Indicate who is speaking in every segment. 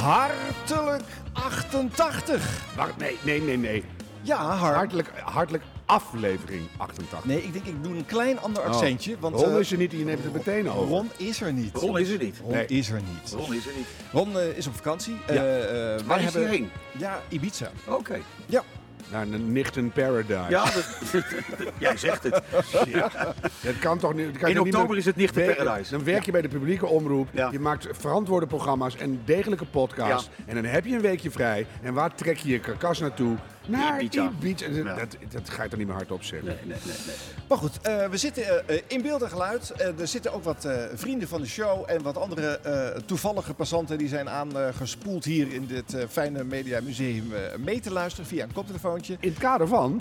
Speaker 1: Hartelijk 88.
Speaker 2: Wacht, nee, nee, nee, nee.
Speaker 1: Ja, hart.
Speaker 2: Hartelijk, hartelijk aflevering 88.
Speaker 1: Nee, ik denk ik doe een klein ander accentje. Want
Speaker 2: Oh. Ron
Speaker 1: eh,
Speaker 2: is er niet, je neemt het meteen over.
Speaker 1: Ron is er niet.
Speaker 3: Ron is er niet.
Speaker 1: Ron
Speaker 2: Nee.
Speaker 1: is er niet.
Speaker 3: Ron is er niet.
Speaker 1: Ron eh, is op vakantie. Eh,
Speaker 2: Ja.
Speaker 1: eh, wij
Speaker 3: Waar is hij heen?
Speaker 1: Ja, Ibiza.
Speaker 3: Oké.
Speaker 1: Ja.
Speaker 2: Naar een nichten paradise.
Speaker 3: Ja, dat- jij zegt het.
Speaker 2: Dat kan toch niet. dat kan
Speaker 3: In
Speaker 2: je niet
Speaker 3: oktober is het nichten
Speaker 2: Nee,
Speaker 3: paradise.
Speaker 2: Dan werk je bij de publieke omroep.
Speaker 3: Ja.
Speaker 2: Je maakt verantwoorde programma's en degelijke podcasts. En dan heb je een weekje vrij. En waar trek je je karkas naartoe? Naar
Speaker 3: Ibiza.
Speaker 2: Ibiza. En
Speaker 3: Ja.
Speaker 2: Dat, dat ga je toch niet meer hardop zeggen.
Speaker 3: Nee, nee, nee, nee.
Speaker 1: Maar goed, eh, we zitten eh, eh, in beeld en geluid. Eh, er zitten ook wat eh, vrienden van de show en wat andere eh, toevallige passanten die zijn aangespoeld hier in dit eh, fijne Media Museum eh, mee te luisteren via een koptelefoontje.
Speaker 2: In het kader van,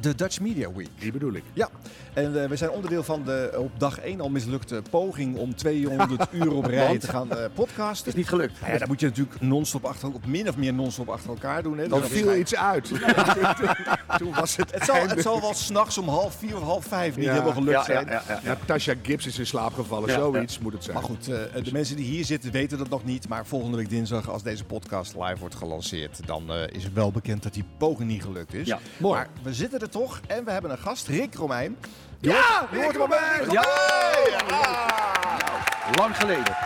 Speaker 1: De Dutch Media Week.
Speaker 2: die bedoel ik.
Speaker 1: Ja, en eh, we zijn onderdeel van de op dag 1 al mislukte poging om 200 uur op rij te gaan eh,
Speaker 3: Het is
Speaker 1: podcasten.
Speaker 3: niet gelukt.
Speaker 1: Nou ja, dat moet je natuurlijk non-stop achter elkaar, of min of meer non-stop achter elkaar doen. Hè?
Speaker 2: Dan
Speaker 1: Dus
Speaker 2: viel iets uit. Toen was het
Speaker 1: het, zal, het
Speaker 2: einde.
Speaker 1: zal wel s'nachts om half vier of half vijf niet
Speaker 2: Ja.
Speaker 1: helemaal gelukt
Speaker 3: Ja, ja,
Speaker 1: zijn.
Speaker 3: ja, ja, ja.
Speaker 2: Natasha Gibbs is in slaap gevallen.
Speaker 3: Ja,
Speaker 2: Zoiets moet het zijn.
Speaker 1: Maar goed, eh, de mensen die hier zitten weten dat nog niet. Maar volgende week dinsdag, als deze podcast live wordt gelanceerd, dan eh, is het wel bekend dat die poging niet gelukt is.
Speaker 3: Ja,
Speaker 2: mooi.
Speaker 1: Maar we zitten er toch en we hebben een gast, Rick Romein.
Speaker 2: Ja,
Speaker 1: Je hoort hem al bij!
Speaker 3: Ja. Nou, lang geleden.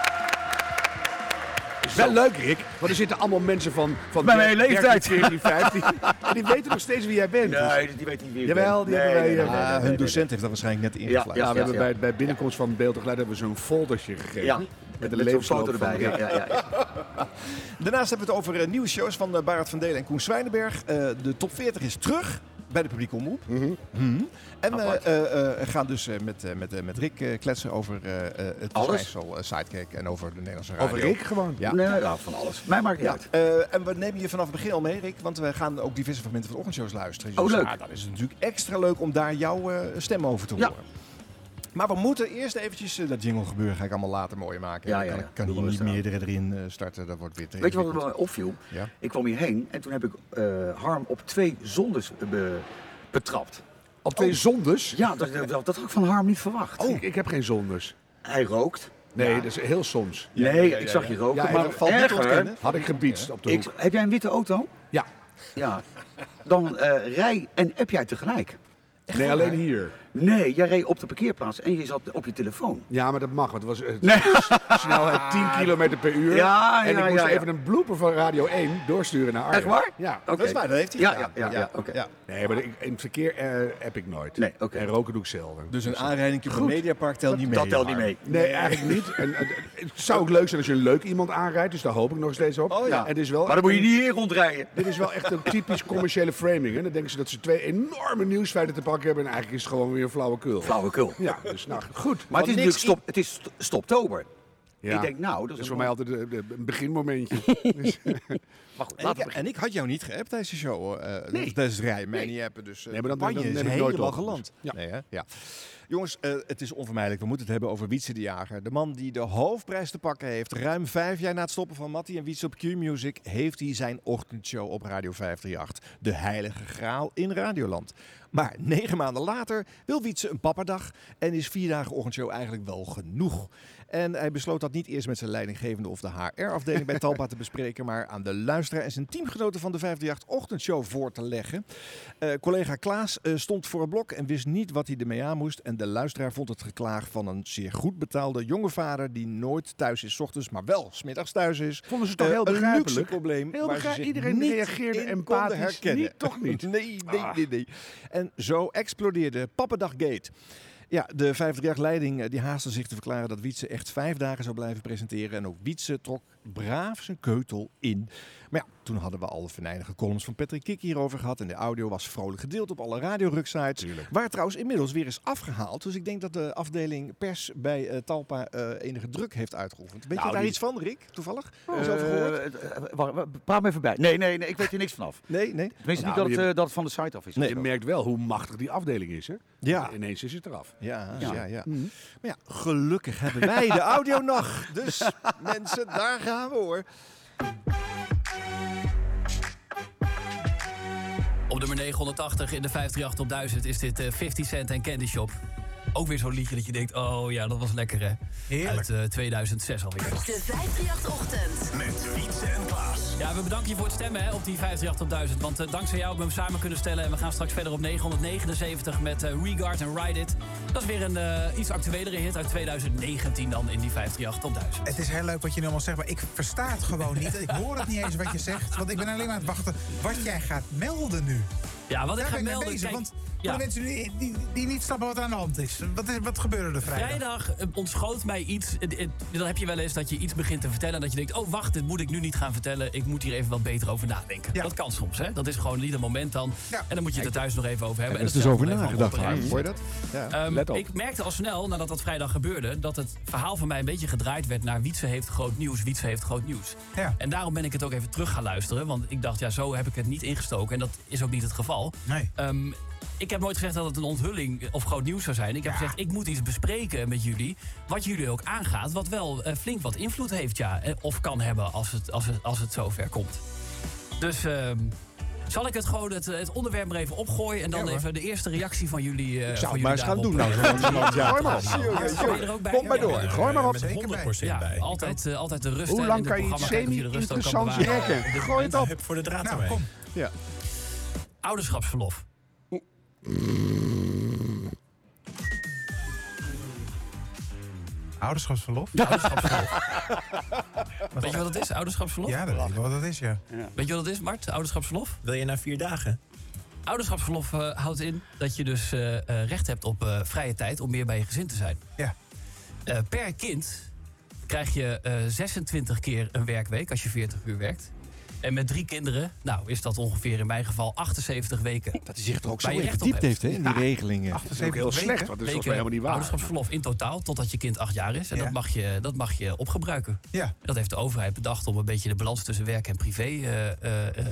Speaker 2: Wel leuk, Rick. Want er zitten allemaal mensen van... van
Speaker 3: Bij mijn
Speaker 2: 13,
Speaker 3: leeftijd.
Speaker 2: 14, 15. En die weten nog steeds wie jij bent. Dus-
Speaker 3: die weet niet wie ik
Speaker 2: Jawel, die hebben wij, eh,
Speaker 1: Ah, hun docent heeft dat waarschijnlijk net ingefluisterd.
Speaker 2: Ja, we hebben
Speaker 3: ja.
Speaker 2: Bij, bij binnenkomst van Beeld en Geluid hebben we zo'n foldertje gegeven.
Speaker 3: Ja,
Speaker 2: Met
Speaker 3: met
Speaker 2: de
Speaker 3: een zo'n
Speaker 2: levensloop
Speaker 3: foto erbij.
Speaker 2: van Rick.
Speaker 3: Ja, ja, ja, ja.
Speaker 1: Daarnaast hebben we het over eh, nieuwe shows van eh, Barend van Delen en Koen Zwijnenberg. Eh, de top 40 is terug bij de publieke omroep. Mhm. En we
Speaker 3: Apart.
Speaker 1: gaan dus eh, met, eh, met, eh, met Rick eh, kletsen over eh, eh, het
Speaker 3: Alles?
Speaker 1: verschijnsel eh, Sidekick en over de Nederlandse radio.
Speaker 2: Over Rick gewoon.
Speaker 1: Ja.
Speaker 3: Nee, ja, van alles. Mij maakt niet uit.
Speaker 1: Eh, en we nemen je vanaf het begin al mee, Rick, want we gaan ook diverse fragmenten van de ochtendshows luisteren.
Speaker 3: Oh, leuk.
Speaker 1: ah, dan is het natuurlijk extra leuk om daar jouw eh, stem over te
Speaker 3: Ja.
Speaker 1: horen. Maar we moeten eerst eventjes, eh, dat jingle gebeuren ga ik allemaal later mooi maken.
Speaker 3: Ja,
Speaker 1: Dan
Speaker 3: ja,
Speaker 1: kan,
Speaker 3: ja.
Speaker 1: ik- kan
Speaker 3: Doe
Speaker 1: hier niet
Speaker 3: rustig aan.
Speaker 1: meerdere erin eh, starten, dat wordt weer te
Speaker 3: Weet je wat
Speaker 1: ingewikkeld.
Speaker 3: me opviel?
Speaker 1: Ja.
Speaker 3: Ik kwam hierheen en toen heb ik eh, Harm op twee zondes eh, be- betrapt. Oh.
Speaker 2: Op twee zondes?
Speaker 3: Ja, dat, dat, dat, dat had ik van Harm niet verwacht.
Speaker 2: Oh, ik heb geen zondes.
Speaker 3: Hij rookt.
Speaker 2: Nee, dat is heel soms.
Speaker 3: Nee,
Speaker 1: ja, ja,
Speaker 3: ik zag je roken.
Speaker 2: Ja, en
Speaker 3: maar
Speaker 1: dat valt niet te
Speaker 3: erger,
Speaker 1: ontkennen.
Speaker 2: Had ik gebiedst op de
Speaker 3: Ik,
Speaker 2: hoek.
Speaker 3: heb jij een witte auto?
Speaker 2: Ja.
Speaker 3: Ja. Dan eh, rij en app jij tegelijk.
Speaker 2: Nee, alleen hier.
Speaker 3: Nee, jij reed op de parkeerplaats en je zat op je telefoon.
Speaker 2: Ja, maar dat mag, want het was eh, s- snelheid 10 km per uur.
Speaker 3: Ja,
Speaker 2: en
Speaker 3: ja,
Speaker 2: ik moest
Speaker 3: ja, ja.
Speaker 2: even een blooper van Radio 1 doorsturen naar Arjen.
Speaker 3: Echt waar?
Speaker 2: Ja.
Speaker 3: Oké.
Speaker 1: Dat is waar, dat heeft hij
Speaker 3: Ja,
Speaker 1: gedaan.
Speaker 3: ja, ja, ja, oké.
Speaker 2: Nee, maar ik- in het verkeer eh, heb ik nooit.
Speaker 3: Nee, oké.
Speaker 2: En roken doe ik zelden.
Speaker 1: Dus een aanrijding op een mediapark telt niet mee.
Speaker 3: dat telt niet
Speaker 1: Harm.
Speaker 3: mee.
Speaker 2: Nee, eigenlijk niet. En, eh, het zou ook leuk zijn als je een leuk iemand aanrijdt, dus daar hoop ik nog steeds op.
Speaker 1: Oh ja.
Speaker 2: En het is wel
Speaker 3: Maar dan moet je niet hier rondrijden.
Speaker 2: Dit is wel echt een typisch commerciële framing. Hè? Dan denken ze dat ze twee enorme nieuwsfeiten te pakken hebben en eigenlijk is het gewoon weer flauwekul.
Speaker 3: Flauwekul.
Speaker 2: Ja, dus nou goed.
Speaker 3: Maar het is
Speaker 1: Want
Speaker 3: natuurlijk
Speaker 1: niks-
Speaker 3: stop, het is st- stoptober.
Speaker 2: Ja.
Speaker 3: Ik denk, nou, dat
Speaker 2: Dat
Speaker 3: is
Speaker 2: is
Speaker 3: een
Speaker 2: voor mij altijd eh, de- een beginmomentje.
Speaker 3: Maar
Speaker 1: En ik,
Speaker 3: goed, laten we beginnen.
Speaker 1: en ik had jou niet geappt deze show. eh nee. Deze rij, mij niet appen. Dus
Speaker 2: Nee, maar dan-
Speaker 1: campagne
Speaker 2: dan
Speaker 1: is
Speaker 2: neem ik nooit
Speaker 1: helemaal
Speaker 2: op.
Speaker 1: geland.
Speaker 2: Ja.
Speaker 1: Nee, hè? ja. Jongens, eh, het is onvermijdelijk. We moeten het hebben over Wietse de Jager. De man die de hoofdprijs te pakken heeft. Ruim vijf jaar na het stoppen van Mattie en Wietse op Q-Music... heeft hij zijn ochtendshow op Radio 538. De heilige graal in Radioland. Maar negen maanden later wil Wietse een pappadag... en is vier dagen ochtendshow eigenlijk wel genoeg. En hij besloot dat niet eerst met zijn leidinggevende of de HR-afdeling bij Talpa te bespreken... maar aan de luisteraar en zijn teamgenoten van de 538-ochtendshow voor te leggen. Eh, collega Klaas eh, stond voor het blok en wist niet wat hij ermee aan moest. En de luisteraar vond het geklaag van een zeer goed betaalde jonge vader... die nooit thuis is 's ochtends, maar wel 's middags thuis is.
Speaker 2: Vonden ze toch
Speaker 1: Eh,
Speaker 2: heel
Speaker 1: een luxe
Speaker 2: begrijpelijk?
Speaker 1: probleem
Speaker 2: Heel
Speaker 1: waar
Speaker 2: begrijp-
Speaker 1: ze zich
Speaker 2: iedereen
Speaker 1: niet
Speaker 2: reageerde
Speaker 1: in
Speaker 2: empathisch.
Speaker 1: konden herkennen.
Speaker 2: Niet, toch niet? Ah.
Speaker 1: nee, nee, nee, nee. En zo explodeerde Pappendag Gate. Ja, de 50-jaar-leiding die haastte zich te verklaren dat Wietse echt vijf dagen zou blijven presenteren. En ook Wietse trok braaf zijn keutel in. Maar ja, toen hadden we al de venijnige columns van Patrick Kik hierover gehad. En de audio was vrolijk gedeeld op alle radioruksites.
Speaker 2: Tuurlijk.
Speaker 1: Waar trouwens inmiddels weer is afgehaald. Dus ik denk dat de afdeling pers bij eh, Talpa eh, enige druk heeft uitgeoefend. Weet
Speaker 3: Nou,
Speaker 1: je daar
Speaker 3: die-
Speaker 1: iets van, Rick? Toevallig?
Speaker 3: Eh,
Speaker 1: Is over gehoord?
Speaker 3: eh, eh, wacht, wacht, Praat me even bij. Nee, nee, nee, ik weet hier niks vanaf.
Speaker 1: Nee, nee.
Speaker 3: Tenminste, niet
Speaker 2: Nou,
Speaker 3: dat,
Speaker 2: je-
Speaker 3: het, eh, dat het van de site af is.
Speaker 1: Nee.
Speaker 2: Je merkt wel hoe machtig die afdeling is. Hè?
Speaker 1: Ja.
Speaker 2: Ineens is het eraf.
Speaker 1: Ja, dus ja,
Speaker 3: Ja. Mhm.
Speaker 1: ja. Maar ja, gelukkig hebben wij de
Speaker 2: Nou,
Speaker 1: audio nog. Dus mensen, daar gaan we hoor.
Speaker 4: Op nummer 980 in de 538 op 1000 is dit eh, 50 Cent en Candy Shop. Ook weer zo'n liedje dat je denkt, oh ja, dat was lekker hè.
Speaker 5: Heerlijk.
Speaker 4: Uit eh, 2006 alweer.
Speaker 6: De 538-ochtend.
Speaker 5: Met Fiets en Klaas.
Speaker 4: Ja, we bedanken je voor het stemmen hè, op die 538.000. Want eh, dankzij jou hebben we hem samen kunnen stellen. En we gaan straks verder op 979 met eh, Regard en Ride It. Dat is weer een eh, iets actuelere hit uit 2019 dan in die 538.000.
Speaker 5: Het is heel leuk wat je nu allemaal zegt, maar ik versta het gewoon niet. Ik hoor het niet eens wat je zegt, want ik ben alleen maar aan het wachten wat jij gaat melden nu.
Speaker 4: Ja, wat ik
Speaker 5: Daar
Speaker 4: ga
Speaker 5: ben ik mee
Speaker 4: melden...
Speaker 5: bezig,
Speaker 4: kijk,
Speaker 5: want voor
Speaker 4: ja.
Speaker 5: de mensen die, die, die niet snappen wat er aan de hand is. Wat, is, wat gebeurde er vrijdag?
Speaker 4: Vrijdag eh, ontschoot mij iets. Eh, eh, Dan heb je wel eens dat je iets begint te vertellen. En dat je denkt: oh wacht, dit moet ik nu niet gaan vertellen. Ik moet hier even wat beter over nadenken.
Speaker 5: Ja.
Speaker 4: Dat kan soms, hè? Dat is gewoon niet een moment dan.
Speaker 5: Ja.
Speaker 4: En dan moet je het er thuis nog even over
Speaker 1: Er
Speaker 4: hebben.
Speaker 1: is
Speaker 4: dat
Speaker 1: dus over
Speaker 4: zelf nog even
Speaker 1: nagedacht.
Speaker 4: opruimen.
Speaker 1: Hoor je dat? Ja.
Speaker 4: Ehm,
Speaker 2: Let op.
Speaker 4: Ik merkte al snel, nadat dat vrijdag gebeurde, dat het verhaal van mij een beetje gedraaid werd naar Wietse heeft groot nieuws, Wietse heeft groot nieuws.
Speaker 5: Ja.
Speaker 4: En daarom ben ik het ook even terug gaan luisteren, want ik dacht, ja, zo heb ik het niet ingestoken. En dat is ook niet het geval.
Speaker 5: Nee.
Speaker 4: Ehm, ik heb nooit gezegd dat het een onthulling of groot nieuws zou zijn. Ik heb gezegd, ik moet iets bespreken met jullie. Wat jullie ook aangaat, wat wel eh, flink wat invloed heeft, ja. eh, Of kan hebben als het, als het, als het zover komt. Dus ehm, zal ik het gewoon het, het onderwerp er even opgooien... en dan
Speaker 5: Ja, hoor.
Speaker 4: even de eerste reactie van jullie eh,
Speaker 1: Zou
Speaker 4: van
Speaker 1: het maar eens
Speaker 4: jullie
Speaker 1: gaan doen
Speaker 4: daarop,
Speaker 1: nou,
Speaker 4: eh,
Speaker 1: zo langzamerhand. Ja,
Speaker 2: Gooi maar op.
Speaker 4: Ben je er ook bij?
Speaker 1: Kom maar
Speaker 4: Ja,
Speaker 1: door.
Speaker 4: ja.
Speaker 2: Gooi maar op.
Speaker 5: Zeker bij.
Speaker 4: Ja, altijd, eh, altijd de rust.
Speaker 2: Hoe
Speaker 4: hè,
Speaker 2: lang
Speaker 4: in
Speaker 2: kan je
Speaker 4: dit
Speaker 2: iets
Speaker 4: programma kijken of je de rust ook kan
Speaker 2: semi-interessants
Speaker 4: bewaren.
Speaker 2: rekken? Gooi het op.
Speaker 7: voor de draad
Speaker 5: Nou, kom.
Speaker 1: Ja.
Speaker 4: Ouderschapsverlof.
Speaker 5: Ouderschapsverlof?
Speaker 4: Weet je wat dat is, ouderschapsverlof?
Speaker 5: Ja, dat weet ik wel wat dat is, ja.
Speaker 4: Weet je wat dat is, Mart? Ouderschapsverlof?
Speaker 7: Wil je na vier dagen?
Speaker 4: Ouderschapsverlof eh, houdt in dat je dus eh, eh, recht hebt op eh, vrije tijd om meer bij je gezin te zijn.
Speaker 5: Ja.
Speaker 4: Eh, per kind krijg je eh, 26 keer een werkweek als je 40 uur werkt. En met drie kinderen, nou is dat ongeveer in mijn geval 78 weken.
Speaker 1: Dat hij zich er ook zo
Speaker 4: Waar je
Speaker 1: in
Speaker 4: recht op
Speaker 1: verdiept
Speaker 4: hebt.
Speaker 1: heeft, hè, in die regelingen.
Speaker 2: Dat is ook heel slecht, want dat is volgens mij
Speaker 4: Weken
Speaker 2: helemaal niet waar.
Speaker 4: ouderschapsverlof in totaal, totdat je kind acht jaar is. En
Speaker 5: Ja.
Speaker 4: dat, mag je, dat mag je opgebruiken.
Speaker 5: Ja.
Speaker 4: Dat heeft de overheid bedacht om een beetje de balans tussen werk en privé eh, eh, eh,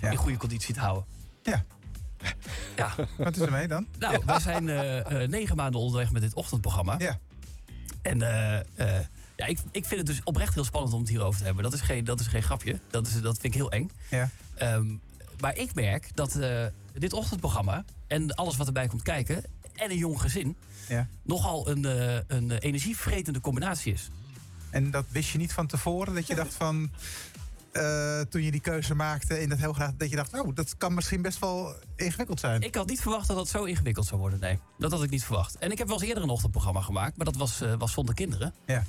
Speaker 5: Ja.
Speaker 4: in goede conditie te houden.
Speaker 5: Ja.
Speaker 4: Ja,
Speaker 5: Wat is er mee dan?
Speaker 4: nou, we zijn eh, eh, negen maanden onderweg met dit ochtendprogramma.
Speaker 5: Ja.
Speaker 4: En eh, eh, ja, ik, ik vind het dus oprecht heel spannend om het hierover te hebben. Dat is geen, dat is geen grapje. Dat, is, dat vind ik heel eng.
Speaker 5: Ja.
Speaker 4: Ehm, maar ik merk dat eh, dit ochtendprogramma en alles wat erbij komt kijken... en een jong gezin
Speaker 5: ja.
Speaker 4: nogal een, eh, een eh, energievretende combinatie is.
Speaker 5: En dat wist je niet van tevoren? Dat je dacht van... eh, toen je die keuze maakte en dat heel graag... dat je dacht, nou, dat kan misschien best wel ingewikkeld zijn.
Speaker 4: Ik had niet verwacht dat dat zo ingewikkeld zou worden, nee. Dat had ik niet verwacht. En ik heb wel eens eerder een ochtendprogramma gemaakt... maar dat was, eh, was zonder kinderen.
Speaker 5: Ja.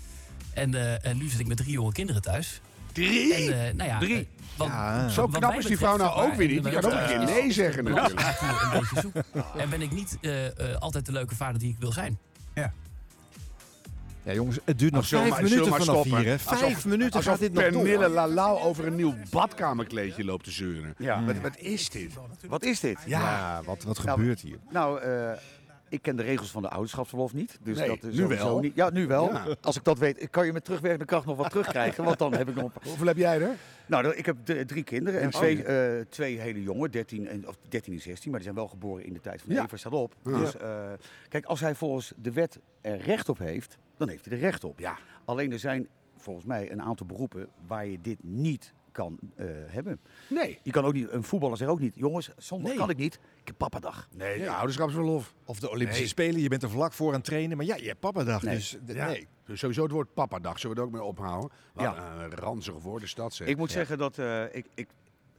Speaker 4: En, eh, en nu zit ik met drie jonge kinderen thuis.
Speaker 2: Drie?
Speaker 4: En, eh, nou ja,
Speaker 2: Drie?
Speaker 4: eh, wat-
Speaker 1: Ja.
Speaker 2: Zo
Speaker 4: wat
Speaker 2: knap
Speaker 4: mij
Speaker 2: is die
Speaker 4: betreft,
Speaker 2: vrouw nou
Speaker 4: zeg maar,
Speaker 2: ook weer niet. Die kan ook
Speaker 4: eh,
Speaker 2: een keer nee zeggen natuurlijk.
Speaker 4: lag ik hier een beetje zoek. En ben ik niet eh, eh, altijd de leuke vader die ik wil zijn.
Speaker 1: Ja, jongens, het duurt nog
Speaker 2: Zullen we
Speaker 1: vijf
Speaker 2: maar- zullen
Speaker 1: minuten
Speaker 2: we
Speaker 1: vanaf
Speaker 2: maar stoppen?
Speaker 1: hier, hè. Vijf
Speaker 2: Alsof-
Speaker 1: minuten
Speaker 2: alsof
Speaker 1: gaat dit nog door.
Speaker 2: Pernille Lalau over een nieuw badkamerkleedje loopt te zeuren.
Speaker 3: Ja.
Speaker 2: Wat, wat is dit?
Speaker 3: Wat is dit?
Speaker 1: Ja, wat, wat gebeurt hier?
Speaker 3: Nou, eh, ik ken de regels van de ouderschapsverlof niet. Dus
Speaker 2: Nee,
Speaker 3: dat is
Speaker 2: nu
Speaker 3: sowieso
Speaker 2: wel.
Speaker 3: Niet. Ja, nu wel.
Speaker 2: Ja.
Speaker 3: Als ik dat weet, kan je met terugwerkende kracht nog wat terugkrijgen. Want dan heb ik nog... een paar-
Speaker 2: Hoeveel heb jij er?
Speaker 3: Nou, dan- ik heb d- drie kinderen. En
Speaker 2: Ja,
Speaker 3: twee,
Speaker 2: oh,
Speaker 3: eh, twee hele jongen, 13 en, of 13 en 16. Maar die zijn wel geboren in de tijd van
Speaker 2: Ja.
Speaker 3: Eva staat op. Dus eh, kijk, als hij volgens de wet er recht op heeft, dan heeft hij er recht op.
Speaker 2: Ja.
Speaker 3: Alleen er zijn volgens mij een aantal beroepen waar je dit niet kan eh, hebben.
Speaker 2: Nee.
Speaker 3: Je kan ook niet, een voetballer zegt ook niet, jongens, zondag
Speaker 1: Nee.
Speaker 3: kan ik niet, ik heb pappadag.
Speaker 2: Nee, de ouderschapsverlof.
Speaker 1: Of de Olympische
Speaker 2: Nee.
Speaker 1: Spelen, je bent er vlak voor aan het trainen. Maar ja, je hebt pappadag,
Speaker 3: Nee.
Speaker 1: dus d-
Speaker 2: Ja.
Speaker 1: nee.
Speaker 2: Dus sowieso het woord papadag zullen we er ook mee ophouden. Wat
Speaker 3: Ja.
Speaker 2: een ranzige woordenstad zeg.
Speaker 3: Ik moet zeggen dat eh, ik, ik,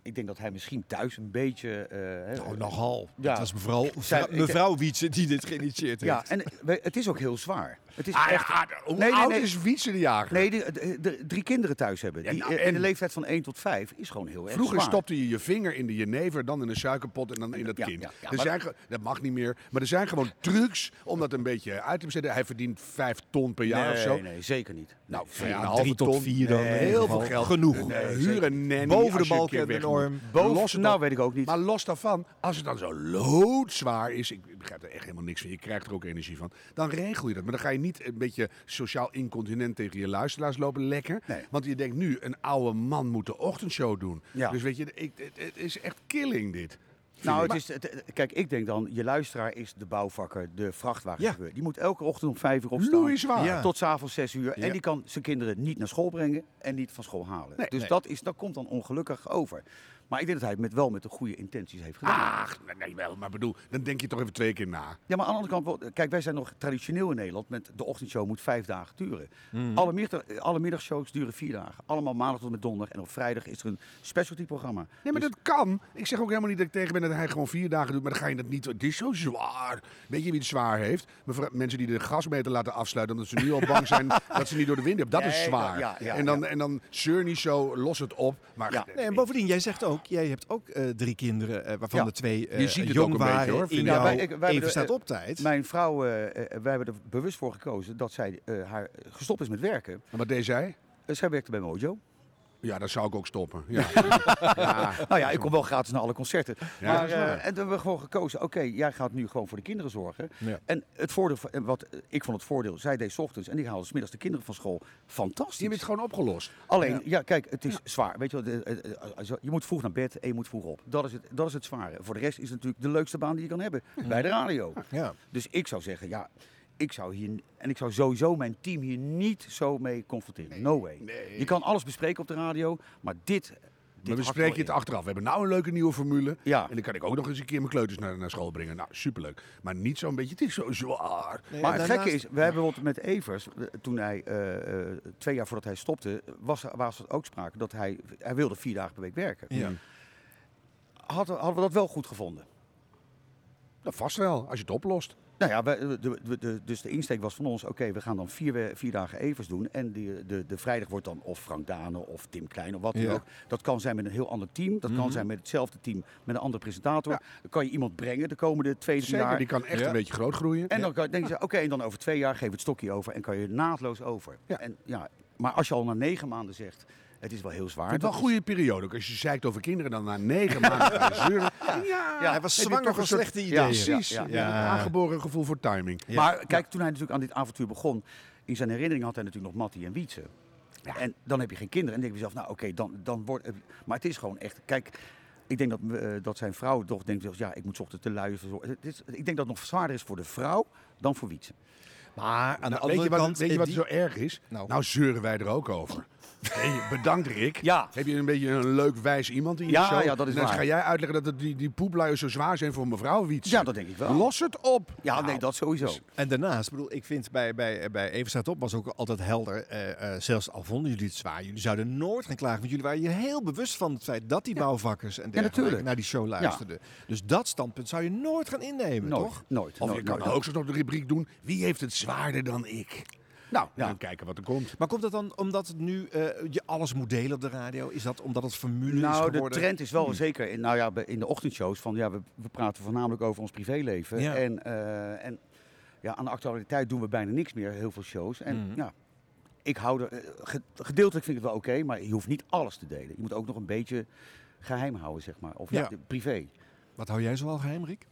Speaker 3: ik denk dat hij misschien thuis een beetje... eh, hè,
Speaker 1: Oh, nogal.
Speaker 3: Ja.
Speaker 1: Het was mevrouw,
Speaker 3: Zij- ik-
Speaker 1: mevrouw Wietse die dit geïnitieerd heeft.
Speaker 3: Ja, en we- het is ook heel zwaar. Het is
Speaker 2: Ah, ja,
Speaker 3: echt
Speaker 2: ah, hoe
Speaker 3: Nee, nee,
Speaker 2: oud
Speaker 3: nee.
Speaker 2: is Wietse de Jager?
Speaker 3: Nee, de, de- de- drie kinderen thuis hebben.
Speaker 2: Ja,
Speaker 3: Die,
Speaker 2: nou,
Speaker 3: eh, en de
Speaker 2: en-
Speaker 3: leeftijd van 1 tot 5 is gewoon heel erg
Speaker 2: Vroeger
Speaker 3: zwaar.
Speaker 2: stopte je je vinger in de jenever, dan in een suikerpot en dan in dat
Speaker 3: Ja,
Speaker 2: kind.
Speaker 3: ja, ja,
Speaker 2: er
Speaker 3: maar-
Speaker 2: zijn, ge- dat mag niet meer. Maar er zijn gewoon trucs om dat een beetje uit te zetten. Hij verdient vijf ton per jaar
Speaker 3: nee,
Speaker 2: of zo.
Speaker 3: Nee, zeker niet.
Speaker 2: Nou,
Speaker 3: Nee,
Speaker 2: ja,
Speaker 3: zeker
Speaker 2: een
Speaker 3: niet.
Speaker 2: halve
Speaker 1: drie tot
Speaker 2: ton.
Speaker 1: vier dan,
Speaker 2: Nee,
Speaker 1: in
Speaker 2: heel
Speaker 1: ieder
Speaker 2: veel
Speaker 1: geval.
Speaker 2: geld.
Speaker 1: Genoeg.
Speaker 2: Nee,
Speaker 1: Nee,
Speaker 2: huur een nanny als
Speaker 1: Boven
Speaker 2: je
Speaker 1: de
Speaker 2: een keer
Speaker 1: balken de
Speaker 2: weg moet.
Speaker 1: norm.
Speaker 3: Boven-
Speaker 2: Los het
Speaker 3: nou,
Speaker 2: op.
Speaker 3: weet ik ook niet.
Speaker 2: Maar los daarvan, als het dan zo loodzwaar is, ik begrijp er echt helemaal niks van, je krijgt er ook energie van, dan regel je dat. Maar dan ga je niet een beetje sociaal incontinent tegen je luisteraars lopen lekker.
Speaker 3: Nee.
Speaker 2: Want je denkt nu, een oude man moet de ochtendshow doen.
Speaker 3: Ja.
Speaker 2: Dus weet je, ik, het, het is echt killing dit.
Speaker 3: Nou, het is, het- het- kijk, ik denk dan, je luisteraar is de bouwvakker, de
Speaker 1: Ja.
Speaker 3: vrachtwagenchauffeur. Die moet elke ochtend om 5 uur opstaan.
Speaker 2: Loeizwaar.
Speaker 1: Ja.
Speaker 3: Tot s'avonds 6 uur.
Speaker 2: Ja.
Speaker 3: En die kan zijn kinderen niet naar school brengen en niet van school halen.
Speaker 2: Nee,
Speaker 3: dus
Speaker 1: nee.
Speaker 3: Dat, is, dat komt dan ongelukkig over. Maar ik denk dat hij het met, wel met de goede intenties heeft gedaan.
Speaker 2: Ach, nee, nee, wel, maar bedoel, dan denk je toch even twee keer na.
Speaker 3: Ja, maar aan de andere kant, wel- kijk, wij zijn nog traditioneel in Nederland met de ochtendshow moet vijf dagen duren.
Speaker 2: Hmm.
Speaker 3: Alle, middag, alle middagshows duren vier dagen. Allemaal maandag tot en met donderdag. En op vrijdag is er een specialty programma.
Speaker 2: Nee, maar
Speaker 3: Dus-
Speaker 2: dat kan. Ik zeg ook helemaal niet dat ik tegen ben dat hij gewoon vier dagen doet. Maar dan ga je dat niet. Het is zo zwaar. Weet je wie het zwaar heeft? Mevrouw- mensen die de gasmeter laten afsluiten. omdat ze nu al bang zijn dat ze niet door de wind hebben. Dat is
Speaker 3: Nee,
Speaker 2: zwaar.
Speaker 3: ja, ja,
Speaker 2: en, dan, en dan zeur niet zo, los het op. Maar
Speaker 3: Ja.
Speaker 1: Nee, en bovendien, jij zegt ook, jij hebt ook eh, drie kinderen, eh, waarvan
Speaker 3: Ja.
Speaker 1: de twee eh,
Speaker 2: Je ziet het
Speaker 1: jong
Speaker 2: ook een beetje,
Speaker 1: waren.
Speaker 2: hoor, vind
Speaker 1: in
Speaker 2: ik. Nou,
Speaker 1: jouw
Speaker 3: Ja, wij- ik- wij hebben
Speaker 1: even
Speaker 3: de-
Speaker 1: staat op tijd.
Speaker 3: Mijn vrouw, eh, eh, wij hebben er bewust voor gekozen dat zij eh, haar gestopt is met werken.
Speaker 2: En wat deed zij?
Speaker 3: Eh, zij werkte bij Mojo.
Speaker 2: Ja, dan zou ik ook stoppen. Ja.
Speaker 3: Nou ja, ik kom wel gratis naar alle concerten.
Speaker 2: Ja,
Speaker 3: maar,
Speaker 2: dat is
Speaker 3: eh,
Speaker 2: waar.
Speaker 3: en toen hebben we gewoon gekozen, oké, jij gaat nu gewoon voor de kinderen zorgen.
Speaker 1: Ja.
Speaker 3: En het voordeel, van- en wat eh, ik vond het voordeel, zij deed 's ochtends en ik haalde 's middags de kinderen van school. Fantastisch.
Speaker 2: Je bent gewoon opgelost.
Speaker 3: Alleen, ja. kijk, het is zwaar. Weet je, wat, eh, eh, eh, zo- je moet vroeg naar bed en je moet vroeg op. Dat is, het, dat is het zware. Voor de rest is het natuurlijk de leukste baan die je kan hebben. Bij de radio.
Speaker 1: Ja.
Speaker 3: Dus ik zou zeggen, ja, ik zou hier... En ik zou sowieso mijn team hier niet zo mee confronteren. no way. Je kan alles bespreken op de radio, maar dit... dit
Speaker 2: Maar we
Speaker 3: hakt
Speaker 2: spreken
Speaker 3: wel
Speaker 2: het
Speaker 3: in.
Speaker 2: achteraf. We hebben nou een leuke nieuwe formule.
Speaker 3: Ja.
Speaker 2: En dan kan ik ook nog eens een keer mijn kleuters naar, naar school brengen. Nou, superleuk. Maar niet zo'n beetje. Het is zo zwaar.
Speaker 1: Nee,
Speaker 3: Maar
Speaker 1: en
Speaker 3: het gekke
Speaker 1: daarnaast-
Speaker 3: is, we hebben bijvoorbeeld met Evers, eh, toen hij eh, eh, twee jaar voordat hij stopte, was, er- was er ook sprake dat hij, hij wilde vier dagen per week werken.
Speaker 1: Ja.
Speaker 3: Hadden, hadden we dat wel goed gevonden?
Speaker 2: Dat vast wel, als je het oplost.
Speaker 3: Nou ja, wij- de, de, de- dus de insteek was van ons, oké, we gaan dan vier, we- vier dagen Evers doen. En de, de, de vrijdag wordt dan of Frank Dane of Tim Klein of wat dan
Speaker 1: Ja.
Speaker 3: ook. Dat kan zijn met een heel ander team. Dat
Speaker 2: Mhm.
Speaker 3: kan zijn met hetzelfde team, met een andere presentator. Dan kan je iemand brengen de komende twee, drie
Speaker 2: Zeker,
Speaker 3: jaar.
Speaker 2: die kan echt
Speaker 1: Ja.
Speaker 2: een beetje groot groeien.
Speaker 3: En dan kan- denk je, oké, en dan over twee jaar geef het stokje over en kan je naadloos over.
Speaker 2: Ja.
Speaker 3: En, ja, maar als je al na negen maanden zegt, het is wel heel zwaar.
Speaker 2: Ik vind het wel een goede periode. Ook als je zeikt over kinderen, dan na negen maanden gaan zeuren. Ja,
Speaker 1: hij was
Speaker 2: heb je
Speaker 1: zwanger
Speaker 2: toch
Speaker 1: van
Speaker 2: een soort-
Speaker 1: slechte
Speaker 3: Ja,
Speaker 1: ideeën.
Speaker 2: Precies.
Speaker 3: Ja,
Speaker 2: Ja,
Speaker 3: ja.
Speaker 2: Aangeboren gevoel voor timing.
Speaker 1: Ja.
Speaker 3: Maar kijk, toen hij natuurlijk aan dit avontuur begon, in zijn herinnering had hij natuurlijk nog Mattie en Wietse. En dan heb je geen kinderen en dan denk je zelf, nou oké, dan, dan wordt... Maar het is gewoon echt, kijk, ik denk dat, eh, dat zijn vrouw toch denkt, zelfs, ja, ik moet 's ochtends te luien. verzorgen. Het is- Ik denk dat het nog zwaarder is voor de vrouw dan voor Wietse.
Speaker 1: Maar aan de
Speaker 2: Nou,
Speaker 1: andere
Speaker 2: weet je wat,
Speaker 1: kant...
Speaker 2: weet je
Speaker 1: eh,
Speaker 2: wat
Speaker 1: die-
Speaker 2: zo erg is?
Speaker 1: Nou.
Speaker 2: Nou. zeuren wij er ook over. Hey, bedankt Rick.
Speaker 3: Ja.
Speaker 2: Heb je een beetje een leuk wijs iemand in je
Speaker 3: Ja,
Speaker 2: show?
Speaker 3: ja, dat is
Speaker 2: en dan
Speaker 3: waar.
Speaker 2: ga jij uitleggen dat het die, die poepluiers zo zwaar zijn voor mevrouw Wiets.
Speaker 3: Ja, dat denk ik wel.
Speaker 2: Los het op.
Speaker 3: Ja, nee, dat sowieso.
Speaker 1: Nou, dus- En daarnaast, bedoel, ik vind bij, bij, bij Even staat op was ook altijd helder. eh, eh, zelfs al vonden jullie het zwaar, jullie zouden nooit gaan klagen. Want jullie waren je heel bewust van het feit dat die bouwvakkers en dergelijke
Speaker 3: natuurlijk.
Speaker 1: naar die show luisterden. Dus dat standpunt zou je nooit gaan innemen,
Speaker 3: Nooit,
Speaker 1: toch?
Speaker 3: nooit.
Speaker 2: Of je
Speaker 3: nooit,
Speaker 2: kan
Speaker 3: nooit.
Speaker 2: ook zo nog de rubriek doen. Wie heeft het zwaarder dan ik? Nou,
Speaker 3: Ja.
Speaker 2: dan kijken wat er komt.
Speaker 1: Maar komt dat dan omdat het nu eh, je alles moet delen op de radio? Is dat omdat het formule is
Speaker 3: Nou, de
Speaker 1: geworden? Hmm.
Speaker 3: trend is wel zeker in, nou ja, bij- in de ochtendshows van ja, we, we praten voornamelijk over ons privéleven.
Speaker 1: Ja.
Speaker 3: En, eh, en ja, aan de actualiteit doen we bijna niks meer, heel veel shows. En
Speaker 1: Hmm.
Speaker 3: ja, ik hou er, eh, ge- gedeeltelijk vind ik het wel oké, maar je hoeft niet alles te delen. Je moet ook nog een beetje geheim houden, zeg maar. Of ja.
Speaker 1: Ja.
Speaker 3: de- privé.
Speaker 1: Wat hou jij zoal geheim, Rick?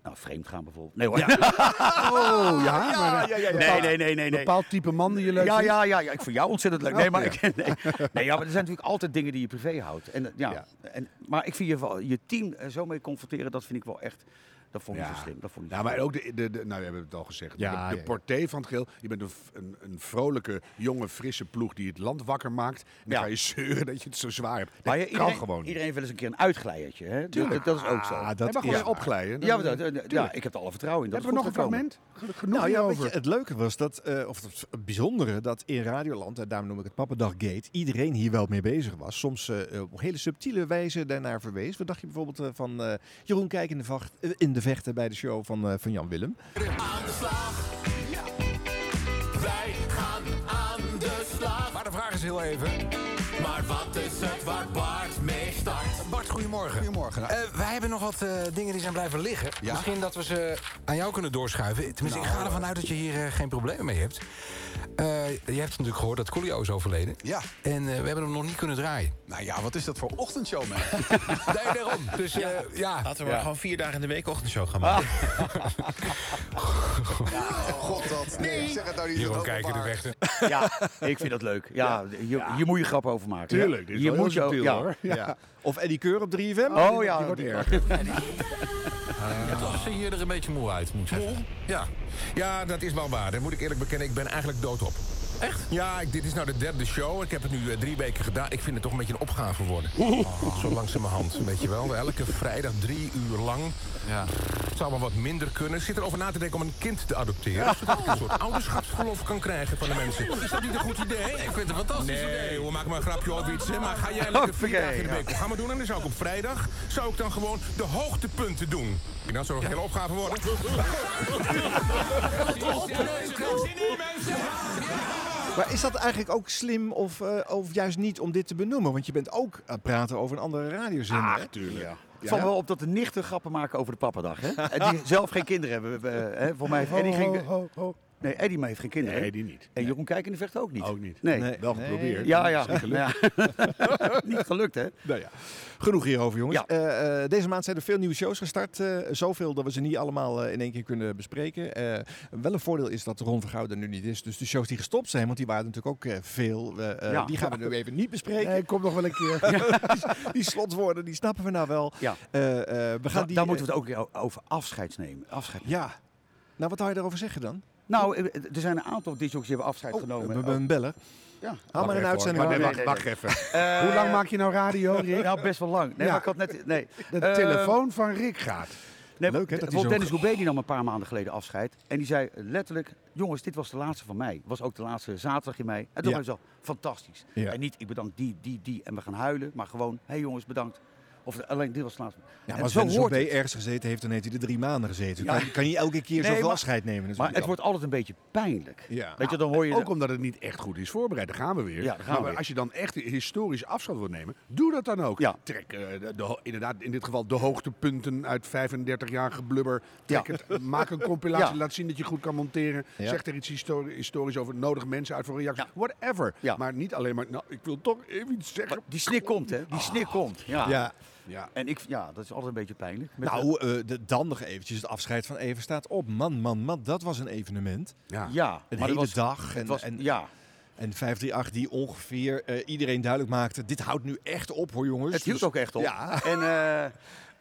Speaker 1: Oh,
Speaker 3: Nou, vreemd gaan bijvoorbeeld. Nee hoor.
Speaker 2: Oh ja, maar
Speaker 1: ja, ja.
Speaker 3: Nee, nee, nee, nee.
Speaker 2: een
Speaker 3: nee.
Speaker 2: bepaald type man die je leuk
Speaker 3: Ja,
Speaker 2: vindt.
Speaker 3: ja, ja, ja, ik vind jou ontzettend leuk. Nee, maar, ik, nee. Nee, ja, maar er zijn natuurlijk altijd dingen die je privé houdt. En, eh, ja,
Speaker 1: Ja.
Speaker 3: En, maar ik vind je, wel- je team er zo mee confronteren, dat vind ik wel echt... Dat vond ik niet zo slim. Dat vond ik niet
Speaker 2: Ja,
Speaker 3: zo
Speaker 2: maar
Speaker 3: slim.
Speaker 2: ook de, de, de- nou, we hebben het al gezegd.
Speaker 1: Ja,
Speaker 2: de de
Speaker 1: ja, ja.
Speaker 2: portée van het geel. Je bent een, v- een, een vrolijke, jonge, frisse ploeg die het land wakker maakt. En dan
Speaker 3: Ja.
Speaker 2: ga je zeuren dat je het zo zwaar hebt. Dat
Speaker 3: Maar ja,
Speaker 2: kan
Speaker 3: iedereen,
Speaker 2: gewoon niet.
Speaker 3: iedereen heeft wel eens een keer een uitglijertje. Hè? Dat-
Speaker 2: Tuurlijk.
Speaker 3: Dat, dat is ook zo.
Speaker 1: Ah,
Speaker 3: Ja,
Speaker 2: Dat
Speaker 1: dat
Speaker 2: mag gewoon
Speaker 1: is...
Speaker 2: weer opglijden. Dan-
Speaker 3: maar dat- dat- ja, ik heb er alle vertrouwen in. Dat
Speaker 2: hebben we nog een
Speaker 3: het goed gaat komen.
Speaker 2: fragment? Ge- Genoeg
Speaker 1: Nou ja, weet je,
Speaker 2: hierover.
Speaker 1: het leuke was dat, eh, of het bijzondere, dat in Radioland, en daarom noem ik het Pappendag Gate, iedereen hier wel mee bezig was. Soms eh, op hele subtiele wijze daarnaar verwees. Wat dacht je bijvoorbeeld eh, van eh, Jeroen Kijk in de, vacht, eh, in de vechten bij de show van, eh, van Jan Willem?
Speaker 6: Aan de slag. Wij gaan aan de slag.
Speaker 7: Maar de vraag is heel even.
Speaker 6: Maar wat is het waar Bart mee start?
Speaker 7: Bart, goedemorgen. Goedemorgen. wij hebben nog wat eh, dingen die zijn blijven liggen. Misschien dat we ze aan jou kunnen doorschuiven. Tenminste,
Speaker 8: Nou.
Speaker 7: ik ga ervan uit dat je hier eh, geen problemen mee hebt. Eh, je hebt natuurlijk gehoord dat Coolio is overleden.
Speaker 8: Ja.
Speaker 7: En eh, we hebben hem nog niet kunnen draaien.
Speaker 8: Nou ja, wat is dat voor ochtendshow, man?
Speaker 7: Nee, daarom. Dus eh, ja.
Speaker 9: Laten we maar gewoon vier dagen in de week ochtendshow gaan
Speaker 8: Ah.
Speaker 9: maken.
Speaker 8: Oh, God, dat. Nee, zeg het nou niet.
Speaker 7: Jeroen
Speaker 8: dat
Speaker 7: kijken de
Speaker 8: openbaar.
Speaker 7: weg.
Speaker 3: Ja, ik vind dat leuk. Ja, Hier, hier moet je grap over maken.
Speaker 2: Tuurlijk, dit is
Speaker 3: Hier
Speaker 2: wel
Speaker 3: moet
Speaker 2: heel
Speaker 3: je ook-
Speaker 2: subtiel,
Speaker 3: ja.
Speaker 2: hoor.
Speaker 1: Ja. Of Eddie Keur op 3FM?
Speaker 3: Oh ja,
Speaker 9: Toch zie je er een beetje moe uit, moet ik zeggen.
Speaker 7: Ja. ja, dat is wel waar. Dat moet ik eerlijk bekennen. Ik ben eigenlijk doodop.
Speaker 4: Echt?
Speaker 7: Ja, ik- dit is nou de derde show. Ik heb het nu eh, drie weken gedaan. Ik vind het toch een beetje een opgave worden. Oh, Zo langzamerhand, weet je wel. Elke vrijdag drie uur lang.
Speaker 9: Ja.
Speaker 7: Het zou maar wat minder kunnen. Ik zit erover na te denken om een kind te adopteren. Zodat ik een soort ouderschapsverlof kan krijgen van de mensen. Is dat niet een goed idee?
Speaker 9: Ik vind het fantastisch.
Speaker 7: Nee, we maken maar een grapje over iets. hè. Maar ga jij lekker vier
Speaker 3: Oké,
Speaker 7: dagen in de
Speaker 3: ja.
Speaker 7: week programma doen... en dan zou ik op vrijdag zou ik dan gewoon de hoogtepunten doen. En dan zou het een hele opgave worden.
Speaker 1: Maar is dat eigenlijk ook slim of, eh, of juist niet om dit te benoemen? Want je bent ook aan het praten over een andere
Speaker 3: Ah,
Speaker 1: radiozender. hè?
Speaker 2: Tuurlijk.
Speaker 3: Het valt wel eh, op dat de nichten grappen maken over de pappadag. Hè? En die zelf geen kinderen hebben. eh, hè? Voor mij heeft Eddie geen... Nee, Eddie maar heeft geen kinderen. hè?
Speaker 2: Nee, die niet.
Speaker 3: En Jeroen Kijken vecht ook niet.
Speaker 2: Ook niet.
Speaker 3: Nee.
Speaker 1: Nee.
Speaker 2: Wel geprobeerd.
Speaker 3: Ja, ja. Ja. niet gelukt, hè?
Speaker 1: Nou ja, genoeg hierover jongens.
Speaker 3: Ja.
Speaker 1: Eh, eh, deze maand zijn er veel nieuwe shows gestart. eh, zoveel dat we ze niet allemaal eh, in één keer kunnen bespreken. Eh, wel een voordeel is dat Ron Vergouw er nu niet is. Dus de shows die gestopt zijn, want die waren natuurlijk ook eh, veel. eh, eh,
Speaker 3: Ja.
Speaker 1: Die gaan we nu even niet bespreken.
Speaker 2: Nee, kom nog wel een keer.
Speaker 1: Die slotwoorden, die snappen we nou wel.
Speaker 3: Ja.
Speaker 1: Eh, eh, we gaan
Speaker 3: Da-
Speaker 1: die,
Speaker 3: daar moeten we
Speaker 1: eh,
Speaker 3: het ook weer over afscheid nemen. Afscheid.
Speaker 1: Ja. Nou, wat hou je daarover zeggen dan?
Speaker 3: Nou, eh, er zijn een aantal disjockeys die hebben afscheid
Speaker 1: Oh,
Speaker 3: genomen.
Speaker 1: we hebben een beller.
Speaker 3: Ja.
Speaker 1: Haal maar een uitzending.
Speaker 2: Maar nee,
Speaker 1: aan.
Speaker 2: wacht, wacht even. Hoe lang maak je nou radio, Rick?
Speaker 3: Eh, Nou, best wel lang. Nee,
Speaker 2: Ja.
Speaker 3: maar ik had net... Nee.
Speaker 2: De
Speaker 3: Eh,
Speaker 2: telefoon van Rick gaat.
Speaker 3: Nee,
Speaker 1: Leuk, hè, dat hij
Speaker 3: want
Speaker 1: zo-
Speaker 3: Dennis Goubet die nam een paar maanden geleden afscheid. En die zei letterlijk, jongens, dit was de laatste van mei. Was ook de laatste zaterdag in mei. En toen
Speaker 1: Ja.
Speaker 3: was het al fantastisch.
Speaker 1: Ja.
Speaker 3: En niet, ik bedank die, die, die en we gaan huilen. Maar gewoon, hé hey jongens, bedankt. Of alleen, dit was de laatste.
Speaker 1: Ja,
Speaker 3: En
Speaker 1: maar als
Speaker 3: zo
Speaker 1: Dennis
Speaker 3: hoort
Speaker 1: OB
Speaker 3: het.
Speaker 1: ergens gezeten heeft, dan heeft hij er drie maanden gezeten. Je Kan, kan niet elke keer
Speaker 3: Nee,
Speaker 1: zoveel
Speaker 3: maar-
Speaker 1: afscheid nemen. natuurlijk
Speaker 3: Maar het
Speaker 1: wel.
Speaker 3: wordt altijd een beetje pijnlijk.
Speaker 1: Ja.
Speaker 3: Weet je, dan hoor je...
Speaker 2: Nou, Ook omdat het niet echt goed is voorbereid. Daar gaan we weer.
Speaker 3: Ja, daar gaan we
Speaker 2: maar
Speaker 3: weer.
Speaker 2: als je dan echt historisch afstand wilt nemen, doe dat dan ook.
Speaker 3: Ja.
Speaker 2: Trek eh, de, de ho- inderdaad in dit geval de hoogtepunten uit 35 jaar geblubber. Trek het, maak een compilatie,
Speaker 3: Ja.
Speaker 2: laat zien dat je goed kan monteren.
Speaker 1: Ja.
Speaker 2: Zeg er iets histori- historisch over, nodig mensen uit voor een reactie. Whatever.
Speaker 3: Ja.
Speaker 2: Maar niet alleen maar, nou, ik wil toch even iets zeggen. Oh.
Speaker 3: Die snik komt, hè? Die snik komt. Ja.
Speaker 1: Ja,
Speaker 2: Ja.
Speaker 3: En ik, ja, dat is altijd een beetje pijnlijk. Met-
Speaker 1: nou, eh, de, dan nog eventjes het afscheid van Even staat op. Man, man, man, dat was een evenement.
Speaker 2: Ja.
Speaker 3: ja,
Speaker 1: Een
Speaker 3: maar
Speaker 1: hele
Speaker 3: dat was,
Speaker 1: dag. En,
Speaker 3: Het was,
Speaker 1: en,
Speaker 3: ja,
Speaker 1: en 538 die ongeveer eh, iedereen duidelijk maakte, dit houdt nu echt op hoor jongens.
Speaker 3: het hield
Speaker 1: Dus-
Speaker 3: ook echt op.
Speaker 1: Ja.
Speaker 3: En eh,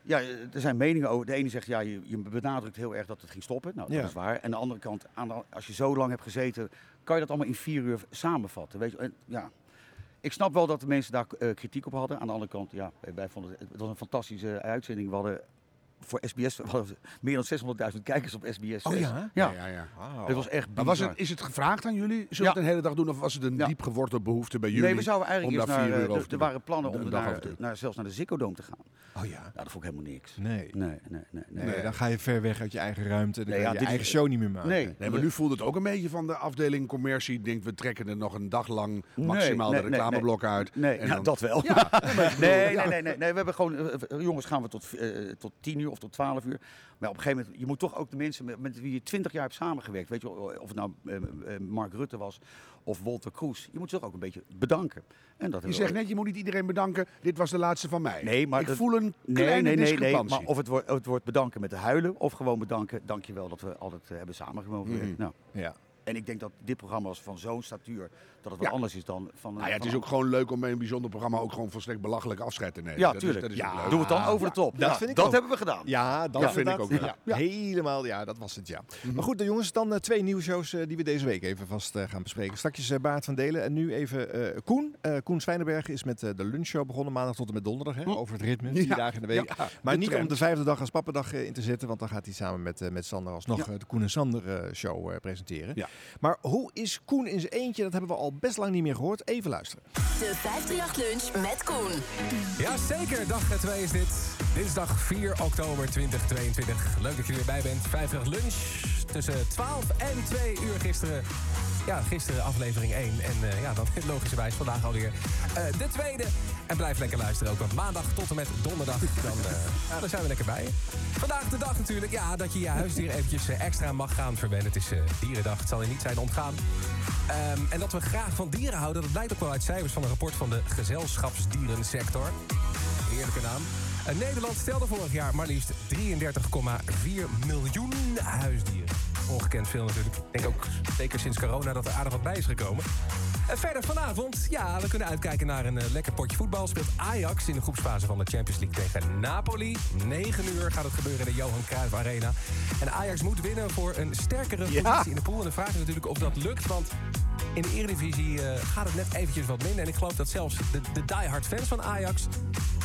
Speaker 3: ja, er zijn meningen over. De ene zegt, ja, je, je benadrukt heel erg dat het ging stoppen. Nou, dat
Speaker 1: Ja.
Speaker 3: is waar. En aan de andere kant, aan de- als je zo lang hebt gezeten, kan je dat allemaal in vier uur samenvatten. Weet je? En, ja. Ik snap wel dat de mensen daar eh, kritiek op hadden. Aan de andere kant, ja, wij vonden het, het was een fantastische eh, uitzending. We hadden voor SBS we hadden meer dan 600.000 kijkers op SBS.
Speaker 1: Oh ja?
Speaker 3: Ja,
Speaker 2: ja, ja.
Speaker 3: het was echt
Speaker 2: Maar was
Speaker 3: bizar.
Speaker 2: het, is het gevraagd aan jullie? Zullen we het
Speaker 3: Ja.
Speaker 2: een hele dag doen? Of was het een
Speaker 3: Ja.
Speaker 2: diep gewortelde behoefte bij jullie?
Speaker 3: nee, we zouden eigenlijk
Speaker 2: om
Speaker 3: eerst
Speaker 2: daar
Speaker 3: naar...
Speaker 2: vier uur
Speaker 3: eh,
Speaker 2: over
Speaker 3: er-
Speaker 2: te
Speaker 3: er
Speaker 2: doen?
Speaker 3: waren plannen
Speaker 2: Een
Speaker 3: om
Speaker 2: dag
Speaker 3: naar,
Speaker 2: over te doen.
Speaker 3: naar, zelfs naar de Zikko Dome te gaan.
Speaker 1: Oh ja.
Speaker 3: Nou, dat vond ik helemaal niks.
Speaker 1: Nee. Nee,
Speaker 3: Nee, nee, nee. nee.
Speaker 1: dan ga je ver weg uit je eigen ruimte. Dan
Speaker 3: Nee,
Speaker 1: kan
Speaker 3: ja,
Speaker 1: je je
Speaker 3: dit
Speaker 1: eigen
Speaker 3: is-
Speaker 1: show niet meer maken.
Speaker 3: Nee.
Speaker 2: Nee, maar nu voelt het ook een beetje van de afdeling commercie. Ik denk, we trekken er nog een dag lang
Speaker 3: Nee,
Speaker 2: maximaal
Speaker 3: nee,
Speaker 2: de
Speaker 3: nee,
Speaker 2: reclameblok uit.
Speaker 3: Nee,
Speaker 2: En
Speaker 3: ja,
Speaker 2: dan-
Speaker 3: dat wel. nee, nee, nee, nee, nee. We hebben gewoon, eh, jongens, gaan we tot, eh, tot 10 uur of tot 12 uur. Maar op een gegeven moment, je moet toch ook de mensen met, met wie je 20 jaar hebt samengewerkt. Weet je, wel, of het nou eh, eh, Mark Rutte was of Wolter Kroes. Je moet ze toch ook een beetje bedanken. En dat
Speaker 2: Je
Speaker 3: hebben we
Speaker 2: zegt
Speaker 3: ook-
Speaker 2: net, je moet niet iedereen bedanken. Dit was de laatste van mij.
Speaker 3: Nee, maar
Speaker 2: ik
Speaker 3: dat-
Speaker 2: voel een
Speaker 3: Nee,
Speaker 2: kleine
Speaker 3: nee, nee, nee.
Speaker 2: discrepantie.
Speaker 3: Maar of het wordt, het wordt bedanken met de huilen of gewoon bedanken. Dankjewel dat we altijd eh, hebben samengewoond.
Speaker 2: Mhm.
Speaker 3: Nou,
Speaker 1: Ja.
Speaker 3: en ik denk dat dit programma was van zo'n statuur dat het wel
Speaker 2: Ja.
Speaker 3: anders is dan van.
Speaker 2: nou ja, het is ook gewoon leuk om bij een bijzonder programma ook gewoon volstrekt belachelijk afscheid te nemen.
Speaker 3: Ja,
Speaker 2: Dat is-
Speaker 3: tuurlijk.
Speaker 2: dat is ook
Speaker 3: ja,
Speaker 2: leuk.
Speaker 3: doe het dan over de top.
Speaker 1: dat
Speaker 3: Ja,
Speaker 1: vind ik
Speaker 3: dat
Speaker 1: ook.
Speaker 3: hebben we gedaan.
Speaker 1: Ja, dat
Speaker 2: vind ik
Speaker 1: inderdaad.
Speaker 2: ook wel.
Speaker 1: Ja. Helemaal, ja, dat was het, ja. Maar goed, dan jongens, dan eh, twee nieuwshows eh die we deze week even vast eh, gaan bespreken. Straks eh Baart van Delen en nu even eh, Koen. Eh, Koen Zwijnenberg is met eh, de lunchshow begonnen, maandag tot en met donderdag. Hè, Over het ritme, vier
Speaker 2: Ja.
Speaker 1: dagen in Hm. de week.
Speaker 2: Ja,
Speaker 1: maar
Speaker 2: de
Speaker 1: niet om
Speaker 2: trend.
Speaker 1: de vijfde dag als pappendag eh, in te zitten, want dan gaat hij samen met, eh, met Sander alsnog eh, de Koen en Sander eh, show eh, presenteren.
Speaker 2: Ja.
Speaker 1: Maar hoe is Koen in zijn eentje? Dat hebben we al best lang niet meer gehoord. Even luisteren.
Speaker 10: De 538 Lunch met Koen.
Speaker 7: Jazeker, dag 2 is dit. Dinsdag 4 oktober 2022. Leuk dat je er weer bij bent. 50 lunch tussen 12 en 2 uur gisteren. Ja, gisteren aflevering 1. En eh, ja, dan logischerwijs vandaag alweer eh, de tweede. En blijf lekker luisteren ook. Want maandag tot en met donderdag, dan, eh, ja, dan zijn we lekker bij. je. Vandaag de dag natuurlijk, ja, dat je je huisdier eventjes eh, extra mag gaan verwennen. Het is eh, dierendag, het zal je niet zijn ontgaan. Ehm, en dat we graag van dieren houden, dat blijkt ook wel uit cijfers van een rapport van de gezelschapsdierensector. Heerlijke naam. Eh, Nederland stelde vorig jaar maar liefst 33,4 miljoen huisdieren. Ongekend veel natuurlijk. Ik denk ook zeker sinds corona dat er aardig wat bij is gekomen. En verder vanavond, ja, we kunnen uitkijken naar een eh, lekker potje voetbal. Speelt Ajax in de groepsfase van de Champions League tegen Napoli. 9 uur gaat het gebeuren in de Johan Cruijff Arena. En Ajax moet winnen voor een sterkere positie in de pool. En de vraag is natuurlijk of dat lukt, want...
Speaker 11: In de Eredivisie eh, gaat het net eventjes wat minder. En ik geloof dat zelfs de, de diehard fans van Ajax...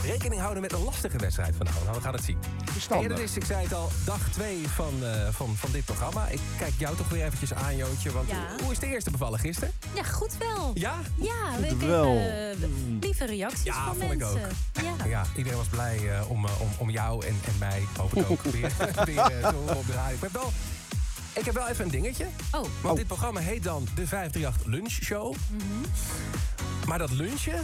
Speaker 11: rekening houden met een lastige wedstrijd vanavond. Nou, we gaan het zien.
Speaker 2: Verstandig.
Speaker 11: En dat is, Dus ik zei het al, dag 2 van, eh, van, van dit programma. Ik kijk jou toch weer eventjes aan, Jootje. Want
Speaker 12: Ja.
Speaker 11: hoe- hoe is de eerste bevallen gisteren?
Speaker 12: Ja, goed wel.
Speaker 11: Ja?
Speaker 12: Ja, we
Speaker 11: Goed
Speaker 12: kregen
Speaker 11: wel. Mm.
Speaker 12: eh, lieve reacties
Speaker 11: Ja,
Speaker 12: van
Speaker 11: vond ik
Speaker 12: mensen.
Speaker 11: ook.
Speaker 12: Ja.
Speaker 11: Nou Ja. iedereen was blij eh, om, eh, om, om jou en, en mij, hoop ik ook, weer, weer eh, te horen op de radio. Ik heb wel, ik heb wel even een dingetje.
Speaker 12: Oh. Mhm.
Speaker 11: Want dit programma heet dan de 538 Lunch Show. Maar dat lunchen,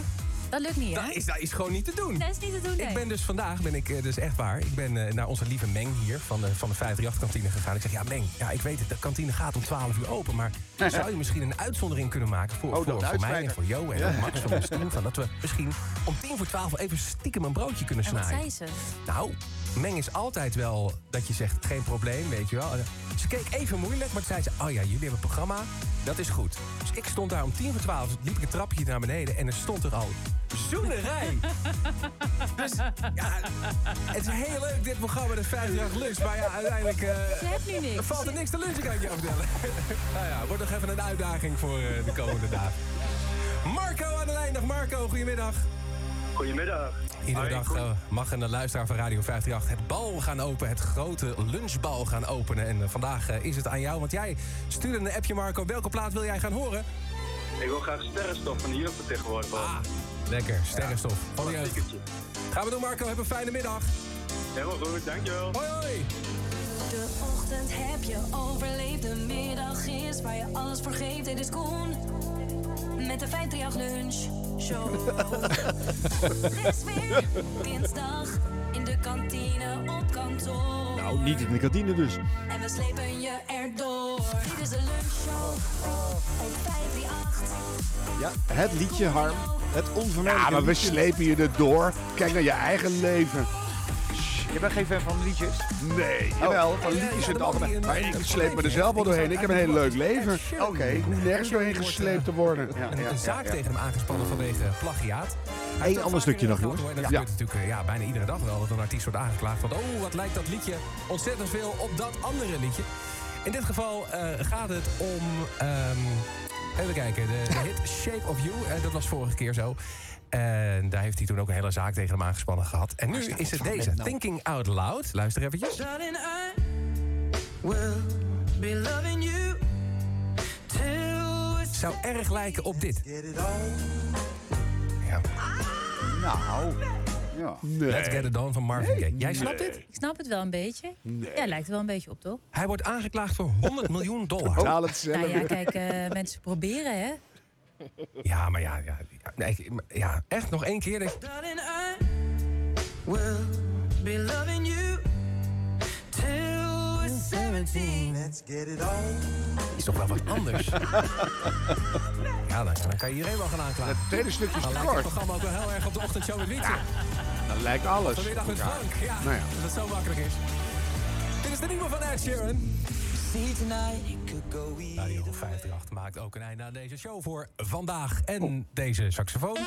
Speaker 12: Dat lukt niet, hè?
Speaker 11: dat is, dat is gewoon niet te doen.
Speaker 12: Dat is niet te doen, nee. Nou,
Speaker 11: Ik ben dus vandaag, ben ik eh, dus echt waar, ik ben eh, naar onze lieve Meng hier van de, van de 538-kantine gegaan. Ik zeg, ja Meng, ja, ik weet het, de kantine gaat om 12 uur open, maar zou je misschien een uitzondering kunnen maken voor,
Speaker 2: Oh, dat
Speaker 11: voor, voor mij en
Speaker 2: uitbreiden.
Speaker 11: voor jou en
Speaker 2: Ja.
Speaker 11: Max van ons team? Van dat we misschien om tien voor twaalf even stiekem een broodje kunnen
Speaker 12: En wat
Speaker 11: snijden.
Speaker 12: zei ze?
Speaker 11: Nou, Meng is altijd wel dat je zegt, geen probleem, weet je wel. Eh, Ze keek even moeilijk, maar toen zei ze, oh ja, jullie hebben een programma, dat is goed. Dus ik stond daar om tien voor twaalf, liep ik een trapje naar beneden en er stond er al zoenerij. dus ja, het is heel leuk dit programma, de 50 jaar lunch, maar ja, uiteindelijk... eh,
Speaker 12: Ze heeft nu
Speaker 11: er
Speaker 12: niks.
Speaker 11: valt er niks te lunchen, kan ik je vertellen. nou ja, wordt nog even een uitdaging voor eh, de komende dagen. Marco aan de lijn. Dag Marco, goedemiddag.
Speaker 13: Goedemiddag.
Speaker 11: Iedere dag eh, mag een luisteraar van Radio 538 het bal gaan openen, het grote lunchbal gaan openen. En eh, vandaag eh, is het aan jou, want jij stuurde een appje Marco. Welke plaat wil jij gaan horen?
Speaker 13: Ik wil graag sterrenstof van de jeugd vertegenwoordigen. Ah,
Speaker 11: Lekker, sterrenstof. Van de jeugd. Gaan we doen Marco, heb een fijne middag.
Speaker 13: helemaal goed, dankjewel.
Speaker 11: Hoi hoi.
Speaker 14: De ochtend heb je overleefd, de middag is waar je alles voor geeft. Dit is Koen met de 538 Lunch
Speaker 9: Ah.
Speaker 14: Show. Het is weer dinsdag in de kantine op kantoor.
Speaker 1: Nou, niet in de kantine dus.
Speaker 14: En we slepen je erdoor. Dit is de Lunch Show op 538.
Speaker 1: Ja, het liedje, Harm. Het onvermijdelijke
Speaker 2: Ja, maar we
Speaker 1: liedje.
Speaker 2: slepen je er door. Kijk naar je eigen leven.
Speaker 3: Je bent geen fan van liedjes?
Speaker 2: Nee, jawel.
Speaker 1: Oh.
Speaker 2: Van liedjes in het algemeen. Maar ik sleep me er zelf wel doorheen. Ik heb een heel leuk leven. Oké. Ik hoef nergens doorheen gesleept te worden.
Speaker 11: Een, een zaak tegen hem aangespannen vanwege plagiaat.
Speaker 1: Eén ander stukje nog, jongens.
Speaker 11: Hoor, En dat
Speaker 1: Ja.
Speaker 11: gebeurt natuurlijk eh, ja, bijna iedere dag wel dat een artiest wordt aangeklaagd. van oh, wat lijkt dat liedje ontzettend veel op dat andere liedje. In dit geval eh, gaat het om... ehm, even kijken, de, de hit Shape of You. eh, dat was vorige keer zo. En daar heeft hij toen ook een hele zaak tegen hem aangespannen gehad. En nu
Speaker 6: Waar staat
Speaker 11: is
Speaker 6: dat
Speaker 11: het
Speaker 6: van?
Speaker 11: deze,
Speaker 6: Nou.
Speaker 11: Thinking Out Loud. Luister eventjes.
Speaker 6: Darling, I will be loving you till it's
Speaker 11: Zou erg lijken op dit. Ja. Nou... Ja. Let's Get It On van Marvin Gaye. Jij snapt dit?
Speaker 12: Ik snap het wel een beetje. Ja, lijkt er wel een beetje op, toch?
Speaker 11: Hij wordt aangeklaagd voor 100 miljoen dollar.
Speaker 2: Betaal het zelf.
Speaker 12: Nou ja, kijk, eh, mensen proberen, hè?
Speaker 11: Ja, maar ja, ja, ja, nee, ik- maar- ja, echt nog één keer. denk ik-
Speaker 6: Darling, I will be loving you till we're 17. Let's get it on.
Speaker 11: Is toch wel wat anders? ja, dan, dan kan je iedereen wel gaan aanklagen.
Speaker 2: Het tweede stukje is
Speaker 11: Dan
Speaker 2: te
Speaker 11: lijkt het
Speaker 2: kort.
Speaker 11: programma ook wel heel erg op de ochtendshow met Wietse.
Speaker 1: Nou,
Speaker 2: Dan lijkt alles.
Speaker 11: Vanmiddag met
Speaker 2: op elkaar.
Speaker 11: Frank. Ja,
Speaker 2: Nou ja.
Speaker 11: dat het zo makkelijk is. Dit is de nieuwe van Ed Sheeran.
Speaker 6: See tonight, it could go
Speaker 11: Radio 538 maakt ook een einde aan deze show voor vandaag. En
Speaker 2: Oh.
Speaker 11: deze saxofoon.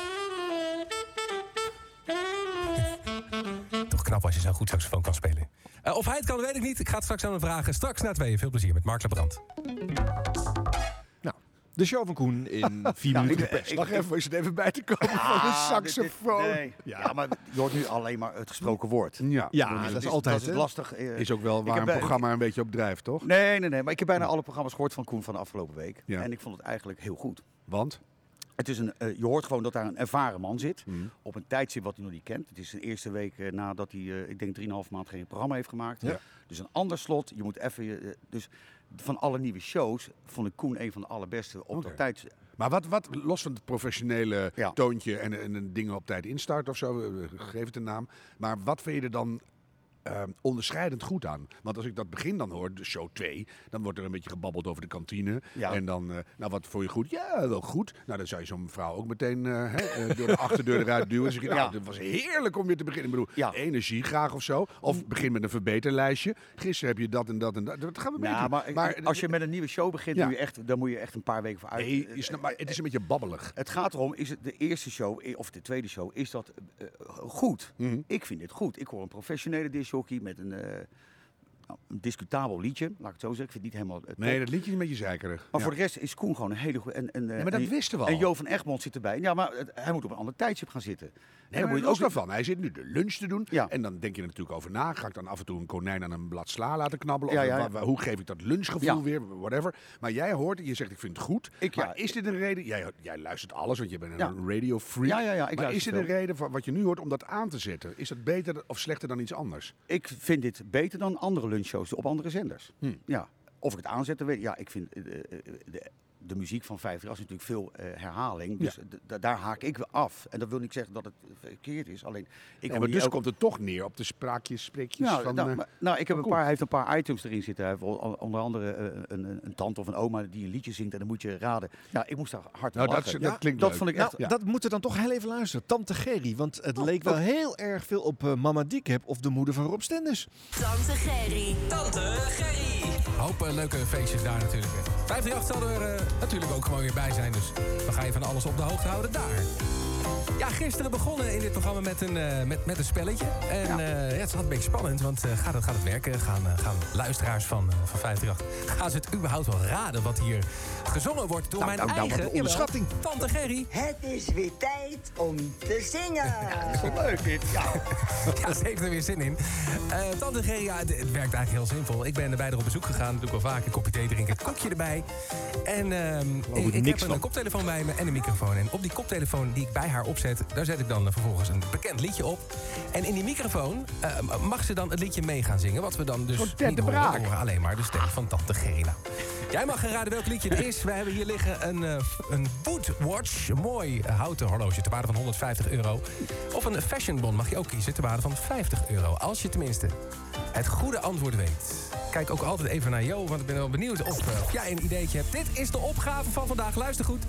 Speaker 11: Toch knap als je zo'n goed saxofoon kan spelen. Eh, of hij het kan, weet ik niet. Ik ga het straks aan hem vragen. Straks na tweeën. Veel plezier met Mark Labrand.
Speaker 1: De show van Koen in vier
Speaker 3: Nou,
Speaker 1: minuten
Speaker 3: ik-
Speaker 1: best.
Speaker 3: ik-
Speaker 2: Wacht
Speaker 3: ik-
Speaker 2: even, is het even bij te komen van een saxofoon.
Speaker 3: Ah, nee. Ja. maar je hoort nu alleen maar het gesproken woord.
Speaker 2: Ja,
Speaker 3: Ik bedoel, dus
Speaker 2: dat is
Speaker 3: dat
Speaker 2: altijd
Speaker 3: is lastig. eh,
Speaker 2: Is ook wel
Speaker 3: ik
Speaker 2: waar
Speaker 3: heb
Speaker 2: een
Speaker 3: bij-
Speaker 2: programma een beetje op drijft, toch?
Speaker 3: Nee, nee, nee. Maar ik heb bijna alle programma's gehoord van Koen van de afgelopen week.
Speaker 2: Ja.
Speaker 3: En ik vond het eigenlijk heel goed.
Speaker 2: Want?
Speaker 3: Het is een, eh, je hoort gewoon dat daar een ervaren man zit.
Speaker 2: Hmm.
Speaker 3: Op een tijdstip wat hij nog niet kent. Het is zijn eerste week eh, nadat hij, eh, ik denk, 3,5 maand geen programma heeft gemaakt.
Speaker 2: Ja.
Speaker 3: Dus een ander slot. Je moet even. je, eh, dus van alle nieuwe shows vond ik Koen een van de allerbeste op dat tijdstip.
Speaker 2: Maar wat, wat, los van het professionele toontje en, en, en dingen op tijd instart of zo, eh, geef het een naam. Maar wat vind je er dan eh, onderscheidend goed aan? Want als ik dat begin dan hoor, de show 2, dan wordt er een beetje gebabbeld over de kantine. En dan, eh, nou wat vond je goed? Ja, wel goed. Nou, dan zou je zo'n vrouw ook meteen eh, hè, eh, door de achterdeur eruit duwen. Dus ik nou,
Speaker 3: Ja.
Speaker 2: dat was heerlijk om weer te beginnen. Ik bedoel, energie graag of zo. Of begin met een verbeterlijstje. Gisteren heb je dat en dat en dat. Dat gaan we mee
Speaker 3: Ja,
Speaker 2: doen.
Speaker 3: Nou, maar, als je met een nieuwe show begint,
Speaker 2: Ja.
Speaker 3: moet je echt, dan moet je echt een paar weken voor uit.
Speaker 2: Nee, je snapt, maar het is een beetje babbelig.
Speaker 3: Het gaat erom, is het de eerste show eh, of de tweede show, is dat
Speaker 2: Mhm.
Speaker 3: eh, eh, goed? Ik vind dit goed. Ik hoor een professionele disjockey met een eh, nou, een discutabel liedje, laat ik het zo zeggen. Ik vind het niet helemaal... eh,
Speaker 2: Nee,
Speaker 3: top.
Speaker 2: dat liedje is een beetje zeikerig.
Speaker 3: Maar voor de rest is Koen gewoon een hele goede... En, en, eh,
Speaker 2: maar dat
Speaker 3: en-
Speaker 2: wisten we al.
Speaker 3: En Jo van Egmond zit erbij. Ja, maar het- hij moet op een ander tijdstip gaan zitten.
Speaker 2: Nee,
Speaker 3: dan
Speaker 2: maar
Speaker 3: moet je
Speaker 2: los
Speaker 3: ook-
Speaker 2: daarvan. Hij zit nu de lunch te doen. En dan denk je er natuurlijk over na. Ga ik dan af en toe een konijn aan een blad sla laten knabbelen?
Speaker 3: Ja,
Speaker 2: Of
Speaker 3: ja, ja.
Speaker 2: wa- wa- hoe geef ik dat lunchgevoel
Speaker 3: Ja.
Speaker 2: weer? Whatever. Maar jij hoort het. Je zegt, ik vind het goed. maar is dit een reden... Jij, jij luistert alles, want je bent
Speaker 3: Ja.
Speaker 2: een radio freak.
Speaker 3: Ja, ja, ja, ik
Speaker 2: maar is
Speaker 3: luister
Speaker 2: dit een
Speaker 3: veel.
Speaker 2: reden van wat je nu hoort om dat aan te zetten? Is dat beter of slechter dan iets anders?
Speaker 3: Ik vind dit beter dan andere lunchshows op andere zenders.
Speaker 2: Hm.
Speaker 3: Ja. Of ik het aanzet, dan weet ik. Ja, ik vind eh, eh, de, de muziek van 50 is natuurlijk veel eh, herhaling. Dus
Speaker 2: Ja.
Speaker 3: d- da- daar haak ik wel af. En dat wil niet zeggen dat het eh, verkeerd is. Alleen, ik
Speaker 2: Ja,
Speaker 3: wil
Speaker 2: maar
Speaker 3: niet
Speaker 2: dus
Speaker 3: elke-
Speaker 2: komt het toch neer op de spraakjes, spreekjes
Speaker 3: nou,
Speaker 2: van...
Speaker 3: nou,
Speaker 2: eh,
Speaker 3: maar- nou, ik heb
Speaker 2: van
Speaker 3: een
Speaker 2: Koen.
Speaker 3: paar, hij heeft een paar items erin zitten. Hij heeft on- onder andere eh, een, een, een tante of een oma die een liedje zingt en dan moet je raden. Ja, ik moest daar hard
Speaker 2: Nou,
Speaker 3: op
Speaker 2: dat
Speaker 3: lachen.
Speaker 2: is- dat Ja, klinkt
Speaker 3: Dat
Speaker 2: leuk.
Speaker 3: vond ik echt...
Speaker 1: Nou, dat moeten we dan toch heel even luisteren. Tante Gerry, want het leek wel heel erg veel op eh, Mama Diekheb of de moeder van Rob Stenders.
Speaker 10: Tante Gerry. Tante Gerry.
Speaker 11: Hoop eh, leuke feestjes daar natuurlijk. 538 zal er eh, natuurlijk ook gewoon weer bij zijn. Dus we gaan je van alles op de hoogte houden daar. Ja, gisteren begonnen in dit programma met een, eh, met, met een spelletje. En eh, ja. het is altijd een beetje spannend, want eh, gaat, het, gaat het werken? Gaan, eh, gaan luisteraars van, eh, van 538... gaan ze het überhaupt wel raden wat hier gezongen wordt door
Speaker 6: Nou,
Speaker 11: mijn
Speaker 6: nou, nou,
Speaker 11: eigen...
Speaker 6: wat een
Speaker 11: jawel,
Speaker 6: onderschatting.
Speaker 11: Tante Gerry.
Speaker 6: Het is weer tijd om te zingen. Ja, dat is wel leuk dit.
Speaker 11: Ja, ze heeft er weer zin in. Eh, Tante Gerry, ja, het, het werkt eigenlijk heel simpel. Ik ben erbij er op bezoek gegaan. Dat doe ik wel vaak. Een kopje thee drinken, een kopje erbij. En ehm,
Speaker 2: Oh,
Speaker 11: ik, ik heb
Speaker 1: niks
Speaker 11: een
Speaker 1: van.
Speaker 11: koptelefoon bij me en een microfoon. En op die koptelefoon die ik bij haar opzet... daar zet ik dan eh, vervolgens een bekend liedje op. En in die microfoon eh, mag ze dan het liedje mee gaan zingen. Wat we dan dus
Speaker 2: Zo'n Ted
Speaker 11: niet
Speaker 2: de
Speaker 11: horen.
Speaker 2: Braak.
Speaker 11: We horen alleen maar de stem van Tante Gerry. Nou, Jij mag gaan raden welk liedje er is. We hebben hier liggen een, eh, een Woodwatch. Een mooi houten horloge ter waarde van 150 euro. Of een fashionbon mag je ook kiezen ter waarde van 50 euro. Als je tenminste het goede antwoord weet. Kijk ook altijd even naar Jo, want ik ben wel benieuwd of eh, jij een ideetje hebt. Dit is de opgave van vandaag. Luister goed.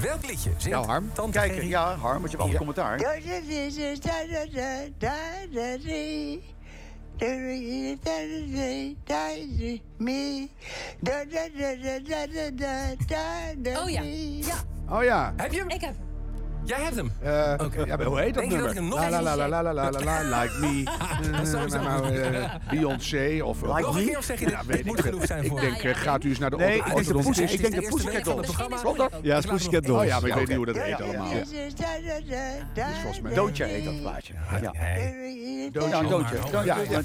Speaker 11: Welk liedje? Zingt
Speaker 3: Nou, Harm.
Speaker 11: Tante
Speaker 3: Kijk,
Speaker 11: Gerry?
Speaker 3: ja, Harm, want je hebt altijd commentaar.
Speaker 6: Dat is het. Da da da da da dee. Da da da da da da dee. Me. Da da da da da da da da da
Speaker 12: Oh ja.
Speaker 6: dee.
Speaker 12: ja.
Speaker 2: Oh ja.
Speaker 11: Heb je hem?
Speaker 12: Ik heb
Speaker 11: Jij hebt hem.
Speaker 2: Eh,
Speaker 11: Oké.
Speaker 2: ja, maar hoe heet dat
Speaker 11: Denk je dat
Speaker 2: nummer?
Speaker 11: ik hem nog
Speaker 2: la, la,
Speaker 11: eens
Speaker 2: la, la,
Speaker 11: zeg?
Speaker 2: la, la, la, la, la, like me.
Speaker 11: Zo, zo.
Speaker 2: Eh, nou, eh, Beyoncé of...
Speaker 11: Like Nog een
Speaker 2: me?
Speaker 11: keer of zeg je dit? Dit
Speaker 2: ik
Speaker 11: moet
Speaker 2: veel.
Speaker 11: genoeg zijn voor-
Speaker 2: Ik denk,
Speaker 11: Ja, ja.
Speaker 2: eh, gaat u eens naar de
Speaker 1: Nee,
Speaker 2: auto-
Speaker 1: het is de
Speaker 2: autodom-
Speaker 1: Pussycat-
Speaker 2: Ik denk de Pussycat
Speaker 11: van het
Speaker 2: Dolls.
Speaker 11: programma.
Speaker 2: Klopt dat?
Speaker 1: Ja, het is Pussycat Dolls.
Speaker 2: Oh ja, maar ik
Speaker 1: Ja,
Speaker 2: weet niet
Speaker 1: oké.
Speaker 2: hoe dat heet allemaal.
Speaker 6: Da da da da
Speaker 2: volgens mij-
Speaker 3: Dus Doodje heet dat plaatje. Ja.
Speaker 6: da.
Speaker 3: Ja, Doodje.
Speaker 11: Oh, maar, oh,
Speaker 3: Doodje.
Speaker 11: maar.
Speaker 3: Ja,
Speaker 11: Oké,
Speaker 3: ja,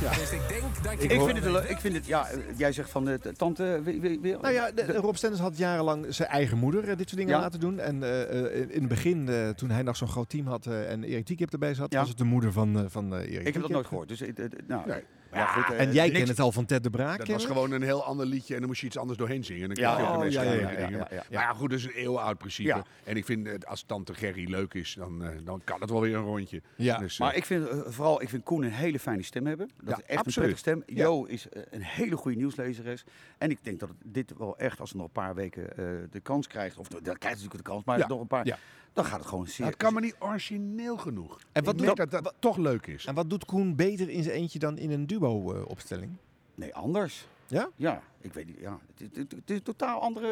Speaker 3: ja.
Speaker 11: nee, Dus ik denk dat je...
Speaker 3: Ik vind het leuk. Ik vind het, ja, eh, jij zegt van, eh, t- tante, weer- weer- weer-
Speaker 1: Nou ja, de- Rob Stenders had jarenlang zijn eigen moeder eh, dit soort dingen
Speaker 3: Ja.
Speaker 1: laten doen. En eh, eh, in in het begin, eh, toen hij nog zo'n groot team had eh, en Erik Diekip erbij zat,
Speaker 3: Ja.
Speaker 1: was het de moeder van, eh, van eh, Erik
Speaker 3: Ik heb
Speaker 1: Diekip. Ah,
Speaker 3: dat nooit gehoord. Dus, eh, eh, nou,
Speaker 2: Nee.
Speaker 3: ja, goed, eh,
Speaker 1: En jij
Speaker 3: niks-
Speaker 1: kent het al van Ted de Braak.
Speaker 2: Dat was
Speaker 1: kennelijk?
Speaker 2: gewoon een heel ander liedje en dan moest je iets anders doorheen zingen. Dan
Speaker 3: Ja,
Speaker 2: kreeg je ook
Speaker 1: oh,
Speaker 2: ineens
Speaker 1: ja,
Speaker 2: allerlei
Speaker 1: ja, ja,
Speaker 2: dingen.
Speaker 1: ja, ja,
Speaker 2: Maar
Speaker 1: ja.
Speaker 2: ja, goed, dat is een eeuwenoud principe.
Speaker 3: Ja.
Speaker 2: En ik vind, eh, als tante Gerry leuk is, dan, eh, dan kan het wel weer een rondje.
Speaker 1: Ja.
Speaker 2: Dus, eh,
Speaker 3: Maar ik vind eh, vooral, ik vind Koen een hele fijne stem hebben. Dat
Speaker 2: Ja,
Speaker 3: is echt
Speaker 2: absoluut.
Speaker 3: een prettige stem. Jo is eh, een hele goede nieuwslezeres. En ik denk dat het- dit wel echt, als het nog een paar weken eh, de kans krijgt, of dat krijgt het natuurlijk de kans, maar
Speaker 2: Ja,
Speaker 3: nog een paar,
Speaker 2: ja.
Speaker 3: dan gaat het gewoon
Speaker 2: nou,
Speaker 3: zeer.
Speaker 2: het kan me niet origineel genoeg.
Speaker 1: En wat
Speaker 2: ik
Speaker 1: doet
Speaker 2: merk dat dat toch leuk is.
Speaker 1: En wat doet Koen beter in zijn eentje dan in een duo-opstelling?
Speaker 3: Nee, anders.
Speaker 1: Ja?
Speaker 3: Ja, ik weet niet. Ja, het, het- het- het is een totaal andere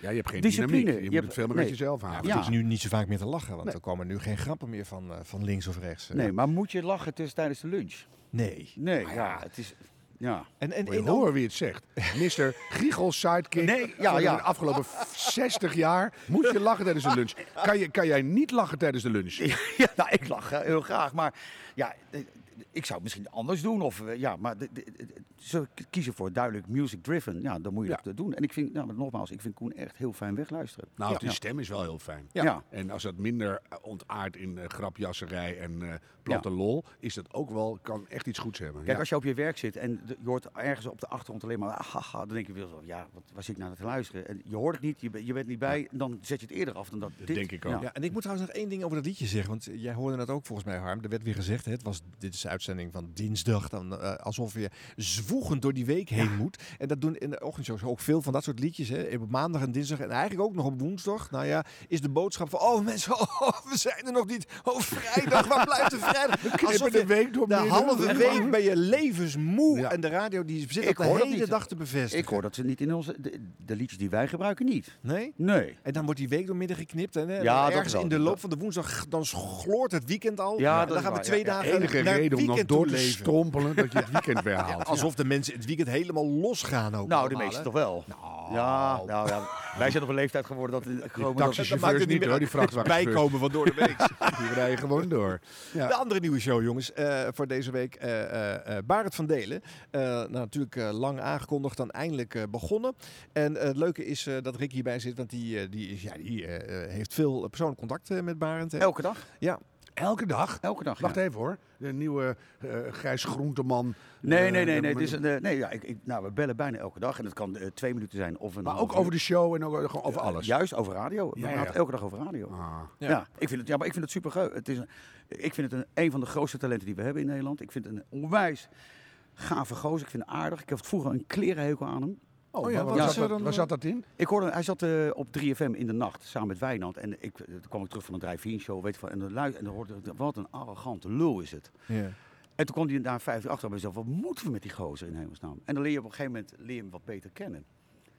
Speaker 2: Ja, je hebt geen
Speaker 3: discipline.
Speaker 2: dynamiek. Je, moet
Speaker 3: hebt-
Speaker 2: het veel meer
Speaker 3: nee.
Speaker 2: met jezelf houden.
Speaker 1: Het
Speaker 3: Ja.
Speaker 1: is nu niet zo vaak meer te lachen, want
Speaker 3: Nee.
Speaker 1: er komen nu geen grappen meer van, eh, van links of rechts. eh.
Speaker 3: Nee, maar moet je lachen tussen tijdens de lunch?
Speaker 1: nee.
Speaker 3: Nee, ja, het is... Ja.
Speaker 1: En, en,
Speaker 2: Moet je
Speaker 1: en ook-
Speaker 2: horen wie het zegt. Mr. Giegel sidekick.
Speaker 3: Nee, ja,
Speaker 2: van
Speaker 3: ja.
Speaker 2: De afgelopen 60 jaar moet je lachen tijdens de lunch. Kan, je, kan jij niet lachen tijdens de lunch?
Speaker 3: Ja, nou, ik lach eh, heel graag. Maar ja, eh, ik zou het misschien anders doen. Of, eh, ja, maar de- de- de- ze kiezen voor duidelijk music driven. Ja, dan moet je
Speaker 2: Ja.
Speaker 3: dat doen. En ik vind, nou, maar nogmaals, ik vind Koen echt heel fijn wegluisteren.
Speaker 2: Nou,
Speaker 3: ja.
Speaker 2: die stem is wel heel fijn.
Speaker 3: Ja. Ja.
Speaker 2: En als dat minder eh, ontaart in eh, grapjasserij en eh, platte
Speaker 3: Ja.
Speaker 2: lol, is dat ook wel, kan echt iets goeds hebben.
Speaker 3: Kijk,
Speaker 2: Ja.
Speaker 3: als je op je werk zit en de- je hoort ergens op de achtergrond alleen maar... ah, haha, dan denk je wel, zo, ja, wat, waar zit ik naar te luisteren? En je hoort het niet, je, be- je bent niet bij, dan zet je het eerder af dan dat dit.
Speaker 2: denk ik ook.
Speaker 1: Ja, en ik moet trouwens nog één ding over dat liedje zeggen. Want jij hoorde dat ook volgens mij, Harm. Er werd weer gezegd, hè, het was, dit is de uitzending van dinsdag. Dan, eh, alsof je zwoegend door die week heen moet. En dat doen in de ochtendshows ook veel van dat soort liedjes. Hè. Op maandag en dinsdag en eigenlijk ook nog op woensdag. Nou ja, is de boodschap van, oh mensen, oh, we zijn er nog niet. Oh, vrijdag, waar blijft de vrijdag?
Speaker 2: We knippen
Speaker 1: Alsof
Speaker 2: de
Speaker 1: je
Speaker 2: week door
Speaker 1: De
Speaker 2: midden.
Speaker 1: halve
Speaker 2: Echt
Speaker 1: week
Speaker 2: waar?
Speaker 1: ben je levensmoe.
Speaker 2: Ja.
Speaker 1: En de radio die zit
Speaker 3: Ik
Speaker 1: dat
Speaker 3: hoor
Speaker 1: de
Speaker 3: dat
Speaker 1: hele
Speaker 3: niet.
Speaker 1: dag te bevestigen.
Speaker 3: Ik hoor dat ze niet in onze... De, de liedjes die wij gebruiken niet.
Speaker 1: Nee?
Speaker 3: Nee.
Speaker 1: En dan wordt die week door midden geknipt. En, hè,
Speaker 3: Ja,
Speaker 1: dan
Speaker 3: dat
Speaker 1: ergens
Speaker 3: wel.
Speaker 1: in de loop van de woensdag, dan gloort het weekend al.
Speaker 3: Ja,
Speaker 1: en
Speaker 3: dat
Speaker 1: dan
Speaker 3: is
Speaker 1: gaan we
Speaker 3: waar,
Speaker 1: twee
Speaker 3: ja, ja.
Speaker 1: dagen
Speaker 2: Enige
Speaker 1: naar-
Speaker 2: reden om nog
Speaker 1: weekend
Speaker 2: door te
Speaker 1: toeleven.
Speaker 2: strompelen dat je het weekend weer haalt.
Speaker 1: Ja, alsof de mensen het weekend helemaal losgaan ook.
Speaker 3: Nou, de
Speaker 1: allemaal,
Speaker 3: meesten
Speaker 1: hè?
Speaker 3: toch wel. Ja, nou ja, wij zijn op een leeftijd geworden dat... eh, gewoon dat-
Speaker 1: taxichauffeurs maakt het niet meer uit. Bijkomen van door de week.
Speaker 2: Die rijden gewoon door.
Speaker 1: De andere nieuwe show, jongens, eh, voor deze week. eh eh, eh, Barend van Delen. Eh, nou, natuurlijk eh, lang aangekondigd, dan eindelijk eh, begonnen. En eh, het leuke is eh, dat Rick hierbij zit, want die, eh, die, is, ja, die eh, eh, heeft veel eh, persoonlijk contact eh, met Barend. hè?
Speaker 3: Elke dag?
Speaker 1: Ja.
Speaker 2: Elke dag?
Speaker 3: Elke dag,
Speaker 2: Wacht even hoor. De nieuwe eh Gijs Groenteman.
Speaker 3: Nee,
Speaker 2: eh,
Speaker 3: nee, nee.
Speaker 2: de-
Speaker 3: nee, dit is een, eh, nee ja, ik, ik, nou, we bellen bijna elke dag. En dat kan eh, twee minuten zijn. Of een,
Speaker 2: Maar
Speaker 3: half
Speaker 2: ook over
Speaker 3: uur.
Speaker 2: de show en ook over- gewoon over
Speaker 3: Ja,
Speaker 2: alles.
Speaker 3: Juist, over radio. we
Speaker 2: Ja,
Speaker 3: praten
Speaker 2: ja. Ah.
Speaker 3: elke dag over radio.
Speaker 2: Ja.
Speaker 3: Ja. ik vind het, ja, maar ik vind het super Het is een, ik vind het een, een van de grootste talenten die we hebben in Nederland. Ik vind het een onwijs gave gozer. Ik vind het aardig. Ik had vroeger een klerenhekel aan hem.
Speaker 2: Oh ja,
Speaker 3: maar
Speaker 2: wat was dat- waar zat dat in?
Speaker 3: Ik hoorde, hij zat eh, op 3FM in de nacht samen met Wijnand. En ik, eh, toen kwam ik terug van een drive-in show. Weet je, wel, en, dan luid, en dan hoorde ik, wat een arrogante lul is het.
Speaker 1: Ja.
Speaker 3: En toen kwam hij daar 50 achter bij mezelf. Wat moeten we met die gozer in hemelsnaam? En dan leer je op een gegeven moment leer je hem wat beter kennen.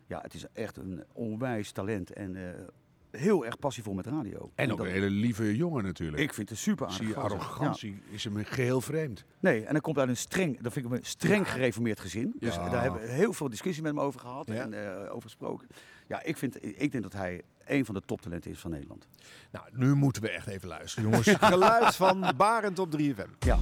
Speaker 3: Ja, het is echt een onwijs talent en eh, heel erg passievol met radio.
Speaker 2: En ook
Speaker 3: dat-
Speaker 2: een hele lieve jongen natuurlijk.
Speaker 3: Ik vind het super aardig.
Speaker 2: Zie je,
Speaker 3: gozer.
Speaker 2: arrogantie is hem geheel vreemd.
Speaker 3: Nee, en hij komt uit een streng, dat vind ik een streng gereformeerd gezin. Dus
Speaker 2: Ja.
Speaker 3: daar hebben we heel veel discussie met hem over gehad
Speaker 1: Ja.
Speaker 3: en eh, over gesproken. Ja, ik, vind, ik denk dat hij een van de toptalenten is van Nederland.
Speaker 1: Nou, nu moeten we echt even luisteren, jongens. Geluid van Barend op 3FM.
Speaker 3: Ja.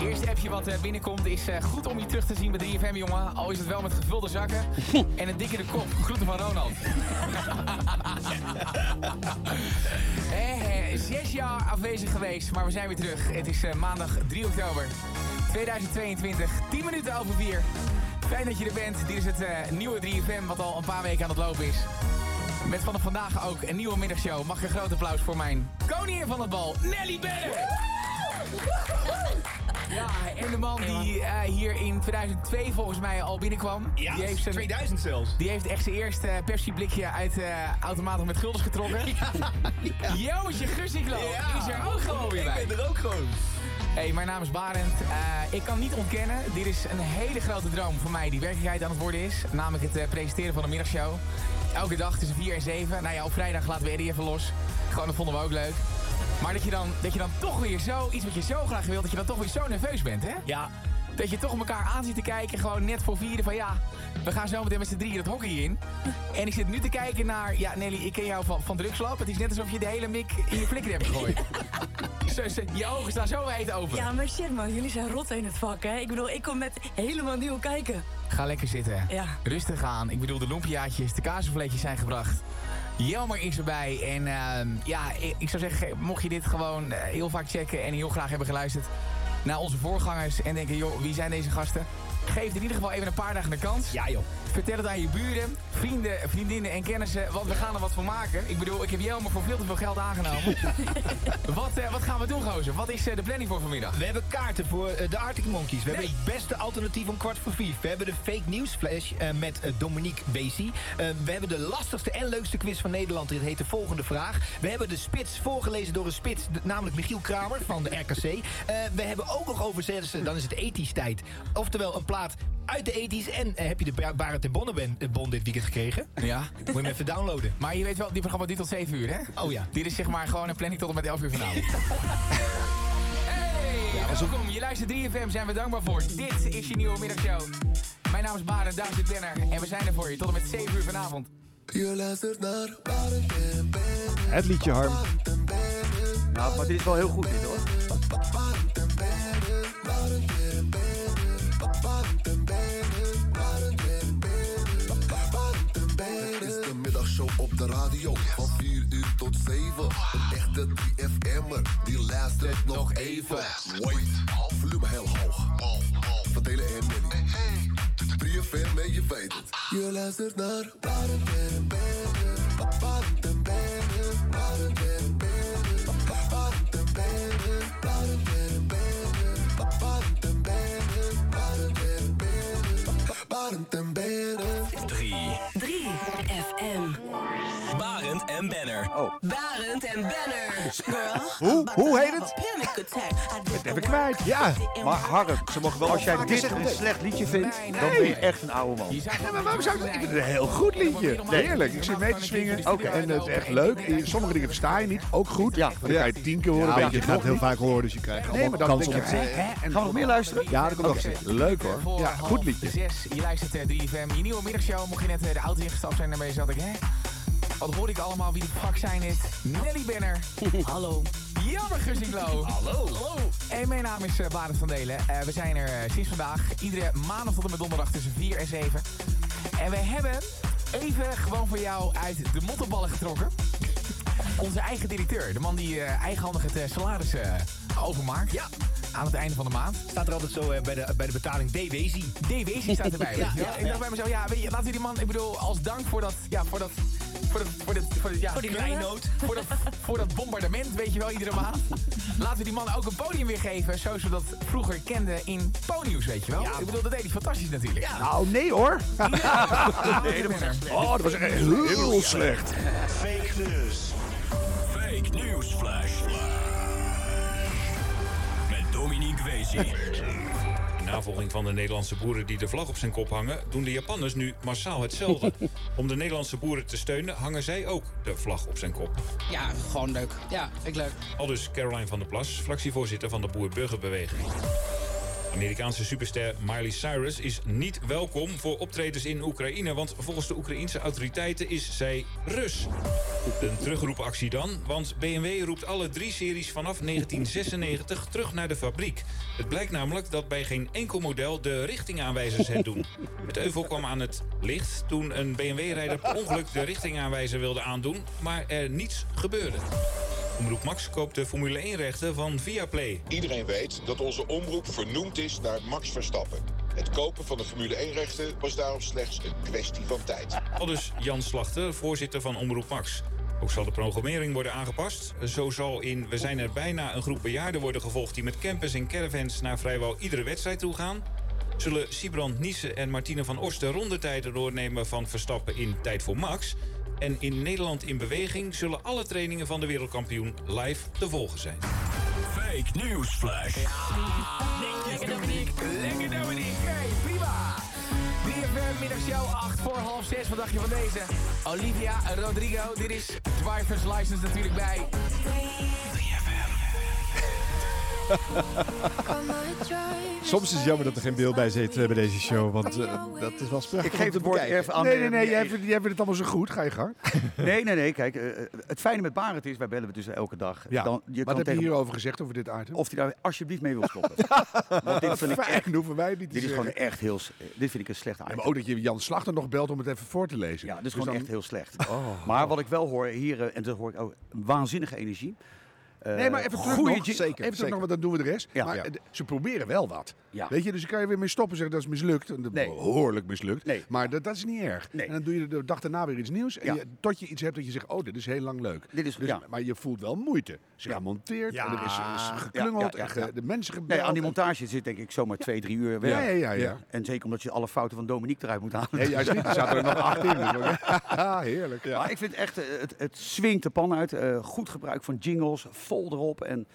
Speaker 15: Eerste appje wat eh, binnenkomt is eh, goed om je terug te zien bij 3FM, jongen. Al is het wel met gevulde zakken en een dikke de kop. Groeten van Ronald. Eh, eh, zes jaar afwezig geweest, maar we zijn weer terug. Het is eh, maandag 3 oktober 2022, 10 minuten over 4. Fijn dat je er bent. Dit is het eh, nieuwe 3FM wat al een paar weken aan het lopen is. Met vanaf vandaag ook een nieuwe middagshow. Mag ik een groot applaus voor mijn koningin van het bal, Nelly Berg. Ja, en de man die eh, hier in 2002 volgens mij al binnenkwam.
Speaker 9: Ja, 2000 zelfs.
Speaker 15: Die heeft echt zijn eerste Pepsi-blikje uit eh automaten met guldens getrokken. Joosje Gussiklo is er ook gewoon weer bij. Ik ben er ook gewoon. Hey, mijn naam is Barend. Eh, ik kan niet ontkennen, dit is een hele grote droom voor mij die werkelijkheid aan het worden is. Namelijk het eh, presenteren van een middagshow. Elke dag tussen 4 en 7. Nou ja, op vrijdag laten we Eddie even los. Gewoon, dat vonden we ook leuk. Maar dat je dan, dat je dan toch weer zo, iets wat je zo graag wilt, dat je dan toch weer zo nerveus bent, hè? Ja. Dat je toch elkaar aan zit te kijken, gewoon net voor vieren van ja, we gaan zo meteen met z'n drieën dat hockey in. En ik zit nu te kijken naar, ja Nelly, ik ken jou van, van drugslab. Het is net alsof je de hele mik in je flikker hebt gegooid. Zo- zo- je ogen staan zo wijd open.
Speaker 16: Ja, maar shit man, jullie zijn rot in het vak, hè? Ik bedoel, ik kom met helemaal nieuw kijken.
Speaker 15: Ga lekker zitten.
Speaker 16: Ja.
Speaker 15: Rustig aan. Ik bedoel, de lumpiaatjes, de kazenvleetjes zijn gebracht. Jelmer is erbij. En ehm, ja, ik, ik zou zeggen, mocht je dit gewoon eh, heel vaak checken en heel graag hebben geluisterd naar onze voorgangers en denken, joh, wie zijn deze gasten? Geef het in ieder geval even een paar dagen de kans. Ja, joh. Vertel het aan je buren, vrienden, vriendinnen en kennissen, want we gaan er wat van maken. Ik bedoel, ik heb Jelmer voor veel te veel geld aangenomen. wat, eh, wat gaan we doen, gozer? Wat is eh, de planning voor vanmiddag?
Speaker 9: We hebben kaarten voor eh, de Arctic Monkeys. We hebben het beste alternatief om kwart voor vier. We hebben de fake news flash eh, met eh, Dominique Bezi. Eh, we hebben de lastigste en leukste quiz van Nederland. Dit heet de volgende vraag. We hebben de spits voorgelezen door een spits, d- namelijk Michiel Kramer van de RKC. Eh, we hebben ook nog over zessen, dan is het ethisch tijd. Oftewel een plaat uit de ethisch. En eh, heb je de Bar- Barend en Bonnen bon dit weekend gekregen?
Speaker 15: Ja.
Speaker 9: Moet je hem even downloaden.
Speaker 15: Maar je weet wel, die programma duurt tot 7 uur, hè?
Speaker 9: Oh ja.
Speaker 15: Dit is zeg maar gewoon een planning tot en met 11 uur vanavond. Hey, welkom. Je luistert 3FM, zijn we dankbaar voor. Dit is je nieuwe middagshow. Mijn naam is Barend, daar zit Benner. En we zijn er voor je tot en met 7 uur vanavond.
Speaker 17: Je luistert naar
Speaker 1: Het liedje, Harm.
Speaker 3: Nou, maar dit is wel heel goed dit hoor.
Speaker 17: Het is de middagshow op de radio. Van 4 uur tot 7. Een echte 3FM'er, die luistert nog even. Wait, volume heel hoog. Verdelen en Millie. 3FM en je weet het. Je luistert naar Barend en Beren. Barend en Beren. Barend en Beren. Barend en Beren. Barend en Beren. Barend en Beren. Barend en Beren. Barend en Beren.
Speaker 10: 3 FM. Barend. Barend en Banner. Oh. Barend en Banner. Girl.
Speaker 1: Hoe? Hoe heet het?
Speaker 10: Panic attack. I did
Speaker 1: Even kwijt. Ja.
Speaker 3: Maar Harp, ze mogen wel als jij
Speaker 1: vaker
Speaker 3: dit
Speaker 1: zeggen.
Speaker 3: een
Speaker 1: Nee.
Speaker 3: slecht liedje vindt,
Speaker 1: Nee,
Speaker 3: dan
Speaker 1: nee.
Speaker 3: ben je echt een oude man.
Speaker 1: Ja, maar waarom zou ik dat? Ik vind het een heel goed liedje.
Speaker 2: Heerlijk, ik zit mee te swingen en het is echt leuk. In Sommige dingen versta je niet, ook goed. Ja. Dan kan je het tien keer horen.
Speaker 1: Ja,
Speaker 2: weet
Speaker 1: want je
Speaker 2: het
Speaker 1: gaat
Speaker 2: nog
Speaker 1: heel
Speaker 2: niet.
Speaker 1: vaak horen, dus je krijgt
Speaker 2: Nee, maar
Speaker 1: allemaal
Speaker 2: dan
Speaker 1: kans
Speaker 2: denk
Speaker 1: om
Speaker 2: je,
Speaker 1: het
Speaker 2: hè,
Speaker 1: te
Speaker 2: hè, en
Speaker 1: Gaan we nog meer luisteren? Ja, dat komt nog steeds. Leuk hoor. Ja, goed liedje.
Speaker 15: Zes, je luistert eh, 3FM. Je nieuwe middagshow. Mocht je net eh, de auto ingestapt zijn, dan ben je zat ik, hè? Wat hoor ik allemaal? Wie de fuck zijn dit? Nelly Benner. Hallo. Jammer, Gussinglo.
Speaker 10: Hallo.
Speaker 15: Hallo. En mijn naam is eh, Barend van Delen. Eh, we zijn er eh, sinds vandaag. Iedere maandag tot en met donderdag tussen 4 en 7. En we hebben even gewoon voor jou uit de mottenballen getrokken. Onze eigen directeur. De man die eh, eigenhandig het eh, salaris eh, overmaakt. Ja. Aan het einde van de maand.
Speaker 9: Staat er altijd zo eh, bij, de, bij de betaling DWZ.
Speaker 15: DWZ staat erbij.
Speaker 9: Ja,
Speaker 15: weet je wel.
Speaker 9: ja,
Speaker 15: ik dacht bij mezelf, ja, weet je, laten we die man, ik bedoel, als dank voor dat, ja, voor dat, voor dat, voor dat, voor dat, ja,
Speaker 9: Voor die kleinoot.
Speaker 15: voor dat, voor dat bombardement, weet je wel, iedere maand. Laten we die man ook een podium weer geven, zoals we dat vroeger kenden in Ponyus, weet je wel. ik bedoel, dat deed hij fantastisch natuurlijk.
Speaker 2: Nou, nee hoor.
Speaker 15: Nee, dat was echt-
Speaker 2: Oh, dat was echt heel slecht.
Speaker 10: Fake news. Fake news flash.
Speaker 18: Met Dominique Wezi. In navolging van de Nederlandse boeren die de vlag op zijn kop hangen... doen de Japanners nu massaal hetzelfde. Om de Nederlandse boeren te steunen hangen zij ook de vlag op zijn kop.
Speaker 19: Ja, gewoon leuk. Ja, vind ik leuk.
Speaker 18: Aldus Caroline van der Plas, fractievoorzitter van de Boer-Burgerbeweging. Amerikaanse superster Miley Cyrus is niet welkom voor optredens in Oekraïne... want volgens de Oekraïense autoriteiten is zij Rus. Een terugroepactie dan, want BMW roept alle drie series vanaf 1996 terug naar de fabriek. Het blijkt namelijk dat bij geen enkel model de richtingaanwijzers het doen. Het euvel kwam aan het licht toen een BMW-rijder per ongeluk de richtingaanwijzer wilde aandoen... maar er niets gebeurde. Omroep Max koopt de Formule 1-rechten van Viaplay.
Speaker 20: Iedereen weet dat onze omroep vernoemd is naar Max Verstappen. Het kopen van de Formule 1-rechten was daarom slechts een kwestie van tijd.
Speaker 18: Aldus dus Jan Slachter, voorzitter van Omroep Max. Ook zal de programmering worden aangepast. Zo zal in We zijn er bijna een groep bejaarden worden gevolgd... die met campers en caravans naar vrijwel iedere wedstrijd toe gaan. Zullen Sibrand Nissen en Martine van Os de rondetijden doornemen van Verstappen in Tijd voor Max. En in Nederland in beweging zullen alle trainingen van de wereldkampioen live te volgen zijn.
Speaker 10: Fake news flash.
Speaker 15: Lekker Dominique, lekker Dominique. Hey, prima. 3FM middagshow 8 voor half 6. Wat dacht je van deze? Olivia Rodrigo, dit is Driver's License natuurlijk bij.
Speaker 1: Soms is het jammer dat er geen beeld bij zit eh, bij deze show, want eh, dat is wel spannend.
Speaker 3: Ik geef het woord even aan
Speaker 2: Nee,
Speaker 3: de-
Speaker 2: nee, nee, jij vindt, jij vindt het allemaal zo goed. Ga je gang.
Speaker 3: Nee, nee, nee. Kijk, eh, eh, het fijne met Barend is, wij bellen we dus elke dag.
Speaker 2: Ja.
Speaker 3: Dan,
Speaker 2: Wat heb je hierover gezegd, over dit item?
Speaker 3: Of hij daar alsjeblieft mee wil stoppen. Want dit vind ik
Speaker 2: Fijn,
Speaker 3: echt,
Speaker 2: hoeven wij niet te
Speaker 3: dit is gewoon
Speaker 2: zeggen.
Speaker 3: echt heel... s- eh, Dit vind ik een slecht item.
Speaker 2: maar ook dat je Jan Slachter nog belt om het even voor te lezen.
Speaker 3: Ja, dat is
Speaker 2: Dus
Speaker 3: gewoon
Speaker 2: dan- Oh.
Speaker 3: echt heel slecht. Maar wat ik wel hoor hier, eh, en dat hoor ik ook, waanzinnige energie. Eh,
Speaker 2: nee, maar even terug
Speaker 3: goeie
Speaker 2: nog.
Speaker 3: je-
Speaker 2: even terug nog, want dan doen we de rest.
Speaker 3: Ja.
Speaker 2: Maar
Speaker 3: Ja.
Speaker 2: eh, ze proberen wel wat.
Speaker 3: Ja.
Speaker 2: Weet je, dus je kan je weer mee stoppen en zeggen dat is mislukt. En dat Behoorlijk mislukt. Maar dat, dat is niet erg. En dan doe je de dag daarna weer iets nieuws. En
Speaker 3: Ja.
Speaker 2: je- tot je iets hebt dat je zegt, oh, dit is heel lang leuk.
Speaker 3: Dit is-
Speaker 2: dus,
Speaker 3: ja.
Speaker 2: Maar je voelt wel moeite. Ze gaan gemonteerd
Speaker 3: Ja.
Speaker 2: en er is,
Speaker 3: Ja,
Speaker 2: is geklungeld
Speaker 3: ja, ja,
Speaker 2: en ge-
Speaker 3: ja.
Speaker 2: de mensen gebeld.
Speaker 3: Nee, aan die
Speaker 2: en-
Speaker 3: montage zit denk ik zomaar twee, drie uur weg.
Speaker 2: Ja, ja, ja, ja.
Speaker 3: En zeker omdat je alle fouten van Dominique eruit moet halen.
Speaker 2: Nee, juist niet. Er zaten er nog acht in. Dus- Ah, heerlijk.
Speaker 3: Maar ik vind echt, eh, het, het swingt de pan uit. Eh, goed gebruik van jingles, vol erop. En,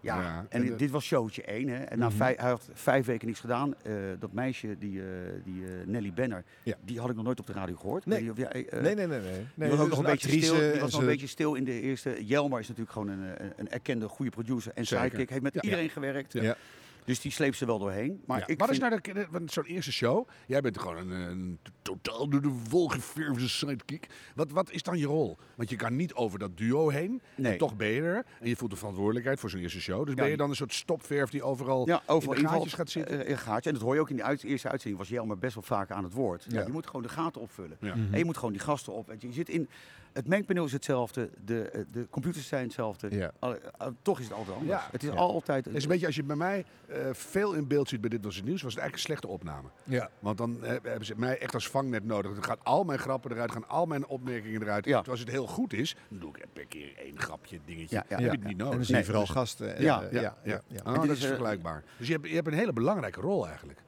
Speaker 3: ja,
Speaker 2: Ja,
Speaker 3: en
Speaker 2: en
Speaker 3: dit-
Speaker 2: de-
Speaker 3: dit was showtje één. Hè. En na
Speaker 2: Mhm.
Speaker 3: vij- hij had vijf weken niks gedaan. Eh, dat meisje, die, eh, die eh, Nelly Benner, die had ik nog nooit op de radio gehoord.
Speaker 1: Nee.
Speaker 3: Ik weet niet of jij, eh,
Speaker 1: Nee, nee, nee, nee. Nee,
Speaker 3: Die
Speaker 1: dat
Speaker 3: was ook
Speaker 1: is
Speaker 3: nog een
Speaker 1: een
Speaker 3: beetje
Speaker 1: actrice
Speaker 3: stil. Die
Speaker 1: en
Speaker 3: was nog een
Speaker 1: ze-
Speaker 3: beetje stil in de eerste. Jelmar is natuurlijk gewoon een, eh, een erkende goede producer en
Speaker 2: Zeker.
Speaker 3: sidekick. Heeft met
Speaker 2: Ja.
Speaker 3: iedereen gewerkt.
Speaker 2: Ja.
Speaker 3: Dus die sleept ze wel doorheen. Maar
Speaker 2: Maar
Speaker 3: ik
Speaker 2: wat is
Speaker 3: vind-
Speaker 2: nou de- de- want zo'n eerste show? Jij bent gewoon een, een totaal door de wol geverfde sidekick. Wat, wat is dan je rol? Want je kan niet over dat duo heen.
Speaker 3: Nee.
Speaker 2: En toch ben je er. En je voelt de verantwoordelijkheid voor zo'n eerste show. Dus
Speaker 3: Ja,
Speaker 2: ben je
Speaker 3: die-
Speaker 2: dan een soort stopverf die overal,
Speaker 3: ja, overal
Speaker 2: in de gaatjes
Speaker 3: invalt,
Speaker 2: gaat zitten?
Speaker 3: eh, in gaatjes. En dat hoor je ook in de uit- eerste uitzending. Was Jelmer best wel vaak aan het woord. Ja.
Speaker 2: Ja.
Speaker 3: je moet gewoon de gaten opvullen.
Speaker 2: Ja.
Speaker 3: En je moet gewoon die gasten op. weet Je Je zit in, het mengpaneel is hetzelfde. De, eh, de computers zijn hetzelfde. Alle- eh, toch is het altijd anders. Het is altijd...
Speaker 2: Het is een beetje als je bij mij eh, veel in beeld ziet bij dit was het nieuws, was het eigenlijk een slechte opname.
Speaker 1: Ja.
Speaker 2: Want dan eh, hebben ze mij echt als vangnet nodig. Dan gaan al mijn grappen eruit, gaan al mijn opmerkingen eruit.
Speaker 3: Ja.
Speaker 2: Terwijl als het heel goed is, dan doe ik per keer één grapje, dingetje.
Speaker 3: Ja, ja,
Speaker 2: heb
Speaker 3: ja,
Speaker 2: je het
Speaker 3: ja.
Speaker 2: niet
Speaker 3: En dan
Speaker 2: nodig.
Speaker 3: zie je vooral gasten en,
Speaker 2: Ja,
Speaker 3: eh,
Speaker 2: ja,
Speaker 3: ja,
Speaker 2: ja.
Speaker 3: ja, ja.
Speaker 2: Ah,
Speaker 3: En dit
Speaker 2: dat
Speaker 3: is,
Speaker 2: is
Speaker 3: eh,
Speaker 2: vergelijkbaar. Dus je hebt, je hebt een hele belangrijke rol eigenlijk.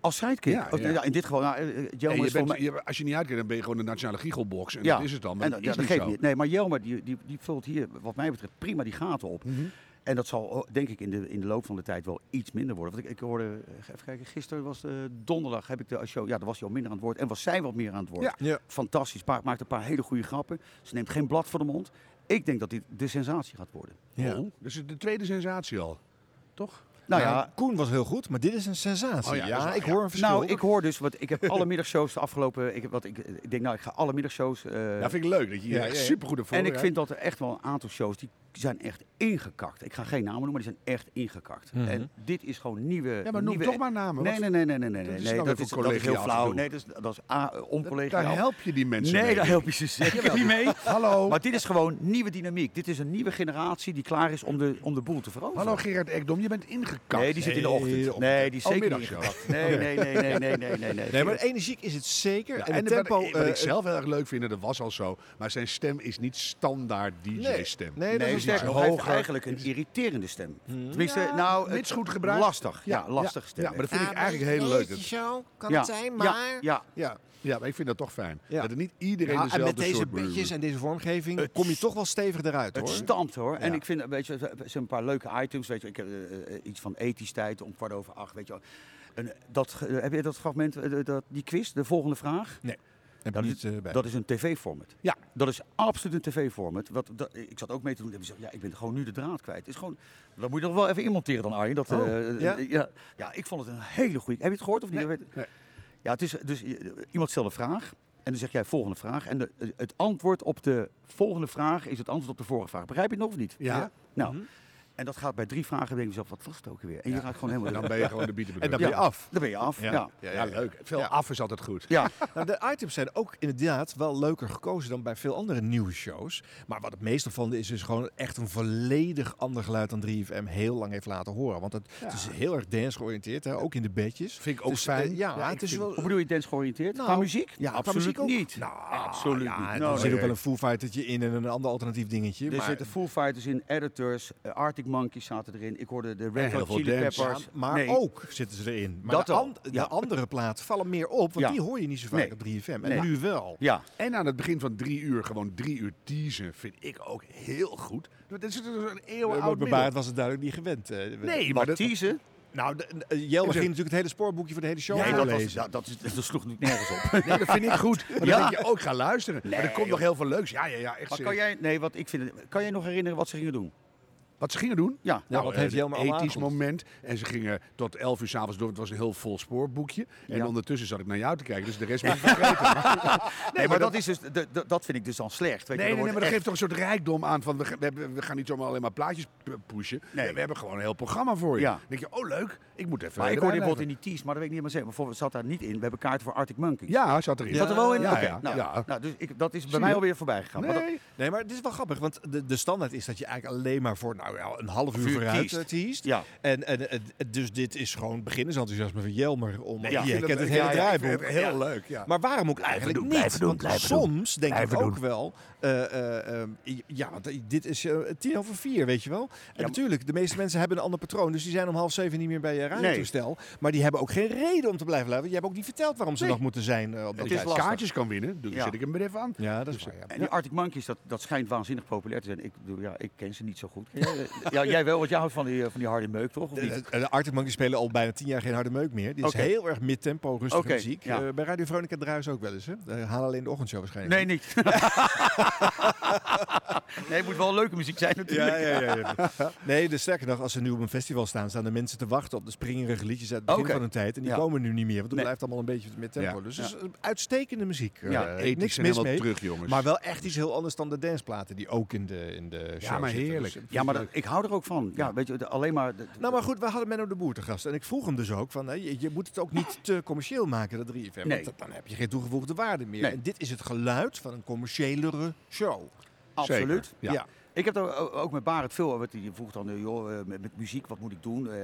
Speaker 3: Als sidekick?
Speaker 2: Ja,
Speaker 3: Of-
Speaker 2: ja.
Speaker 3: ja, in dit geval, nou, eh, eh,
Speaker 2: Nee,
Speaker 3: Jelmer
Speaker 2: je
Speaker 3: is
Speaker 2: bent-
Speaker 3: volgens mij...
Speaker 2: je- als je niet uitkent, dan ben je gewoon de nationale giechelbox. En dat is het dan. Maar
Speaker 3: en
Speaker 2: dat,
Speaker 3: ja,
Speaker 2: is niet
Speaker 3: geeft
Speaker 2: zo.
Speaker 3: niet. Nee, maar Jelmer die, die, die vult hier, wat mij betreft, prima die gaten op.
Speaker 2: Mhm.
Speaker 3: En dat zal oh, denk ik in de, in de loop van de tijd wel iets minder worden. Want ik, ik hoorde, eh, even kijken, gisteren was eh, donderdag heb ik de show. Ja, daar was hij al minder aan het woord. En was zij wat meer aan het woord.
Speaker 2: Ja.
Speaker 3: Fantastisch. Pa- maakt een paar hele goede grappen. Ze neemt geen blad voor de mond. Ik denk dat dit de sensatie gaat worden.
Speaker 2: Ja. Oh, dus de tweede sensatie al. Toch?
Speaker 3: Nou
Speaker 1: Nou,
Speaker 3: ja,
Speaker 1: Koen was heel goed, maar dit is een sensatie.
Speaker 3: Oh
Speaker 1: ja,
Speaker 3: dat is waar,
Speaker 1: ik
Speaker 3: ja.
Speaker 1: hoor een verschil.
Speaker 3: Nou, ik hoor dus, want ik heb alle middagshows de afgelopen. Ik, heb wat, ik, ik denk, nou, ik ga alle middagshows. eh
Speaker 2: Ja, vind ik leuk dat je hier echt supergoed ervoor
Speaker 3: En ik
Speaker 2: hebt.
Speaker 3: vind dat er echt wel een aantal shows die zijn echt ingekakt. Ik ga geen namen noemen, maar die zijn echt ingekakt.
Speaker 2: Mhm.
Speaker 3: En dit is gewoon nieuwe.
Speaker 2: Ja, maar noem
Speaker 3: nieuwe,
Speaker 2: toch maar namen,
Speaker 3: Nee,
Speaker 2: wat-
Speaker 3: nee, nee, nee, nee, nee.
Speaker 2: Dat
Speaker 3: nee,
Speaker 2: is
Speaker 3: nee,
Speaker 2: dan
Speaker 3: dat,
Speaker 2: weer
Speaker 3: is,
Speaker 2: voor
Speaker 3: dat is heel
Speaker 2: collegiaal
Speaker 3: flauw.
Speaker 2: gedoe.
Speaker 3: Nee, dat is, dat is A, eh, oncollegiaal.
Speaker 2: Daar help je die mensen
Speaker 3: Nee,
Speaker 2: mee,
Speaker 3: daar
Speaker 2: denk ik.
Speaker 3: help je ze zeker
Speaker 2: Jawel.
Speaker 3: niet mee.
Speaker 2: Hallo.
Speaker 3: Maar dit is gewoon nieuwe dynamiek. Dit is een nieuwe generatie die klaar is om de, om de boel te veroveren.
Speaker 2: Hallo Gerard Ekdom, je bent ingekakt.
Speaker 3: Nee, die zit in de ochtend. Nee, die is
Speaker 2: Oh,
Speaker 3: zeker niet
Speaker 2: middagshow.
Speaker 3: ingepakt. Nee, nee, nee, nee, nee, nee, nee.
Speaker 1: Nee, maar energiek is het zeker.
Speaker 2: Ja,
Speaker 1: en
Speaker 2: en
Speaker 1: het
Speaker 2: wat-
Speaker 1: tempo...
Speaker 2: Wat,
Speaker 1: eh,
Speaker 2: ik zelf heel erg leuk vind, en dat was al zo, maar zijn stem is niet standaard DJ-stem.
Speaker 1: Nee, nee, dat is
Speaker 3: sterker
Speaker 1: waar.
Speaker 3: nog, hij heeft
Speaker 1: Hoger.
Speaker 3: eigenlijk een irriterende stem.
Speaker 2: Hmm.
Speaker 3: Tenminste,
Speaker 1: Ja,
Speaker 3: nou,
Speaker 2: mits
Speaker 3: het-
Speaker 2: goed gebruikt.
Speaker 3: Lastig, ja,
Speaker 2: Ja,
Speaker 3: lastig
Speaker 2: ja,
Speaker 3: stem.
Speaker 2: ja, maar dat vind ik Ja, maar eigenlijk heel leuk. beetje
Speaker 1: zo kan
Speaker 3: Ja,
Speaker 1: het zijn,
Speaker 3: ja,
Speaker 1: maar...
Speaker 3: ja.
Speaker 2: Ja. ja, maar ik vind dat toch fijn.
Speaker 1: Ja.
Speaker 2: Dat er niet iedereen
Speaker 1: Ja, en
Speaker 2: dezelfde
Speaker 1: met deze
Speaker 2: soort...
Speaker 1: bedjes en deze vormgeving kom je toch wel stevig eruit,
Speaker 3: Het
Speaker 1: hoor.
Speaker 3: stamt hoor. En
Speaker 1: Ja.
Speaker 3: ik vind, weet je, ze hebben een paar leuke items. Weet je, ik heb eh, eh, iets van ethisch tijd om kwart over acht. Weet je, wel. en eh, dat, ge- eh, heb je dat fragment, eh, dat, die quiz, de volgende vraag?
Speaker 1: Nee.
Speaker 3: Dat
Speaker 1: ik
Speaker 3: is,
Speaker 1: niet, eh, bij.
Speaker 3: dat is een tv-format. Ja. Dat is absoluut een tv-format. Wat, dat, eh, ik zat ook mee te doen. Ik heb gezegd, ja, ik ben gewoon nu de draad kwijt. Het Is gewoon, dat moet je nog wel even inmonteren dan, Arjen. Dat, eh,
Speaker 1: Oh,
Speaker 3: eh,
Speaker 1: ja?
Speaker 3: ja, ja, ik vond het een hele goede. Heb je het gehoord of niet? Je weet- Ja, het is, dus eh, iemand stelt een vraag. En dan zeg jij volgende vraag. En de- eh, het antwoord op de volgende vraag is het antwoord op de vorige vraag. Begrijp je het nog of niet?
Speaker 2: Ja. Mhm.
Speaker 3: Nou, en dat gaat bij drie vragen. Denk ik zelf, wat was het ook weer? En je gaat gewoon helemaal.
Speaker 2: Dan ben je gewoon de bietenbedoeler.
Speaker 1: En dan ben je af.
Speaker 3: Dan ben je af. Ja.
Speaker 2: Ja. Ja, leuk. Veel af is altijd goed.
Speaker 3: Ja.
Speaker 1: Nou, de items zijn ook inderdaad wel leuker gekozen dan bij veel andere nieuwsshows. Maar wat het meest opvallende is, is gewoon echt een volledig ander geluid dan 3FM heel lang heeft laten horen. Want het, het is heel erg dance georiënteerd, hè? ook in de bedjes.
Speaker 2: Vind ik ook
Speaker 1: Dus, eh,
Speaker 2: fijn.
Speaker 1: ja,
Speaker 2: Ja, ik
Speaker 1: het is
Speaker 2: vind-
Speaker 1: wel... Nou,
Speaker 3: Hoe bedoel je dance georiënteerd? qua muziek?
Speaker 1: Ja, qua
Speaker 3: absoluut
Speaker 1: muziek ook.
Speaker 3: niet.
Speaker 1: Nou,
Speaker 3: absoluut
Speaker 1: ja,
Speaker 3: niet.
Speaker 1: en
Speaker 3: Nou,
Speaker 1: er zit
Speaker 3: nee.
Speaker 1: ook wel een Foo Fightertje in en een ander alternatief dingetje.
Speaker 3: Er
Speaker 1: maar...
Speaker 3: zitten Foo Fighters in, Editors, eh, Arctic Monkeys zaten erin. Ik hoorde de
Speaker 1: En
Speaker 3: Red Hot Chili Peppers.
Speaker 1: Ja, maar
Speaker 3: Nee.
Speaker 1: ook zitten ze erin. Maar
Speaker 3: Dat
Speaker 1: de,
Speaker 3: wel,
Speaker 1: an- de
Speaker 3: ja.
Speaker 1: andere platen vallen meer op, want
Speaker 3: Ja.
Speaker 1: die hoor je niet zo vaak
Speaker 3: Nee.
Speaker 1: op 3FM. En
Speaker 3: Nee.
Speaker 1: nu wel.
Speaker 3: Ja.
Speaker 2: En aan het begin van drie uur gewoon drie uur teasen vind ik ook heel goed. Dat is dus een
Speaker 3: Eh,
Speaker 1: Maar
Speaker 2: eeuwenoud
Speaker 1: bij
Speaker 2: middel.
Speaker 1: Barend was het duidelijk niet gewend. eh.
Speaker 2: Nee, maar
Speaker 1: Wat
Speaker 2: dat-
Speaker 3: Teasen?
Speaker 1: Nou, de- eh, Jelmer ging natuurlijk het hele spoorboekje voor de hele show
Speaker 2: Ja, dat was-
Speaker 1: voorlezen.
Speaker 3: ja, dat, is, dat sloeg natuurlijk nergens op.
Speaker 2: Nee, dat vind ik goed. Maar dan
Speaker 3: Ja.
Speaker 2: denk je ook, ga luisteren. maar er
Speaker 3: Nee,
Speaker 2: komt nog
Speaker 3: joh.
Speaker 2: heel veel leuks. Ja, ja, ja. Echt
Speaker 3: Maar kan
Speaker 2: serieus.
Speaker 3: jij, nee, wat ik vind, kan jij nog herinneren wat ze gingen doen?
Speaker 2: Wat ze gingen doen?
Speaker 3: Ja.
Speaker 2: Nou,
Speaker 1: wat
Speaker 2: eh,
Speaker 1: heeft
Speaker 2: de
Speaker 1: Jelmer allemaal
Speaker 2: ethisch
Speaker 1: aangekondigd?
Speaker 2: moment. En ze gingen tot 11 uur s'avonds door. Het was een heel vol spoorboekje. En
Speaker 3: Ja.
Speaker 2: ondertussen zat ik naar jou te kijken. Dus de rest ben ik vergeten.
Speaker 3: Nee, maar dat, is dus, de- de- dat vind ik dus dan slecht. Weet
Speaker 2: Nee, nee,
Speaker 3: je,
Speaker 2: nee,
Speaker 3: dan
Speaker 2: maar dat
Speaker 3: wordt
Speaker 2: geeft toch een soort rijkdom aan van we, ge- we hebben- we gaan niet zomaar alleen maar plaatjes p- pushen.
Speaker 3: Nee.
Speaker 2: We hebben gewoon een heel programma voor je.
Speaker 3: Ja.
Speaker 2: Dan denk je, oh leuk, ik
Speaker 3: Maar
Speaker 2: moet even
Speaker 3: ik
Speaker 2: erbij
Speaker 3: hoorde bijvoorbeeld in
Speaker 2: blijven.
Speaker 3: die tease, maar dat weet ik niet meer zeker. Maar bijvoorbeeld zat daar niet in. We hebben kaarten voor Arctic Monkey.
Speaker 2: Ja, zat erin.
Speaker 3: Zat er wel in?
Speaker 2: Ja,
Speaker 3: Oké,
Speaker 2: ja,
Speaker 3: nou,
Speaker 2: ja.
Speaker 3: nou, dus ik, dat is bij
Speaker 2: je?
Speaker 3: mij alweer voorbij gegaan. Maar dat-
Speaker 2: Nee.
Speaker 1: Nee, maar dit is wel grappig, want de, de standaard is dat je eigenlijk alleen maar voor nou, ja, een half uur
Speaker 3: Uur
Speaker 1: vooruit
Speaker 3: teest.
Speaker 1: eh, teest.
Speaker 3: Ja.
Speaker 1: En, en, eh, d- dus dit is gewoon beginnersenthousiasme van Jelmer. Om,
Speaker 2: Nee,
Speaker 1: ja,
Speaker 2: ik
Speaker 1: je
Speaker 2: vind
Speaker 1: kent
Speaker 2: dat-
Speaker 1: het
Speaker 2: ja,
Speaker 1: hele
Speaker 2: ja, ik vind
Speaker 1: draaiboek.
Speaker 2: het Heel leuk, ja.
Speaker 1: Maar waarom ook eigenlijk
Speaker 2: doen,
Speaker 1: niet?
Speaker 2: blijven doen,
Speaker 1: Want
Speaker 2: blijven
Speaker 1: soms denk
Speaker 2: Blijven
Speaker 1: ik ook
Speaker 2: doen.
Speaker 1: wel, eh, eh, eh, ja, want dit is eh, tien over vier, weet je wel. En natuurlijk, de meeste mensen hebben een ander patroon, dus die zijn om half zeven niet meer bij je radiotoestel. Maar die hebben ook geen reden om te blijven luisteren. Je hebt ook niet verteld waarom ze
Speaker 2: Nee.
Speaker 1: nog moeten zijn eh, op dat
Speaker 2: Als je
Speaker 1: tijdstip.
Speaker 2: kaartjes kan winnen, dan
Speaker 3: Ja.
Speaker 2: zet ik hem er even aan.
Speaker 1: Ja, dat is waar. ja.
Speaker 3: Dus, En die Arctic Monkeys, dat, dat schijnt waanzinnig populair te zijn. Ik, bedoel, ja, ik ken ze niet zo goed. Ja, eh, ja, jij wel, want jij houdt van die, eh, van die harde meuk, toch? Of
Speaker 1: De,
Speaker 3: niet?
Speaker 1: de, de Arctic Monkeys spelen al bijna tien jaar geen harde meuk meer. Dit
Speaker 3: Oké.
Speaker 1: is heel erg midtempo, rustige
Speaker 3: Oké,
Speaker 1: muziek.
Speaker 3: ja.
Speaker 1: Eh, bij Radio Veronica draaien ze ook wel eens. Hè? Eh, halen alleen de ochtendshow waarschijnlijk.
Speaker 3: Nee, niet. nee, het moet wel leuke muziek zijn natuurlijk.
Speaker 1: Ja, ja, ja, ja. Nee, dus sterker nog, als ze nu op een festival staan, staan de mensen te wachten op de springerige liedjes uit het begin
Speaker 3: Oké.
Speaker 1: van hun tijd. En die
Speaker 3: Ja.
Speaker 1: komen nu niet meer, want het
Speaker 3: Nee.
Speaker 1: blijft allemaal een beetje met tempo.
Speaker 2: Ja.
Speaker 1: Dus het is een uitstekende muziek. eh,
Speaker 2: Ja, ethisch
Speaker 1: niks
Speaker 2: en
Speaker 1: mis
Speaker 2: helemaal
Speaker 1: mee.
Speaker 2: terug, jongens.
Speaker 1: Maar wel echt iets heel anders dan de danceplaten die ook in de, in de show
Speaker 2: maar
Speaker 1: zitten.
Speaker 2: heerlijk.
Speaker 1: Dus, eh,
Speaker 3: Ja, maar dat- ik hou er ook van. Ja, weet je, de- alleen maar... de-
Speaker 1: nou, maar goed, we hadden Menno de Boer te gast. En ik vroeg hem dus ook van, hè, je, je moet het ook niet te commercieel maken, dat 3FM.
Speaker 3: Nee.
Speaker 1: Want dan heb je geen toegevoegde waarde meer.
Speaker 3: Nee.
Speaker 1: En dit is het geluid van een commerciëlere show.
Speaker 3: Absoluut.
Speaker 1: Ja.
Speaker 2: Zeker, ja.
Speaker 3: Ik heb daar o- ook met Barend veel over. Die vroeg dan, eh, joh, eh, met, met muziek, wat moet ik doen? Eh,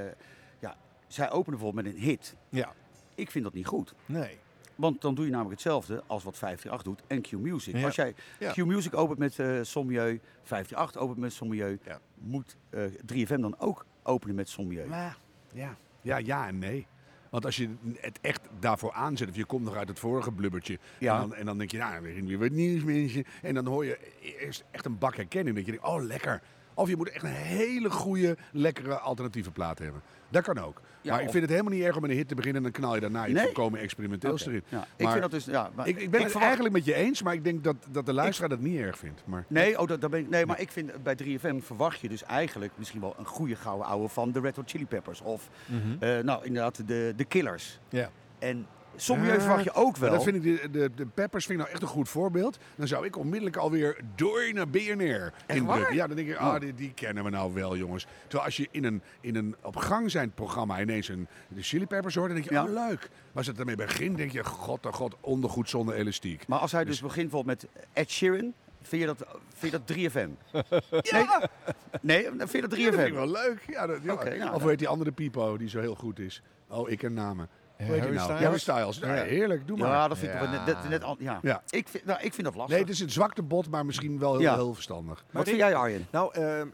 Speaker 3: ja, zij openen bijvoorbeeld met een hit.
Speaker 1: Ja.
Speaker 3: Ik vind dat niet goed.
Speaker 1: Nee.
Speaker 3: Want dan doe je namelijk hetzelfde als wat 538 doet en Q-Music.
Speaker 1: Ja.
Speaker 3: Als jij
Speaker 1: Ja.
Speaker 3: Q-Music opent met eh Sommieu, 538 opent met Sommieu,
Speaker 1: Ja.
Speaker 3: moet eh 3FM dan ook openen met Sommieu?
Speaker 2: Maar, ja. Ja, ja en nee. Want als je het echt daarvoor aanzet, of je komt nog uit het vorige blubbertje.
Speaker 3: Ja.
Speaker 2: En, dan, en dan denk je, nou, er is weer wat nieuws, mensen. En dan hoor je eerst echt een bak herkenning. Dat je denkt, oh, lekker. Of je moet echt een hele goede, lekkere alternatieve plaat hebben. Dat kan ook.
Speaker 3: Ja,
Speaker 2: maar ik
Speaker 3: of-
Speaker 2: vind het helemaal niet erg om met een hit te beginnen. En dan knal je daarna iets
Speaker 3: Nee?
Speaker 2: volkomen experimenteels
Speaker 3: Oké,
Speaker 2: erin.
Speaker 3: ja. Ik
Speaker 2: Maar
Speaker 3: vind dat dus- ja, maar
Speaker 2: ik, ik ben
Speaker 3: ik
Speaker 2: het
Speaker 3: verwacht-
Speaker 2: eigenlijk met je eens, maar ik denk dat, dat de luisteraar dat niet erg vindt. Maar...
Speaker 3: Nee, oh, dat, dat ben ik, nee, maar ik vind eh, bij 3FM verwacht je dus eigenlijk misschien wel een goede gouden ouwe van de Red Hot Chili Peppers. Of
Speaker 2: Mhm.
Speaker 3: eh, nou, inderdaad de, de Killers.
Speaker 1: Ja.
Speaker 3: En sommige jeugd verwacht je ook
Speaker 2: maar
Speaker 3: wel.
Speaker 2: Dat vind ik de, de, de Peppers vind ik nou echt een goed voorbeeld. Dan zou ik onmiddellijk alweer door naar BNR indrukken.
Speaker 3: waar?
Speaker 2: Ja, dan denk ik,
Speaker 3: Oh.
Speaker 2: ah, die, die kennen we nou wel, jongens. Terwijl als je in een, in een op gang zijnd programma ineens een, de Chili Peppers hoort, dan denk je, oh leuk. Maar als het ermee begint, denk je, god, oh god, ondergoed zonder elastiek.
Speaker 3: Maar als hij dus, begint bijvoorbeeld met Ed Sheeran, vind je dat, vind je dat 3FM?
Speaker 2: Ja!
Speaker 3: Nee, nee, vind je nou, dat 3FM?
Speaker 2: Ja, dat vind ik wel leuk. Ja, dat, ja.
Speaker 3: Oké, nou,
Speaker 2: of
Speaker 3: dan-
Speaker 2: hoe heet die andere Pipo die zo heel goed is? Oh, ik ken namen. Hoe heet die
Speaker 3: Harry
Speaker 2: nou?
Speaker 3: Styles?
Speaker 2: Harry Styles. Nou,
Speaker 3: Ja.
Speaker 2: Heerlijk, doe
Speaker 3: Ja,
Speaker 2: maar.
Speaker 3: dat vind ik wel net- net- net al- ja. Ik vind, nou, ik vind dat lastig.
Speaker 2: Nee, het is een zwakte bot, maar misschien wel heel,
Speaker 3: Ja.
Speaker 2: heel verstandig.
Speaker 3: Oh, Wat vind jij, Arjen?
Speaker 1: Nou, ehm,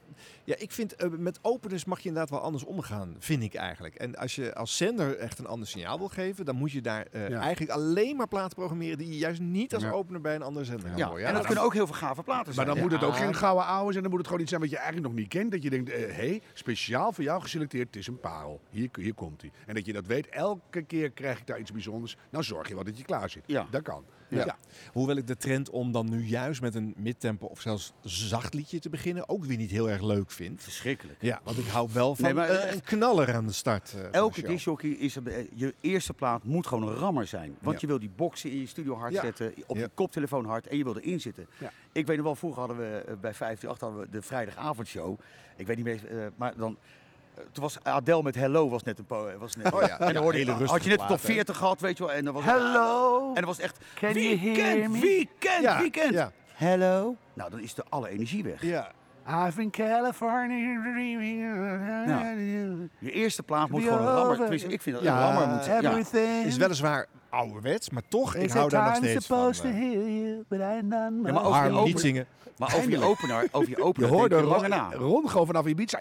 Speaker 1: ja, ik vind eh, met openers mag je inderdaad wel anders omgaan, vind ik eigenlijk. En als je als zender echt een ander signaal wil geven, dan moet je daar eh,
Speaker 3: Ja.
Speaker 1: eigenlijk alleen maar platen programmeren die je juist niet als opener bij een andere zender gaat
Speaker 3: Ja,
Speaker 1: horen.
Speaker 3: en dat
Speaker 1: dan-
Speaker 3: kunnen ook heel veel gave platen
Speaker 2: Maar
Speaker 3: zijn.
Speaker 2: dan
Speaker 1: Ja.
Speaker 2: moet het ook geen gouden ouwe zijn. Dan moet het gewoon iets zijn wat je eigenlijk nog niet kent. Dat je denkt, eh, hé, hey, speciaal voor jou geselecteerd, het is een parel. Hier, hier komt hij. En dat je dat weet, elke keer krijg ik daar iets bijzonders. Nou zorg je wel dat je klaar zit. Dat kan.
Speaker 1: Ja.
Speaker 2: Ja.
Speaker 1: Hoewel ik de trend om dan nu juist met een midtempo of zelfs zacht liedje te beginnen ook weer niet heel erg leuk vind.
Speaker 3: Verschrikkelijk.
Speaker 1: Ja, want ik hou wel van
Speaker 3: Nee, maar
Speaker 1: eh,
Speaker 3: echt-
Speaker 1: een knaller aan de start. eh, van de
Speaker 3: Elke
Speaker 1: show.
Speaker 3: discjockey is er- eh, je eerste plaat moet gewoon een rammer zijn. Want
Speaker 1: Ja.
Speaker 3: je wil die boxen in je studio hard
Speaker 1: Ja.
Speaker 3: zetten, op
Speaker 1: Ja.
Speaker 3: je koptelefoon hard en je wil erin zitten.
Speaker 1: Ja.
Speaker 3: Ik weet nog wel, vroeger hadden we eh, bij 538 hadden we de vrijdagavondshow. Ik weet niet meer, eh, maar dan. eh, Toen was Adele met Hello was net een po eh, was net,
Speaker 1: Oh ja,
Speaker 3: en
Speaker 1: ja,
Speaker 3: dan hoorde
Speaker 1: hele
Speaker 3: je, had
Speaker 1: rustige
Speaker 3: je net de
Speaker 1: plaat,
Speaker 3: top
Speaker 1: hè?
Speaker 3: 40 gehad, weet je wel. En dan was
Speaker 1: Hello.
Speaker 3: En dan was echt
Speaker 1: Can you
Speaker 3: weekend,
Speaker 1: hear me?
Speaker 3: weekend,
Speaker 1: Ja,
Speaker 3: weekend.
Speaker 1: ja.
Speaker 3: Hello. Nou, dan is de alle energie weg.
Speaker 1: Ja.
Speaker 2: I've in California dreaming.
Speaker 3: Nou, je eerste plaat moet gewoon een rammer. tenminste, ik vind dat een rammer moet zijn. Ja.
Speaker 2: everything.
Speaker 1: Is weliswaar ouderwets, maar toch, ik hou daar nog steeds van. eh.
Speaker 3: Ja, maar over
Speaker 1: Harm,
Speaker 3: je
Speaker 1: niet
Speaker 3: opener-
Speaker 1: zingen.
Speaker 3: Maar over je
Speaker 1: Eindelijk.
Speaker 3: opener, over je
Speaker 2: Je
Speaker 3: opener denk
Speaker 2: hoorde
Speaker 3: je lang
Speaker 2: Ron,
Speaker 3: na.
Speaker 2: Ron gewoon vanaf Ibiza.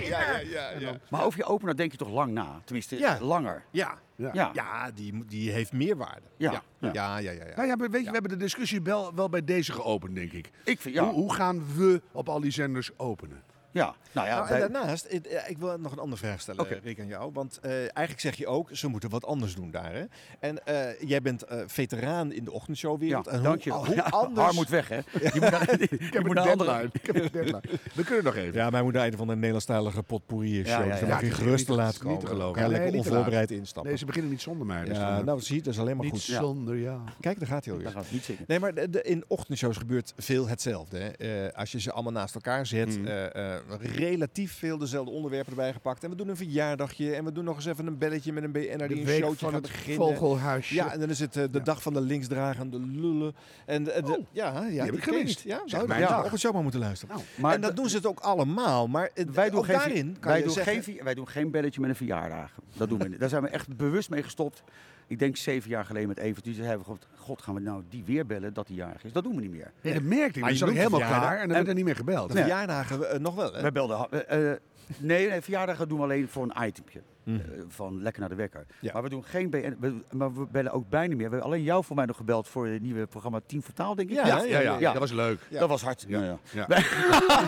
Speaker 2: Ja,
Speaker 1: ja, ja.
Speaker 3: Maar over je opener denk je toch lang na? Tenminste,
Speaker 1: Ja.
Speaker 3: langer.
Speaker 1: Ja,
Speaker 3: Ja.
Speaker 1: ja. die, moet- die heeft meerwaarde.
Speaker 3: Ja.
Speaker 1: Ja, ja,
Speaker 3: Ja.
Speaker 1: ja. ja, ja.
Speaker 2: Nou ja, maar weet je, we hebben de discussie wel, wel bij deze geopend, denk ik.
Speaker 3: Ik vind, ja.
Speaker 2: hoe, hoe gaan we op al die zenders openen?
Speaker 3: Ja, nou ja.
Speaker 1: Nou, en
Speaker 3: bij-
Speaker 1: daarnaast, ik, eh, ik wil nog een andere vraag stellen,
Speaker 3: Oké.
Speaker 1: eh, Rick aan jou. Want eh, eigenlijk zeg je ook, ze moeten wat anders doen daar. Hè? En eh, jij bent eh, veteraan in de
Speaker 3: ja,
Speaker 1: ochtendshowwereld. en
Speaker 3: dank je.
Speaker 1: hoe, oh, hoe
Speaker 3: Ja,
Speaker 1: anders...
Speaker 3: Haar moet weg, hè? Je moet naar, ik
Speaker 2: heb
Speaker 3: moet
Speaker 2: een
Speaker 3: naar andere...
Speaker 2: deadline. Ik heb een deadline. We kunnen nog even.
Speaker 1: Ja, wij moeten einde van een Nederlandstalige potpourri show.
Speaker 2: Ja, ja,
Speaker 1: Dus
Speaker 2: ja.
Speaker 1: dan mag je
Speaker 2: Ja,
Speaker 1: gerust
Speaker 2: niet-
Speaker 1: te laat komen.
Speaker 2: Niet te geloven.
Speaker 1: Ga
Speaker 2: Nee,
Speaker 1: lekker
Speaker 2: niet te laat.
Speaker 1: onvoorbereid instappen.
Speaker 2: Nee, ze beginnen niet zonder mij. Dus
Speaker 1: ja,
Speaker 2: dan, eh,
Speaker 1: nou, zie je, dat is alleen maar
Speaker 2: niet
Speaker 1: goed.
Speaker 2: zonder jou.
Speaker 1: Kijk, daar gaat hij alweer.
Speaker 3: Dan gaat het niet zingen.
Speaker 1: Nee, maar de, de- in ochtendshows gebeurt veel hetzelfde. Hè. Eh, als je ze allemaal naast elkaar
Speaker 2: Hmm.
Speaker 1: zet, eh, eh, relatief veel dezelfde onderwerpen erbij gepakt. En we doen een verjaardagje en we doen nog eens even een belletje met een BN'er die
Speaker 2: De
Speaker 1: een
Speaker 2: week
Speaker 1: showtje
Speaker 2: van
Speaker 1: gaat
Speaker 2: het
Speaker 1: beginnen.
Speaker 2: vogelhuisje.
Speaker 1: Ja, en dan is het eh, de dag van de linksdragende lullen. En, eh, de- de- ja, ja,
Speaker 2: Oh. heb
Speaker 1: die
Speaker 2: ik
Speaker 1: ken je
Speaker 2: gemist.
Speaker 1: niet. Ja,
Speaker 2: Zeg
Speaker 1: zou je
Speaker 2: mijn
Speaker 1: naar de
Speaker 2: dag. Nou,
Speaker 1: ochtendshow maar moeten luisteren.
Speaker 3: maar
Speaker 1: en dat doen ze het ook allemaal. Maar eh,
Speaker 3: Wij doen,
Speaker 1: ook
Speaker 3: geen,
Speaker 1: daarin kan
Speaker 3: wij,
Speaker 1: je
Speaker 3: doen
Speaker 1: zeggen...
Speaker 3: geen, vi- wij doen geen belletje met een verjaardag. Dat doen we niet. Daar zijn we echt bewust mee gestopt. Ik denk zeven jaar geleden met Evert. Toen hebben we gewoon, god, gaan we nou die weer bellen dat die jarig is? Dat doen we niet meer.
Speaker 2: Nee, dat merkte ik.
Speaker 1: Maar
Speaker 2: Dan
Speaker 1: je
Speaker 2: zat ik
Speaker 1: noemt het
Speaker 2: helemaal
Speaker 1: verjaardag.
Speaker 2: klaar en dan werd er niet meer gebeld.
Speaker 1: de verjaardagen eh, nog wel, hè?
Speaker 3: Wij belden. ha- eh, eh, nee, nee, verjaardagen doen we alleen voor een itempje. Eh, van lekker naar de wekker.
Speaker 1: Ja.
Speaker 3: Maar we doen geen BN. we- maar we bellen ook bijna meer. We hebben alleen jou voor mij nog gebeld voor het nieuwe programma 10 voor Taal, denk ik.
Speaker 1: Ja, Ja, ja, ja.
Speaker 2: Dat was leuk.
Speaker 3: Dat was hard. Nou ja.
Speaker 2: Ja.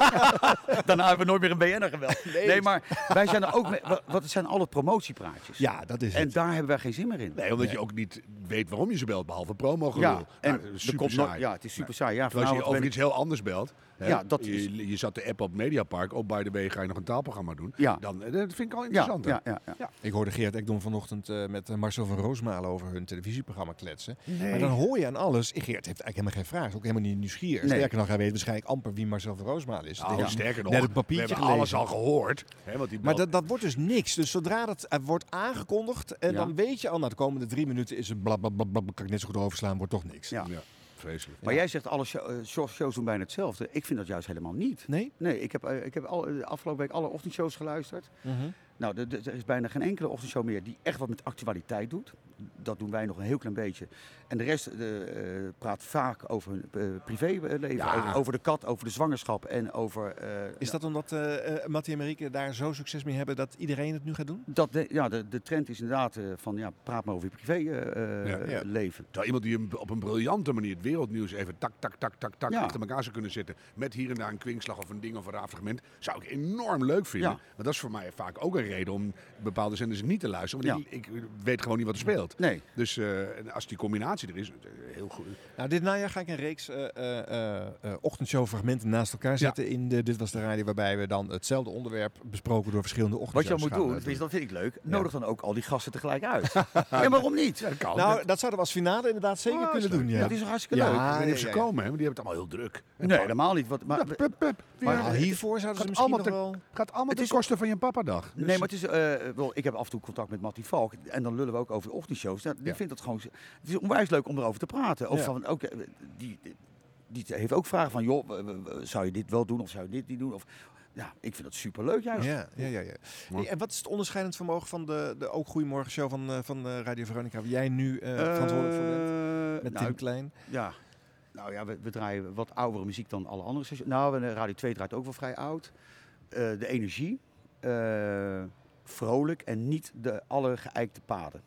Speaker 3: Daarna hebben we nooit meer een BN'er gebeld. Nee, maar wij zijn er ook mee. wa- Wat het zijn alle promotiepraatjes.
Speaker 1: Ja, dat is
Speaker 3: En
Speaker 1: het.
Speaker 3: daar hebben wij geen zin meer in.
Speaker 2: Nee, omdat je ook niet weet waarom je ze belt, behalve promo
Speaker 3: Ja,
Speaker 2: gelul.
Speaker 3: en
Speaker 2: Nou,
Speaker 3: er
Speaker 2: super
Speaker 3: komt
Speaker 2: saai.
Speaker 3: nooit- ja, het is super
Speaker 2: Nee.
Speaker 3: saai. Ja,
Speaker 2: Terwijl als je
Speaker 3: vanavond
Speaker 2: over
Speaker 3: ben
Speaker 2: iets heel anders belt. hè,
Speaker 3: Ja, dat
Speaker 2: je,
Speaker 3: is-
Speaker 2: je zat de app op Mediapark. Oh, by the way, ga je nog een taalprogramma doen?
Speaker 3: Ja.
Speaker 2: Dan, eh, dat vind ik al
Speaker 3: Ja,
Speaker 2: interessanter.
Speaker 3: ja, ja, ja.
Speaker 1: Ik hoorde Geert Ekdom vanochtend eh, met eh, Marcel van Roosmalen over hun televisieprogramma kletsen.
Speaker 2: Nee.
Speaker 1: Maar dan hoor je aan alles. eh, Geert heeft eigenlijk helemaal geen vraag. Is ook helemaal niet nieuwsgierig.
Speaker 3: Nee.
Speaker 1: Sterker nog, hij weet waarschijnlijk amper wie Marcel van Roosmalen is.
Speaker 2: Nou,
Speaker 1: Dat heeft
Speaker 2: sterker nog,
Speaker 1: net het
Speaker 2: we
Speaker 1: papiertje
Speaker 2: hebben
Speaker 1: gelezen.
Speaker 2: alles al gehoord. Hè, want die
Speaker 1: Maar
Speaker 2: bal-
Speaker 1: dat, dat wordt dus niks. Dus zodra dat eh, wordt aangekondigd, en
Speaker 3: Ja.
Speaker 1: dan weet je al, na de komende drie minuten is het blablabla, kan ik net zo goed overslaan, wordt toch niks.
Speaker 3: Ja.
Speaker 2: Ja, vreselijk.
Speaker 3: Maar jij zegt alle show- eh, show- shows doen bijna hetzelfde. Ik eh, vind dat juist helemaal niet.
Speaker 1: Nee?
Speaker 3: Nee, ik heb, eh, ik heb al, de afgelopen week alle ochtendshows geluisterd. Nou, de- de- er is bijna geen enkele ochtendshow meer die echt wat met actualiteit doet. Dat doen wij nog een heel klein beetje. En de rest eh, eh, praat vaak over hun eh, privéleven.
Speaker 1: Ja.
Speaker 3: Over, over de kat, over de zwangerschap en over...
Speaker 1: Is dat omdat eh eh, Mattie en Marieke daar zo succes mee hebben dat iedereen het nu gaat doen?
Speaker 3: Dat de, ja, de, de trend is inderdaad eh, van ja, praat maar over je eh, privéleven.
Speaker 2: Ja.
Speaker 3: leven.
Speaker 2: Terwijl iemand die hem op een briljante manier het wereldnieuws even tak, tak, tak, tak, tak
Speaker 3: Ja.
Speaker 2: achter elkaar zou kunnen zetten. Met hier en daar een kwinkslag of een ding of een raar fragment. Zou ik enorm leuk vinden.
Speaker 3: Ja.
Speaker 2: Want dat is voor mij vaak ook een reden om bepaalde zenders niet te luisteren. Want
Speaker 3: Ja.
Speaker 2: ik, ik weet gewoon niet wat er speelt.
Speaker 3: Nee.
Speaker 2: Dus eh, en als die combinatie er is, eh, heel goed.
Speaker 1: Nou, dit najaar ga ik een reeks eh eh, eh, ochtendshow-fragmenten naast elkaar zetten in de Dit Was De Radio, waarbij we dan hetzelfde onderwerp besproken door verschillende
Speaker 3: Wat je al
Speaker 1: ochtendshows
Speaker 3: moet
Speaker 1: gaan,
Speaker 3: doen,
Speaker 1: eh,
Speaker 3: tenminste, dat vind ik leuk, nodig dan ook al die gasten tegelijk uit. ja, waarom niet? Ja, dat kan.
Speaker 1: Nou, dat zouden we als finale inderdaad zeker
Speaker 3: Oh,
Speaker 1: kunnen
Speaker 3: is leuk.
Speaker 1: doen. Ja.
Speaker 3: Ja, dat is hartstikke leuk.
Speaker 1: Ja,
Speaker 3: Ik weet niet of
Speaker 1: ja,
Speaker 3: ze
Speaker 1: ja.
Speaker 2: komen, hè, want die hebben het allemaal heel druk.
Speaker 3: nee, helemaal niet. Wat, maar,
Speaker 1: Maar ja, hiervoor zouden ze
Speaker 2: Gaat
Speaker 1: misschien
Speaker 2: allemaal
Speaker 1: nog
Speaker 2: ten-
Speaker 1: wel...
Speaker 2: Gaat allemaal ten koste van je papa-dag. Dus-
Speaker 3: Nee, maar het is, eh, wel, ik heb af en toe contact met Mattie Valk. En dan lullen we ook over de ochtendshows. Nou, die
Speaker 2: Ja.
Speaker 3: vindt dat gewoon, het is onwijs leuk om erover te praten. Of
Speaker 2: Ja.
Speaker 3: van, ook, eh, die, die heeft ook vragen van, joh, eh, eh, zou je dit wel doen of zou je dit niet doen? Of, ja, ik vind dat superleuk juist.
Speaker 1: Ja, ja, ja. ja.
Speaker 3: Mooi.
Speaker 1: En wat is het onderscheidend vermogen van de, de Ook Goeiemorgen show van, eh, van eh, Radio Veronica, waar jij nu eh, verantwoordelijk voor bent? Met
Speaker 3: nou,
Speaker 1: Tim Klein.
Speaker 3: Ja. Nou ja, we, we draaien wat oudere muziek dan alle andere stations. Nou, en, eh, Radio 2 draait ook wel vrij oud. Eh, de energie. eh, vrolijk en niet de allergeëikte paden.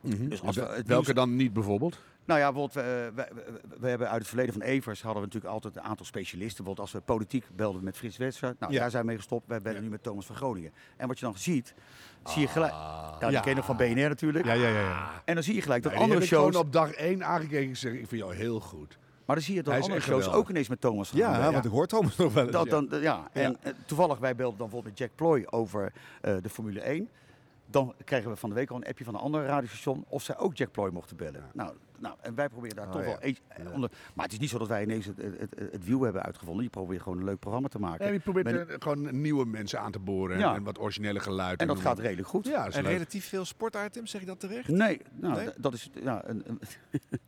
Speaker 3: Dus als we het
Speaker 2: Mhm. Welke
Speaker 3: nieuws-
Speaker 2: dan niet bijvoorbeeld?
Speaker 3: Nou ja, bijvoorbeeld, we, eh, we- we- we hebben uit het verleden van Evers hadden we natuurlijk altijd een aantal specialisten. Bijvoorbeeld als we politiek belden we met Frits Wester. Nou,
Speaker 2: Ja.
Speaker 3: daar zijn we mee gestopt. We bellen nu met Thomas van Groningen. En wat je dan ziet, zie je gelijk... Ja, die ken je nog van BNR natuurlijk.
Speaker 1: Ja, ja, ja. ja.
Speaker 3: En dan zie je gelijk dat
Speaker 2: Nee, die
Speaker 3: andere
Speaker 2: heb ik gewoon
Speaker 3: shows...
Speaker 2: op dag één aangekeken en zeg ik vind jou heel goed.
Speaker 3: Maar dan zie je dat
Speaker 2: Hij is
Speaker 3: andere
Speaker 2: echt
Speaker 3: shows
Speaker 2: geweldig.
Speaker 3: ook ineens met Thomas van
Speaker 2: Ja,
Speaker 3: Groningen.
Speaker 2: want ik hoor
Speaker 1: Thomas nog wel eens,
Speaker 3: Dat
Speaker 1: ja.
Speaker 3: dan, ja. En
Speaker 1: Ja.
Speaker 3: eh, toevallig, wij belden dan bijvoorbeeld met Jack Ploy over eh, de Formule 1. Dan kregen we van de week al een appje van een ander radiostation of zij ook Jack Ploy mochten bellen. Nou, nou, en wij proberen daar
Speaker 2: Oh,
Speaker 3: toch
Speaker 2: ja.
Speaker 3: wel eens eh, onder... Maar het is niet zo dat wij ineens het, het, het, het wiel hebben uitgevonden. Je probeert gewoon een leuk programma te maken.
Speaker 2: Ja, je probeert
Speaker 3: Met-
Speaker 2: eh, gewoon nieuwe mensen aan te boren en-
Speaker 3: Ja.
Speaker 2: en wat originele geluiden.
Speaker 3: En dat
Speaker 2: noem maar.
Speaker 3: gaat redelijk goed.
Speaker 2: Ja, dat is
Speaker 1: en
Speaker 2: leuk.
Speaker 1: relatief veel sportitems, zeg ik dat terecht?
Speaker 3: Nee, nou,
Speaker 1: Nee?
Speaker 3: d- dat is. Ja, een, een-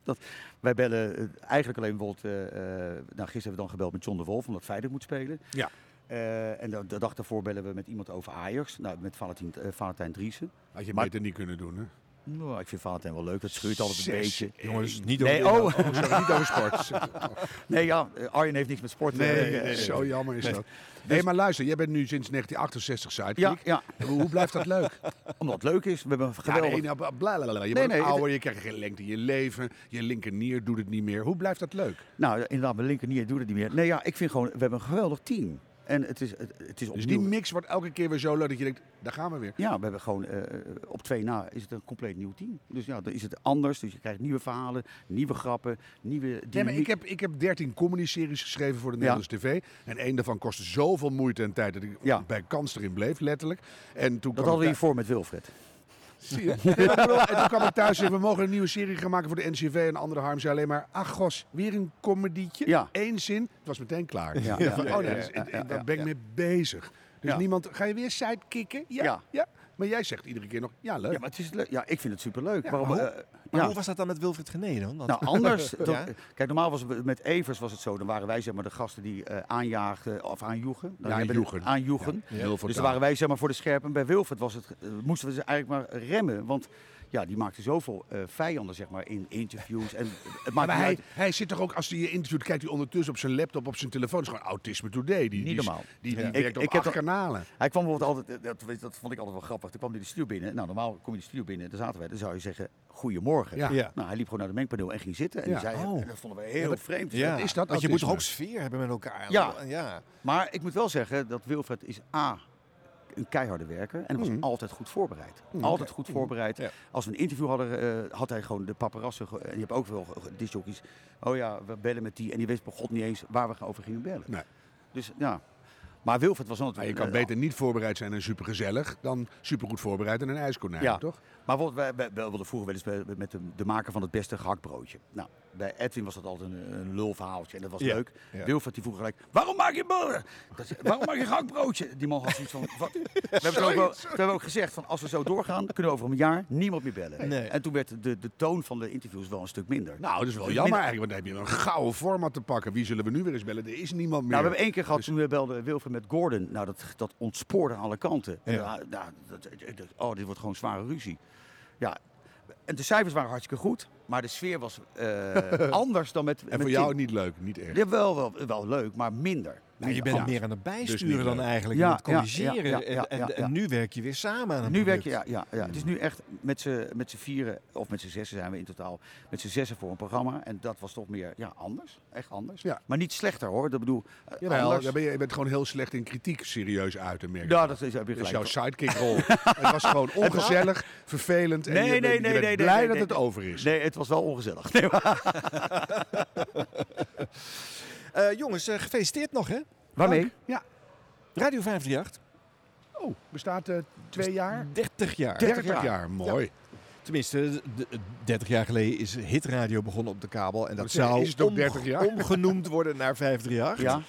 Speaker 3: dat, wij bellen eh, eigenlijk alleen bijvoorbeeld. eh, eh, nou, gisteren hebben we dan gebeld met John de Wolf, omdat Feyenoord moet spelen.
Speaker 2: Ja.
Speaker 3: Eh, en de, de dag daarvoor bellen we met iemand over Ajax. Nou, met Valentijn, eh, Valentijn Driessen.
Speaker 2: Had je beter niet kunnen doen, hè?
Speaker 3: Nou, ik vind Valentijn wel leuk. Dat scheurt altijd een
Speaker 2: Zes.
Speaker 3: beetje.
Speaker 2: Jongens, niet
Speaker 3: nee,
Speaker 2: over-
Speaker 3: oh.
Speaker 2: Oh, sorry, niet over sport.
Speaker 3: nee, ja, eh, Arjen heeft niks met sport. te
Speaker 2: Nee,
Speaker 3: maken. Eh,
Speaker 2: zo jammer is
Speaker 3: nee.
Speaker 2: dat. Nee, maar luister, jij bent nu sinds 1968 sidekick.
Speaker 3: Dus- Ja,
Speaker 2: Hoe, hoe blijft dat leuk?
Speaker 3: Omdat het leuk is. We hebben een
Speaker 2: Ja,
Speaker 3: geweldig...
Speaker 2: nee, nou, bla, bla, bla, bla.
Speaker 3: Nee,
Speaker 2: Je wordt
Speaker 3: nee,
Speaker 2: ouder, je krijgt geen lengte in je leven. Je linkernier doet het niet meer. Hoe blijft dat leuk?
Speaker 3: Nou, inderdaad, mijn linkernier doet het niet meer. Nee, ja, ik vind gewoon, we hebben een geweldig team. En het is, het, het is
Speaker 2: Dus
Speaker 3: opnieuw...
Speaker 2: die mix wordt elke keer weer zo leuk dat je denkt, daar gaan we weer.
Speaker 3: Ja, we hebben gewoon eh, op twee na is het een compleet nieuw team. Dus ja, dan is het anders. Dus je krijgt nieuwe verhalen, nieuwe grappen, nieuwe
Speaker 2: Nee, maar
Speaker 3: dynamiek.
Speaker 2: ik heb, ik heb 13 comedy-series geschreven voor de Nederlandse tv. En één daarvan kostte zoveel moeite en tijd dat ik bij kans erin bleef, letterlijk. En toen
Speaker 3: dat
Speaker 2: kwam
Speaker 3: hadden we
Speaker 2: ik
Speaker 3: hiervoor met Wilfred.
Speaker 2: Zie je? Ja, ik bedoel, en toen kwam ik thuis en zei, we mogen een nieuwe serie gaan maken voor de NCV. En andere Harm zei alleen maar, ach gos, weer een comedietje.
Speaker 3: Ja.
Speaker 2: Eén zin, het was meteen klaar.
Speaker 3: Ja,
Speaker 2: Ja,
Speaker 3: ja,
Speaker 2: van,
Speaker 3: ja,
Speaker 2: oh nee,
Speaker 3: ja,
Speaker 2: dus,
Speaker 3: ja,
Speaker 2: en- en
Speaker 3: ja,
Speaker 2: daar
Speaker 3: ja,
Speaker 2: ben ik
Speaker 3: ja.
Speaker 2: mee bezig. Dus
Speaker 3: Ja.
Speaker 2: niemand, ga je weer sidekicken? Ja, ja.
Speaker 3: Ja.
Speaker 2: Maar jij zegt iedere keer nog, ja leuk.
Speaker 3: Ja, maar het is leuk. Ja, ik vind het superleuk.
Speaker 2: Ja,
Speaker 3: Waarom,
Speaker 2: maar hoe-
Speaker 3: eh,
Speaker 1: Maar
Speaker 3: ja.
Speaker 1: hoe was dat dan met Wilfried Genee dan? Want-
Speaker 3: Nou, anders. dan-
Speaker 1: Ja?
Speaker 3: Kijk, normaal was het met Evers was het zo. Dan waren wij zeg maar de gasten die eh, aanjaagden of aanjoegen. Dan
Speaker 2: Ja,
Speaker 3: hebben we-
Speaker 2: joegen.
Speaker 3: aanjoegen.
Speaker 2: Ja,
Speaker 3: Dus
Speaker 2: heel vertaald.
Speaker 3: dan waren wij zeg maar voor de scherpen. Bij Wilfred was het, eh, moesten we ze eigenlijk maar remmen. Want ja, die maakte zoveel eh, vijanden zeg maar in interviews. En eh, het maakt
Speaker 2: Maar,
Speaker 3: niet
Speaker 2: hij,
Speaker 3: uit.
Speaker 2: hij zit toch ook, als hij je interviewt, kijkt hij ondertussen op zijn laptop, op zijn telefoon. Het is gewoon autisme today. Die, die,
Speaker 3: Niet normaal.
Speaker 2: Die, die
Speaker 3: Ja.
Speaker 2: werkt op
Speaker 3: heb
Speaker 2: acht
Speaker 3: dan-
Speaker 2: kanalen.
Speaker 3: Hij kwam bijvoorbeeld altijd, eh, dat, weet je, dat vond ik altijd wel grappig. Toen kwam hij de studio binnen. Nou, normaal kom je de studio binnen, daar zaten wij. Dan zou je zeggen, goedemorgen.
Speaker 2: Ja. Ja.
Speaker 3: Nou, hij liep gewoon naar de mengpaneel en ging zitten. En
Speaker 2: Ja.
Speaker 3: die zei,
Speaker 2: Oh.
Speaker 3: en dat vonden we heel
Speaker 2: Ja, maar-
Speaker 3: vreemd.
Speaker 2: Ja.
Speaker 3: Wat
Speaker 2: Is dat
Speaker 1: Want je moet toch ook
Speaker 2: autisme?
Speaker 1: sfeer hebben met elkaar? eh,
Speaker 3: Ja.
Speaker 1: ja.
Speaker 3: Maar ik moet wel zeggen dat Wilfred is A, een keiharde werker. En was altijd goed voorbereid.
Speaker 2: Mm,
Speaker 3: Altijd
Speaker 2: oké.
Speaker 3: goed voorbereid. Als we een interview hadden, eh, had hij gewoon de paparazzen. ge- En je hebt ook wel ge- discjockeys. Oh ja, we bellen met die. En die wist bij god niet eens waar we over gingen bellen.
Speaker 2: Nee.
Speaker 3: Dus ja. Maar Wilfred was
Speaker 2: Maar
Speaker 3: altijd...
Speaker 2: je kan
Speaker 3: eh,
Speaker 2: beter niet voorbereid zijn en supergezellig dan supergoed voorbereid en een ijskonijn, toch?
Speaker 3: Maar bijvoorbeeld, wij, wij, wij wilden vroeger wel eens bij- met de, de maker van het beste gehaktbroodje. Nou, bij Edwin was dat altijd een, een lulverhaaltje en dat was
Speaker 9: Ja,
Speaker 3: leuk.
Speaker 9: ja.
Speaker 3: Wilfred die vroeg gelijk, waarom maak je brood? Dat is- Waarom maak je gehaktbroodje? Die man had zoiets van, wat? We hebben, het ook, wel-
Speaker 9: Zoiets.
Speaker 3: we hebben ook gezegd, van, als we zo doorgaan, kunnen we over een jaar niemand meer bellen. En toen werd de, de toon van de interviews wel een stuk minder.
Speaker 2: Nou, dat is wel jammer eigenlijk, want dan heb je wel een gouden format te pakken. Wie zullen we nu weer eens bellen? Er is niemand meer. Dus-
Speaker 3: Nou, we hebben één keer gehad, toen we belden Wilfred met Gordon. Nou, dat, dat ontspoorde aan alle kanten. En
Speaker 2: Ja.
Speaker 3: daar- daar- dat, ik dacht, oh, dit wordt gewoon zware ruzie. Ja, en de cijfers waren hartstikke goed, maar de sfeer was eh, anders dan met
Speaker 2: En
Speaker 3: met
Speaker 2: voor jou
Speaker 3: Tim.
Speaker 2: niet leuk, niet echt.
Speaker 3: Ja, wel, wel, wel leuk, maar minder.
Speaker 1: Maar je bent
Speaker 3: Ja.
Speaker 1: meer aan het bijsturen
Speaker 3: Dus niet
Speaker 1: dan
Speaker 3: leuk.
Speaker 1: eigenlijk.
Speaker 3: Ja,
Speaker 1: Ja, het
Speaker 3: ja, ja,
Speaker 1: corrigeren.
Speaker 3: ja, ja,
Speaker 1: en,
Speaker 3: ja,
Speaker 1: en- en
Speaker 3: ja.
Speaker 1: nu werk je weer samen aan het
Speaker 3: Nu werk
Speaker 1: product.
Speaker 3: je, ja, ja, ja. Het is nu echt met z'n met z'n vieren, of met z'n zessen zijn we in totaal, met z'n zessen voor een programma. En dat was toch meer, ja, anders. Echt anders.
Speaker 2: Ja.
Speaker 3: Maar niet slechter hoor, dat bedoel eh,
Speaker 2: Jawel,
Speaker 3: anders.
Speaker 2: daar ben je, je bent gewoon heel slecht in kritiek serieus uit te merken.
Speaker 3: Ja, dat is- heb je
Speaker 2: Dat is jouw
Speaker 3: gelijk.
Speaker 2: sidekick-rol. het was gewoon
Speaker 3: Het was-
Speaker 2: ongezellig, vervelend en je, bent- je bent blij dat het over is.
Speaker 3: Nee, het was wel ongezellig. Nee,
Speaker 1: Eh, jongens, eh, gefeliciteerd nog, hè?
Speaker 3: Waarmee?
Speaker 1: Dank.
Speaker 2: Ja.
Speaker 1: Radio 538.
Speaker 2: Oh, bestaat eh, twee jaar?
Speaker 1: 30 jaar.
Speaker 2: 30 jaar, mooi.
Speaker 1: Ja. Tenminste, de- de- 30 jaar geleden is hitradio begonnen op de kabel. En dat
Speaker 2: Ik wou zeggen,
Speaker 1: zou
Speaker 2: is het ook
Speaker 1: omge-
Speaker 2: 30 jaar?
Speaker 1: omgenoemd worden naar 538.
Speaker 2: Ja.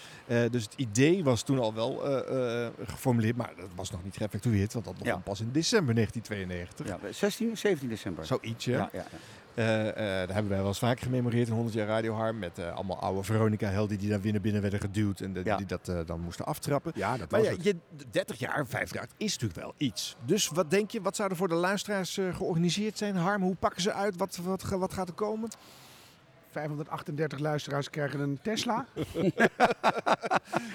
Speaker 1: Eh, dus het idee was toen al wel eh, eh, geformuleerd. Maar dat was nog niet geëffectueerd. Want dat begon pas in december 1992.
Speaker 3: Ja, 16 of 17 december.
Speaker 1: Zoiets, ja.
Speaker 3: Ja, ja, ja.
Speaker 1: Eh, eh, daar hebben wij wel eens vaak gememoreerd in 100 jaar Radio Harm. Met eh, allemaal oude Veronica-helden die daar binnen binnen werden geduwd. En de- die dat eh, dan moesten aftrappen.
Speaker 2: Ja, dat
Speaker 1: maar
Speaker 2: was
Speaker 1: ja,
Speaker 2: het.
Speaker 1: je, 30 jaar, 50 jaar is natuurlijk wel iets. Dus wat denk je, wat zou er voor de luisteraars eh, georganiseerd zijn? Harm, hoe pakken ze uit? Wat, wat, ga- wat gaat er komen?
Speaker 2: 538 luisteraars krijgen een Tesla.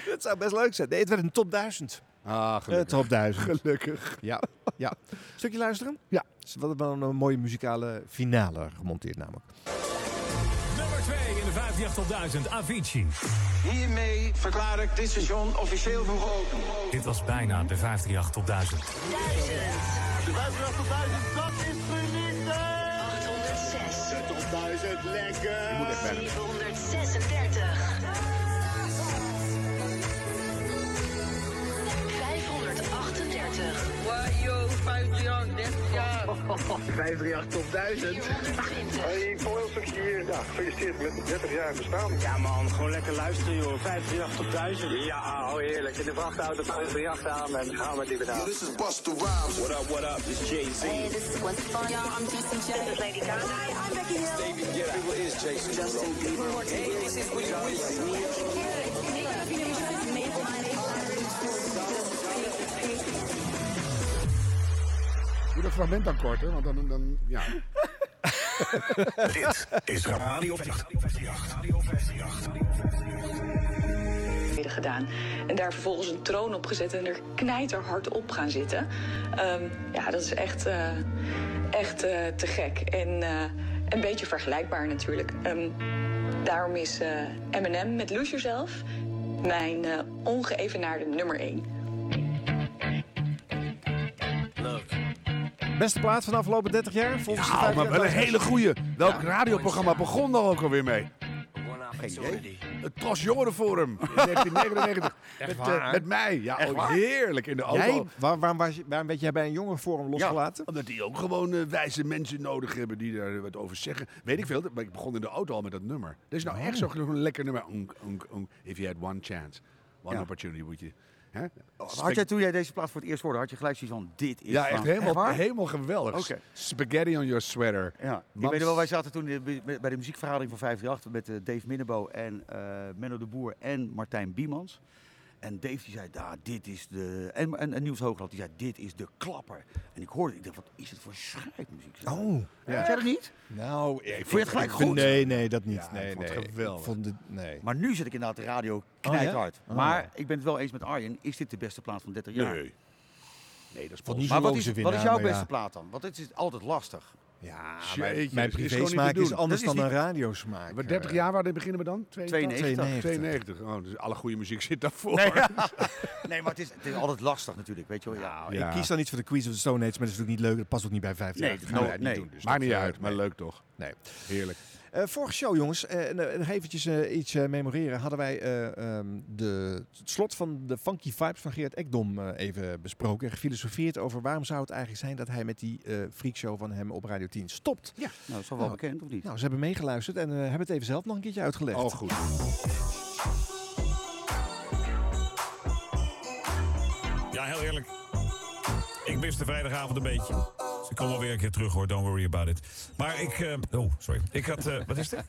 Speaker 1: dat zou best leuk zijn. Nee, het werd een top 1000.
Speaker 2: Ah,
Speaker 1: gelukkig. top 1000.
Speaker 2: Gelukkig.
Speaker 1: Ja, ja. Stukje luisteren?
Speaker 2: Ja.
Speaker 1: Dus wat wel een mooie muzikale finale gemonteerd namelijk.
Speaker 21: Nummer 2 in de 538 op 1000, Avicii.
Speaker 13: Hiermee verklaar ik dit station officieel voor geopend.
Speaker 21: Dit was bijna de 538 op 1000.
Speaker 13: De 580.000, dat is genieten! 806. 60.000, lekker! Je moet echt verder.
Speaker 22: 436. 538.
Speaker 13: Wajo, 538, 30 jaar! 538 tot 1000. Hey, veel verkeer. Ja, gefeliciteerd met het 30 jaar bestaan. Ja man, gewoon lekker luisteren joh. 538 tot 1000. Ja, oh heerlijk. In de vrachtauto 538 aan en gaan we die bedaan. This is Busta Rhymes. What up, what up, this is Jay-Z.
Speaker 22: This is what's fun. Y'all, I'm Justin J. This is Lady Gaga. I'm Becky Hill.
Speaker 2: Doe dat fragment dan korter, want dan... dan ja.
Speaker 13: Dit is Radio
Speaker 23: 538. gedaan. En daar vervolgens een troon op gezet en er knijterhard op gaan zitten. Ehm, ja, dat is echt, eh, echt eh, te gek. En eh, een beetje vergelijkbaar natuurlijk. Ehm, daarom is eh, Eminem met Lose Yourself mijn eh, ongeëvenaarde nummer 1.
Speaker 1: Beste plaat van de afgelopen 30 jaar? Volgens de
Speaker 2: Ja,
Speaker 1: 538.
Speaker 2: maar wel een hele goeie. Welk radioprogramma begon daar ook alweer mee? Geen idee. Het Tros Jongerenforum in 1999.
Speaker 1: Echt
Speaker 2: met, eh,
Speaker 1: waar?
Speaker 2: met mij. Ja,
Speaker 1: Echt
Speaker 2: ook
Speaker 1: waar?
Speaker 2: heerlijk in de auto.
Speaker 1: Jij, waar, waarom, was je- waarom werd jij bij een jongerenforum losgelaten?
Speaker 2: omdat die ook gewoon eh, wijze mensen nodig hebben die daar wat over zeggen. Weet ik veel, maar ik begon in de auto al met dat nummer. Dit is nou echt
Speaker 1: Oh.
Speaker 2: zo'n zo'n lekker nummer. Onk, onk, onk. If you had one chance, one
Speaker 3: Ja.
Speaker 2: opportunity, moet je... Hè?
Speaker 3: Had jij, toen jij deze plaats voor het eerst hoorde, had je gelijk zoiets van, dit is
Speaker 2: Ja,
Speaker 3: van-
Speaker 2: echt helemaal,
Speaker 3: waar?
Speaker 2: helemaal geweldig.
Speaker 3: Oké.
Speaker 2: Spaghetti on your sweater.
Speaker 3: Ja, ik
Speaker 2: Man,
Speaker 3: weet wel, wij zaten toen in de- bij de muziekvergadering van 538 met eh, Dave Minnebo en eh, Menno de Boer en Martijn Biemans. En Dave die zei, daar dit is de... En, en, en Niels Hoogland die zei, dit is de klapper. En ik hoorde, ik dacht, wat is het voor schrijfmuziek?
Speaker 1: Oh.
Speaker 3: Ja. Had jij dat niet?
Speaker 1: Nou, ik
Speaker 3: Vond je het gelijk
Speaker 1: ik ben-
Speaker 3: goed?
Speaker 1: Nee, nee, dat niet. nee,
Speaker 3: ik vond
Speaker 1: nee.
Speaker 3: het geweldig.
Speaker 1: Ik vond het, nee.
Speaker 3: Maar nu zit ik inderdaad de radio
Speaker 1: ja?
Speaker 3: knijthard.
Speaker 1: Oh,
Speaker 3: maar
Speaker 1: ja.
Speaker 3: ik ben het wel eens met Arjen, is dit de beste plaat van 30 jaar?
Speaker 2: Nee. Nee, dat is
Speaker 1: Wat niet
Speaker 3: maar
Speaker 1: zo'n
Speaker 3: wat is,
Speaker 1: logische
Speaker 3: wat is
Speaker 1: winnaar,
Speaker 3: jouw
Speaker 1: maar
Speaker 3: beste
Speaker 1: ja.
Speaker 3: plaat dan? Want het is altijd lastig.
Speaker 1: Ja,
Speaker 2: Jeetje,
Speaker 1: mijn,
Speaker 2: dat
Speaker 1: mijn
Speaker 2: is
Speaker 1: privé
Speaker 2: gewoon niet te
Speaker 1: smaak
Speaker 2: doen.
Speaker 1: is anders
Speaker 2: Dat
Speaker 1: dan
Speaker 2: is niet-
Speaker 1: een radiosmaak. eh.
Speaker 2: Wat 30 jaar, waar beginnen we dan?
Speaker 3: 92.
Speaker 2: 92. Oh, dus alle goede muziek zit daarvoor.
Speaker 3: Nee, ja. nee, maar het is, het is altijd lastig natuurlijk, weet je wel. Ja.
Speaker 1: Oh, Ik kies dan iets voor de Queens of the Stone Age, maar dat is natuurlijk niet leuk. Dat past ook niet bij 50
Speaker 3: Nee,
Speaker 1: jaar.
Speaker 3: dat gaan wij niet doen,
Speaker 2: Maakt niet uit, maar leuk toch?
Speaker 1: Nee.
Speaker 2: Heerlijk.
Speaker 1: Eh, vorige show, jongens, eh, en, eh, nog eventjes eh, iets eh, memoreren. Hadden wij eh, ehm, de, het slot van de Funky Vibes van Geert Ekdom eh, even besproken. En gefilosofeerd over waarom zou het eigenlijk zijn dat hij met die eh, freakshow van hem op Radio 10 stopt. Ja,
Speaker 3: nou, dat is wel wel bekend, of niet?
Speaker 1: Nou, ze hebben meegeluisterd en eh, hebben het even zelf nog een keertje uitgelegd.
Speaker 2: Oh, goed.
Speaker 4: Ja, heel eerlijk. Ik mis de vrijdagavond een beetje. Dus ik kom wel weer een keer terug hoor, don't worry about it. Maar ik... eh, oh, sorry. Ik had... eh, wat is dit?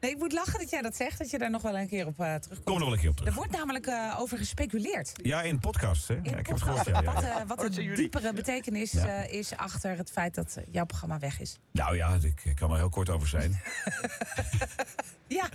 Speaker 5: Nee, ik moet lachen dat jij dat zegt, dat je daar nog wel een keer op eh, terugkomt.
Speaker 4: Kom er wel een keer op terug.
Speaker 5: Er wordt namelijk eh, over gespeculeerd.
Speaker 4: Ja, in podcast, hè? Ja, ik heb het gehoord, ja. ja,
Speaker 5: Wat,
Speaker 4: ja.
Speaker 5: eh, wat de diepere betekenis eh, is achter het feit dat eh, jouw programma weg is.
Speaker 4: Nou ja, ik, ik kan er heel kort over zijn.
Speaker 5: Ja.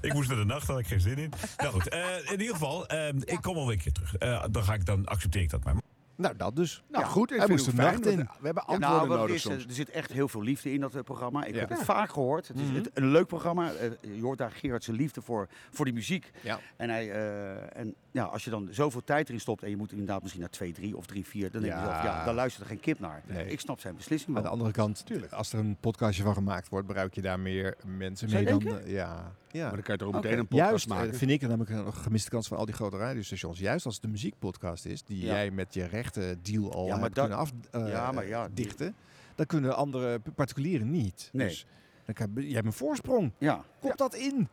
Speaker 4: ik moest naar de nacht, daar had ik geen zin in. Nou goed, eh, in ieder geval, eh, ik kom wel weer een keer terug. Eh, dan, ga ik, dan accepteer ik dat maar.
Speaker 1: Nou, dat dus.
Speaker 2: Nou, goed, ik
Speaker 1: hij
Speaker 2: vind
Speaker 1: moest
Speaker 2: het
Speaker 1: de
Speaker 2: fijn,
Speaker 1: nacht
Speaker 2: want
Speaker 1: in.
Speaker 2: We hebben
Speaker 3: Ja,
Speaker 2: antwoorden
Speaker 3: nou, wat het
Speaker 2: nodig
Speaker 3: is,
Speaker 2: soms.
Speaker 3: eh, er zit echt heel veel liefde in dat eh, programma. Ik
Speaker 2: Ja.
Speaker 3: heb het
Speaker 2: Ja.
Speaker 3: vaak gehoord. Het is
Speaker 1: Mhm.
Speaker 3: het- een leuk programma. Eh, Je hoort daar Gerard zijn liefde voor, voor die muziek. En, hij, eh, en ja, als je dan zoveel tijd erin stopt en je moet inderdaad misschien naar 2, 3 of 3, 4, dan denk je
Speaker 1: Ja.
Speaker 3: zelf, ja, daar luistert er geen kip naar. Ik snap zijn beslissing
Speaker 1: Aan
Speaker 3: wel.
Speaker 1: de andere kant, als er een podcastje van gemaakt wordt, bereik je daar meer mensen
Speaker 3: Zou
Speaker 1: mee
Speaker 3: je
Speaker 1: dan.
Speaker 3: denken?
Speaker 1: eh, ja, ja.
Speaker 2: Maar dan kan je toch ook
Speaker 1: Oké.
Speaker 2: meteen een podcast
Speaker 1: Juist, eh,
Speaker 2: maken?
Speaker 1: vind ik namelijk een gemiste kans van al die grote radiostations. Juist als het een muziekpodcast is, die
Speaker 3: Ja.
Speaker 1: jij met je rechten deal al
Speaker 3: Ja, maar
Speaker 1: hebt
Speaker 3: dat-
Speaker 1: kunnen afdichten,
Speaker 3: Ja, maar ja.
Speaker 1: dan kunnen andere p- particulieren niet.
Speaker 3: Nee.
Speaker 1: Dus dan kan, je hebt een voorsprong.
Speaker 3: Ja.
Speaker 1: Kop dat in.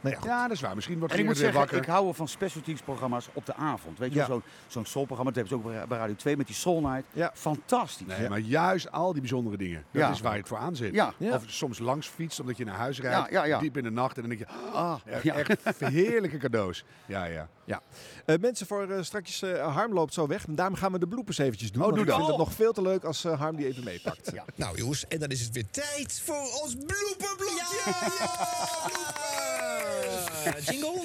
Speaker 1: Nou ja,
Speaker 2: dat is waar. Misschien wordt
Speaker 3: En ik
Speaker 2: Gerard
Speaker 3: moet
Speaker 2: weer
Speaker 3: zeggen,
Speaker 2: wakker.
Speaker 3: ik hou wel van specialties programma's op de avond. Weet je,
Speaker 2: Ja.
Speaker 3: wel, zo'n zo'n soulprogramma, dat hebben ze ook bij Radio 2 met die Soul Night. Fantastisch.
Speaker 2: Nee, maar juist al die bijzondere dingen. Dat
Speaker 3: Ja.
Speaker 2: is waar je het voor aan zit.
Speaker 3: Ja.
Speaker 2: Of soms langs fietst omdat je naar huis rijdt.
Speaker 3: Ja, ja, ja.
Speaker 2: Diep in de nacht. En dan denk je, ah,
Speaker 1: ja.
Speaker 2: echt heerlijke cadeaus. Ja, ja.
Speaker 1: Ja. Eh, mensen, voor eh, straks eh, Harm loopt zo weg. Daarom gaan we de bloepers eventjes doen.
Speaker 2: Oh,
Speaker 1: want
Speaker 2: doe
Speaker 1: ik
Speaker 2: dat.
Speaker 1: vind het nog veel te leuk als eh, Harm die even meepakt.
Speaker 9: Nou jongens, en dan is het weer tijd voor ons blooperblokje.
Speaker 10: Jingle.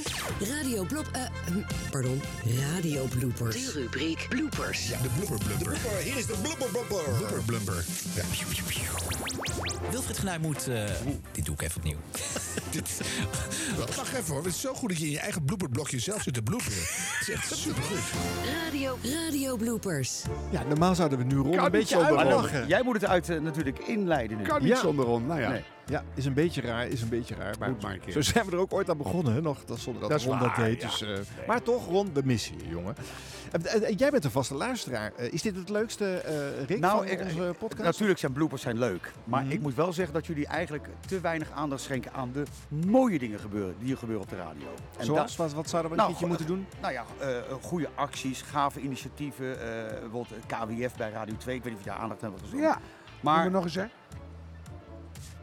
Speaker 10: Radio blop... eh, hm, pardon. Radio bloopers.
Speaker 9: De
Speaker 10: rubriek bloopers.
Speaker 9: de blooper blumper.
Speaker 10: Hier is de blooper
Speaker 9: Blooper blumper. Wilfried Genuij moet... eh, dit doe ik even opnieuw.
Speaker 8: Dit- Wacht even hoor, het is zo goed dat je in je eigen blooperblokje zelf zit te bloeperen. Het is echt supergoed.
Speaker 10: Radio, radio bloopers.
Speaker 1: Ja, normaal zouden we nu rond
Speaker 10: Kan
Speaker 1: een beetje
Speaker 10: niet
Speaker 1: uitlachen.
Speaker 10: zonder Ron.
Speaker 3: Jij moet het uit eh, natuurlijk inleiden nu.
Speaker 1: Kan niet zonder
Speaker 2: Ron, nou ja.
Speaker 1: Ja, is een beetje raar, is een beetje raar. Maar,
Speaker 2: Moet maar een keer.
Speaker 1: zo zijn we er ook ooit aan begonnen, hè, nog, dat zonder dat,
Speaker 2: Dat is
Speaker 1: Ron dat
Speaker 2: waar,
Speaker 1: deed.
Speaker 2: ja.
Speaker 1: Dus, eh,
Speaker 2: Nee.
Speaker 1: Maar toch, Ron, we missen je, jongen. Eh, eh, eh, jij bent een vaste luisteraar. Eh, is dit het leukste, eh Rick,
Speaker 3: Nou,
Speaker 1: van
Speaker 3: ik-
Speaker 1: onze podcast?
Speaker 3: Natuurlijk zijn bloopers zijn leuk. Maar
Speaker 2: Mhm.
Speaker 3: ik moet wel zeggen dat jullie eigenlijk te weinig aandacht schenken aan de mooie dingen gebeuren, die er gebeuren op de radio. En
Speaker 1: Zoals?
Speaker 3: daar-
Speaker 1: Wat, wat zouden we een
Speaker 3: Nou,
Speaker 1: keertje moeten doen?
Speaker 3: Nou ja, eh, eh, goede acties, gave initiatieven. eh bijvoorbeeld KWF bij Radio 2. Ik weet niet of je daar aandacht aan hebt gezien.
Speaker 2: Ja.
Speaker 3: Maar
Speaker 2: nog eens, hè?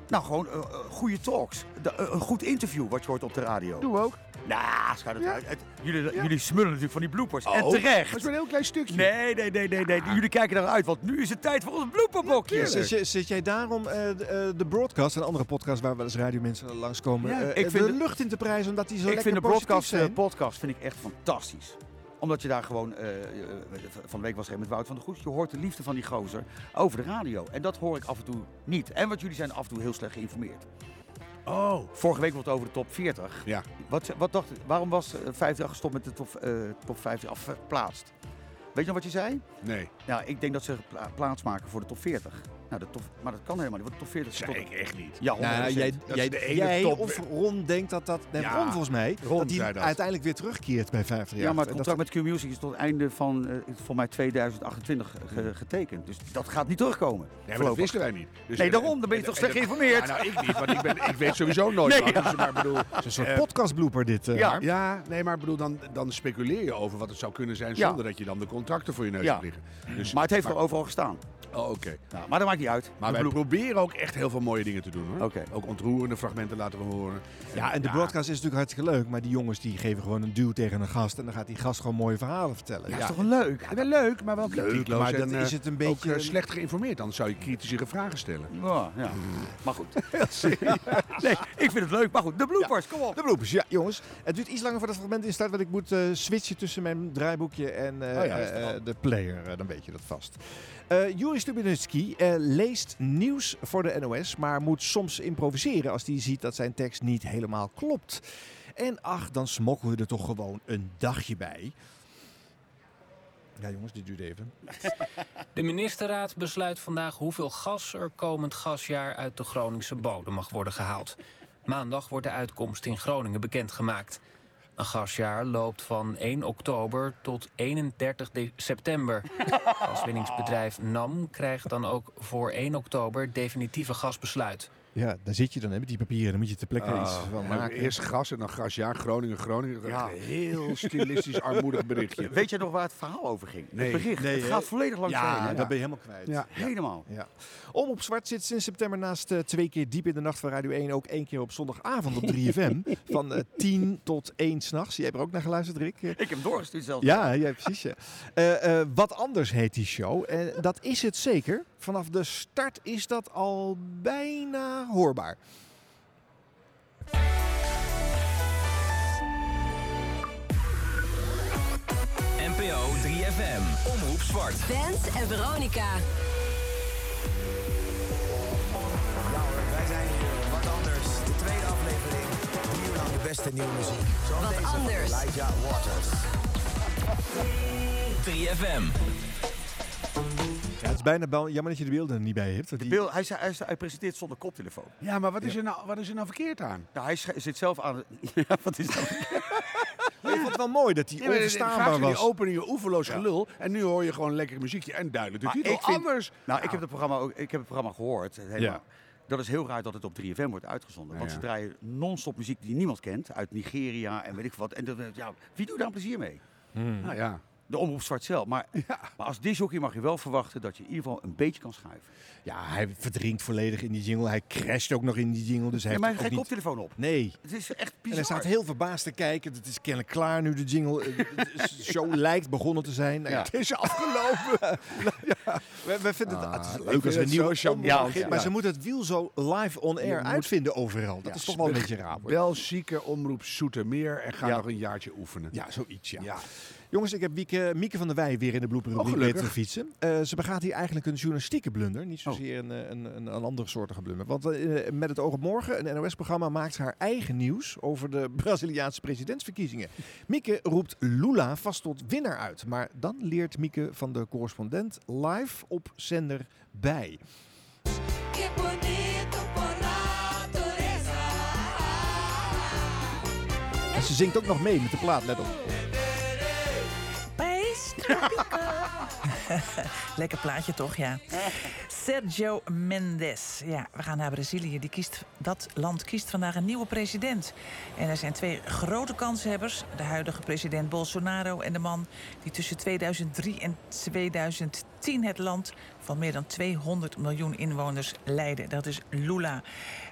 Speaker 3: Nou, gewoon eh, eh, goede talks. Da- eh, een goed interview wat je hoort op de radio.
Speaker 2: Doe ook.
Speaker 3: Nou, schijt het uit. Het- jullie, jullie smullen natuurlijk van die bloopers. en
Speaker 2: Oh,
Speaker 3: terecht.
Speaker 2: maar het is maar een heel klein stukje. Ah.
Speaker 3: Nee, nee, nee, nee. nee. Jullie kijken naar uit, want nu is het tijd voor ons blooperblokje.
Speaker 1: Zit, je- zit jij daarom eh, de- eh, de broadcast, een andere podcast waar wel eens radiomensen langskomen,
Speaker 3: Ja,
Speaker 1: eh,
Speaker 3: ik
Speaker 1: de
Speaker 3: vind het-
Speaker 1: lucht in te prijzen omdat die zo
Speaker 3: ik
Speaker 1: lekker
Speaker 3: vind de
Speaker 1: positief
Speaker 3: broadcast, eh,
Speaker 1: zijn?
Speaker 3: podcast vind ik echt fantastisch. Omdat je daar gewoon, eh, eh, van de week was er een met Wout van der Goes, je hoort de liefde van die gozer over de radio. En dat hoor ik af en toe niet. En wat jullie zijn af en toe heel slecht geïnformeerd.
Speaker 2: Oh.
Speaker 3: Vorige week was het over de top 40.
Speaker 2: Ja.
Speaker 3: Wat, wat dacht, waarom was eh, 50 gestopt met de top, eh top 50 of verplaatst? Weet je nog wat je zei?
Speaker 2: Nee.
Speaker 3: Nou, ik denk dat ze pla- plaats maken voor de top 40. Nou, de top, maar dat kan helemaal niet, want de top 40 is
Speaker 2: Zei
Speaker 3: tot-
Speaker 2: ik echt niet.
Speaker 3: Ja,
Speaker 1: Nou, jij, jij, jij of Ron denkt dat dat... Nee,
Speaker 3: Ja,
Speaker 1: Ron volgens mij,
Speaker 3: Ron
Speaker 1: dat die
Speaker 3: zei dat.
Speaker 1: uiteindelijk weer terugkeert bij 50 jaar.
Speaker 3: Ja, maar het contract met Q-Music is tot het einde van, eh, volgens mij, 2028 ge- getekend. Dus dat gaat niet terugkomen.
Speaker 2: Hmm. Nee, maar dat
Speaker 3: voorlopig.
Speaker 2: wisten wij niet. Dus-
Speaker 3: nee, daarom, dan ben je
Speaker 2: en-
Speaker 3: toch
Speaker 2: en-
Speaker 3: slecht
Speaker 2: en-
Speaker 3: geïnformeerd.
Speaker 2: Ja, nou, ik niet, want ik, ben, ik weet sowieso nooit
Speaker 3: Nee,
Speaker 2: wat.
Speaker 3: ja.
Speaker 2: Dus, maar bedoel,
Speaker 1: Het is een soort
Speaker 2: eh,
Speaker 1: podcastblooper dit, eh,
Speaker 2: ja.
Speaker 1: Harm.
Speaker 2: ja, nee, maar bedoel, dan, dan speculeer je over wat het zou kunnen zijn
Speaker 3: Ja.
Speaker 2: zonder dat je dan de contracten voor je neus
Speaker 3: Ja.
Speaker 2: hebt liggen. Dus,
Speaker 3: Maar het heeft er overal gestaan.
Speaker 2: Oh, oké.
Speaker 3: Nou, maar dat maakt niet uit.
Speaker 2: Maar
Speaker 3: De
Speaker 2: wij
Speaker 3: bloep-
Speaker 2: proberen ook echt heel veel mooie dingen te doen. Hoor.
Speaker 3: Oké.
Speaker 2: Ook ontroerende fragmenten laten we horen.
Speaker 1: Ja, en de broadcast is natuurlijk hartstikke leuk, maar die jongens die geven gewoon een duw tegen een gast en dan gaat die gast gewoon mooie verhalen vertellen.
Speaker 2: Ja, is toch
Speaker 3: leuk?
Speaker 2: Ja, wel leuk, maar wel
Speaker 1: Leuk,
Speaker 2: kritiekloos
Speaker 1: maar
Speaker 2: en,
Speaker 1: dan
Speaker 2: eh,
Speaker 1: is het een
Speaker 2: ook,
Speaker 1: beetje-
Speaker 2: eh, slecht geïnformeerd, dan zou je kritischere vragen stellen.
Speaker 3: Ja, ja. Maar goed. nee, ik vind het leuk, maar goed. De bloopers, kom op.
Speaker 1: De bloepers, ja jongens. Het duurt iets langer voordat het fragment in staat, want ik moet eh, switchen tussen mijn draaiboekje en eh,
Speaker 2: Oh ja,
Speaker 1: eh,
Speaker 2: is het wel.
Speaker 1: eh, de player. Eh, dan weet je dat vast. Eh Juri Stubinitsky eh, leest nieuws voor de NOS, maar moet soms improviseren als hij ziet dat zijn tekst niet helemaal klopt. En ach, dan smokkelen we er toch gewoon een dagje bij. Ja, jongens, dit duurt even.
Speaker 7: De ministerraad besluit vandaag hoeveel gas er komend gasjaar uit de Groningse bodem mag worden gehaald. Maandag wordt de uitkomst in Groningen bekendgemaakt. Een gasjaar loopt van 1 oktober tot 31 de- september. Gaswinningsbedrijf NAM krijgt dan ook voor 1 oktober definitieve gasbesluit.
Speaker 1: Ja, daar zit je dan hè, met die papieren. Dan moet je ter plekke
Speaker 2: Oh,
Speaker 1: iets
Speaker 2: en
Speaker 1: van
Speaker 2: dan
Speaker 1: maken.
Speaker 2: Eerst gas en dan gas. Ja, Groningen, Groningen. Een heel stilistisch armoedig berichtje.
Speaker 3: Weet je nog waar het verhaal over ging?
Speaker 2: Nee.
Speaker 3: Het bericht.
Speaker 2: Nee,
Speaker 3: het
Speaker 2: hè?
Speaker 3: gaat volledig langs
Speaker 1: Ja,
Speaker 3: heen, hè?
Speaker 1: dat ben je helemaal kwijt.
Speaker 3: Ja,
Speaker 1: Ja.
Speaker 3: helemaal.
Speaker 1: Ja. Om op Zwart zit sinds september naast eh, twee keer diep in de nacht van Radio 1 ook één keer op zondagavond op 3FM. van eh, 10 tot 1 s'nachts. Jij hebt er ook naar geluisterd, Rick. Eh,
Speaker 3: Ik heb hem doorgestuurd zelfs.
Speaker 1: Ja, ja, precies. Ja. Eh, eh, wat anders heet die show. Eh, dat is het zeker. Vanaf de start is dat al bijna hoorbaar.
Speaker 12: NPO 3FM. Omroep Zwart.
Speaker 10: Bent en Veronica.
Speaker 12: Wij zijn hier. Wat anders. De tweede aflevering. Drie uur lang de beste nieuwe muziek. Zoals
Speaker 10: Wat
Speaker 12: deze van
Speaker 10: anders.
Speaker 12: Elijah Waters. 3FM.
Speaker 1: Ja, het is bijna bel- jammer dat je de beelden er niet bij hebt. want die-
Speaker 3: Bill, hij, zei- hij, zei- hij presenteert zonder koptelefoon.
Speaker 2: Ja, maar wat is, Er nou, wat is er nou verkeerd aan?
Speaker 3: Nou, hij sch- zit zelf aan... het- Ja, wat is dat?
Speaker 1: Maar ik vond het wel mooi dat die
Speaker 2: Nee, maar vaak
Speaker 1: onverstaanbaar
Speaker 2: zijn
Speaker 1: was.
Speaker 2: die openingen oeverloos gelul. En nu hoor je gewoon lekker muziekje en duidelijk de
Speaker 3: Maar
Speaker 2: titel.
Speaker 3: ik vind-
Speaker 2: Anders.
Speaker 3: Nou, ik heb, het programma ook, ik heb het programma gehoord. het hele-
Speaker 2: Ja.
Speaker 3: Dat is heel raar dat het op 3FM wordt uitgezonden. Want
Speaker 2: Ja.
Speaker 3: ze draaien non-stop muziek die niemand kent. Uit Nigeria en weet ik wat. En dat, ja, wie doet daar plezier mee? Hmm.
Speaker 2: Nou ja.
Speaker 3: De omroep zwart zelf. Maar, maar als disjockey mag je wel verwachten dat je in ieder geval een beetje kan schuiven.
Speaker 1: Ja, hij verdrinkt volledig in die jingle. Hij crasht ook nog in die jingle. Dus hij
Speaker 3: Ja, maar
Speaker 1: heeft
Speaker 3: hij
Speaker 1: ook
Speaker 3: heeft
Speaker 1: niet...
Speaker 3: geen koptelefoon op.
Speaker 1: Nee.
Speaker 3: Het is echt
Speaker 1: En hij
Speaker 3: bizar.
Speaker 1: staat heel verbaasd te kijken. Het is kennelijk klaar nu, de jingle. Eh, De show lijkt begonnen te zijn. Nou ja, Nou
Speaker 2: Het is afgelopen.
Speaker 1: we, we vinden het, Ah, het is
Speaker 2: ik
Speaker 1: leuk
Speaker 2: vind
Speaker 1: als er een
Speaker 2: het
Speaker 1: nieuwe
Speaker 2: zo
Speaker 1: show
Speaker 2: charmant.
Speaker 1: begint,
Speaker 2: Ja.
Speaker 1: Maar ze moeten het wiel zo live on-air
Speaker 2: moet-
Speaker 1: uitvinden overal. Dat is toch wel een beetje raar. hoor.
Speaker 2: Bel zieke omroep Soetermeer en ga nog een jaartje oefenen.
Speaker 1: Ja, zoiets, ja. Jongens, ik heb Wieke, Mieke van der Wij weer in de
Speaker 2: Oh,
Speaker 1: blooperrubriek
Speaker 2: gelukkig.
Speaker 1: weten te fietsen. Eh, ze begaat hier eigenlijk een journalistieke blunder. Niet
Speaker 2: Oh.
Speaker 1: zozeer een, eh, een, een, een andere soortige blunder. Want eh, met het oog op morgen, een NOS-programma maakt haar eigen nieuws over de Braziliaanse presidentsverkiezingen. Mieke roept Lula vast tot winnaar uit. Maar dan leert Mieke van de correspondent live op zender bij.
Speaker 22: Que bonito por naturaleza.
Speaker 1: En ze zingt ook nog mee met de plaat, let op.
Speaker 14: Pace Lekker plaatje toch, ja. Sergio Mendes. Ja, we gaan naar Brazilië. Die kiest, dat land kiest vandaag een nieuwe president. En er zijn twee grote kanshebbers. De huidige president Bolsonaro en de man die tussen 2003 en 2010 het land van meer dan 200 miljoen inwoners leidde. Dat is Lula.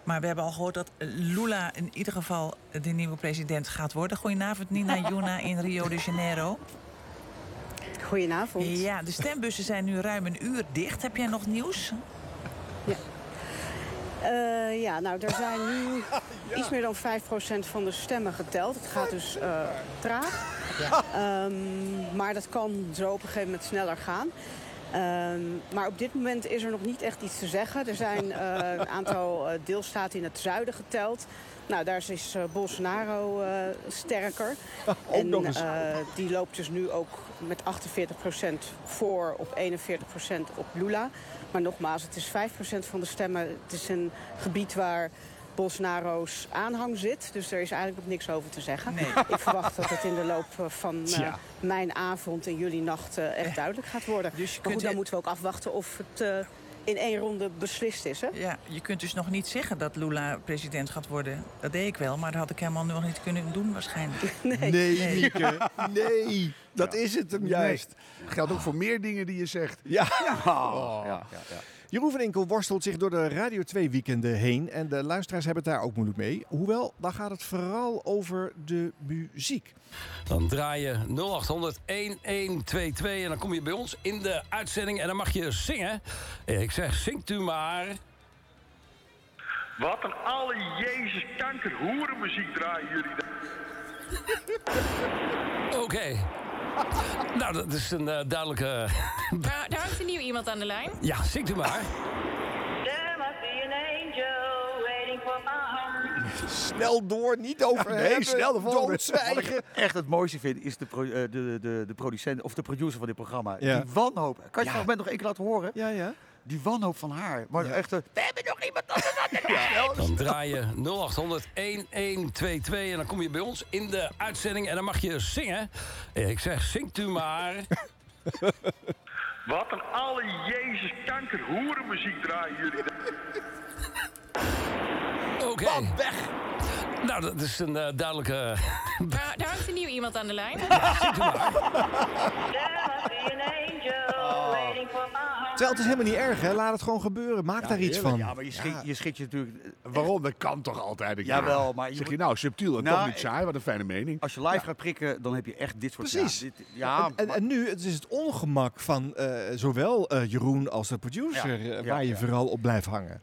Speaker 14: Maar we hebben al gehoord dat Lula in ieder geval de nieuwe president gaat worden. Goedenavond Nina Juna in Rio de Janeiro.
Speaker 24: Goedenavond.
Speaker 14: Ja, de stembussen zijn nu ruim een uur dicht. Heb jij nog nieuws?
Speaker 24: Eh, ja, nou, er zijn nu iets meer dan 5% van de stemmen geteld. Het gaat dus eh, traag. Ehm, maar dat kan zo op een gegeven moment sneller gaan. Ehm, maar op dit moment is er nog niet echt iets te zeggen. Er zijn eh, een aantal eh, deelstaten in het zuiden geteld. Nou, daar is eh, Bolsonaro eh, sterker. en
Speaker 25: nog eens.
Speaker 24: eh, die loopt dus nu ook met 48% voor op 41% op Lula. Maar nogmaals, het is 5% van de stemmen. Het is een gebied waar Bolsonaro's aanhang zit. Dus er is eigenlijk nog niks over te zeggen. Ik verwacht dat het in de loop eh, van eh,
Speaker 14: Tja. dus
Speaker 24: mijn avond en jullie nacht eh, echt duidelijk gaat worden. maar goed, dan moeten we ook afwachten of het eh, in één ronde beslist is. Hè?
Speaker 14: Ja, je kunt dus nog niet zeggen dat Lula president gaat worden. Dat deed ik wel, maar dat had ik helemaal nog niet kunnen doen waarschijnlijk.
Speaker 24: Nee,
Speaker 1: Mieke. Nee, dat is het hem juist.
Speaker 2: Geldt ook voor meer dingen die je zegt.
Speaker 1: Ja.
Speaker 2: Oh.
Speaker 1: Jeroen van Inkel worstelt zich door de Radio 2 weekenden heen. En de luisteraars hebben het daar ook moeilijk mee. Hoewel, dan gaat het vooral over de muziek.
Speaker 26: Dan draai je 0800 1122 en dan kom je bij ons in de uitzending en dan mag je zingen. Eh, Ik zeg, zingt u maar.
Speaker 27: Wat een alle Jezus kankerhoerenmuziek draaien jullie daar.
Speaker 26: Oké. nou, dat is een eh, duidelijke...
Speaker 28: Daar, daar hangt een nieuw iemand aan de lijn.
Speaker 26: ja, zingt u maar.
Speaker 28: There must be an angel waiting for my heart.
Speaker 1: Snel door, niet over
Speaker 3: Nee,
Speaker 1: hebben,
Speaker 3: snel de volgende.
Speaker 1: doodzwijgen.
Speaker 3: echt het mooiste vind, is de, pro- eh, de, de, de producent of de producer van dit programma.
Speaker 1: Ja.
Speaker 3: Die wanhoop. Kan
Speaker 1: Ja.
Speaker 3: je het moment nog één keer laten horen?
Speaker 1: Ja, ja.
Speaker 3: Die wanhoop van haar. Maar echt, eh, we hebben nog iemand anders aan de
Speaker 26: Dan draai je 0800 1122 en dan kom je bij ons in de uitzending en dan mag je zingen. Eh, Ik zeg, zingt u maar.
Speaker 27: Wat een alle Jezus kankerhoerenmuziek draaien jullie daar.
Speaker 26: Oké. weg! Nou, dat is een eh, duidelijke...
Speaker 28: Daar, daar hangt een nieuw iemand aan de lijn.
Speaker 1: Terwijl het is helemaal niet erg, hè? Laat het gewoon gebeuren. Maak daar iets van.
Speaker 3: Ja, maar je schiet je, schiet je natuurlijk... eh,
Speaker 2: Waarom? Dat kan toch altijd? Ik-
Speaker 3: Jawel, maar...
Speaker 2: Zeg je nou, subtiel en
Speaker 3: Nou,
Speaker 2: toch niet saai? Wat een fijne mening.
Speaker 3: Als je live gaat prikken, dan heb je echt dit soort...
Speaker 1: Precies.
Speaker 3: Ja, dit- ja,
Speaker 1: en, en, en nu het is het ongemak van eh, zowel eh, Jeroen als de producer
Speaker 3: Ja,
Speaker 1: eh,
Speaker 3: ja,
Speaker 1: waar je
Speaker 3: ja.
Speaker 1: vooral op blijft hangen.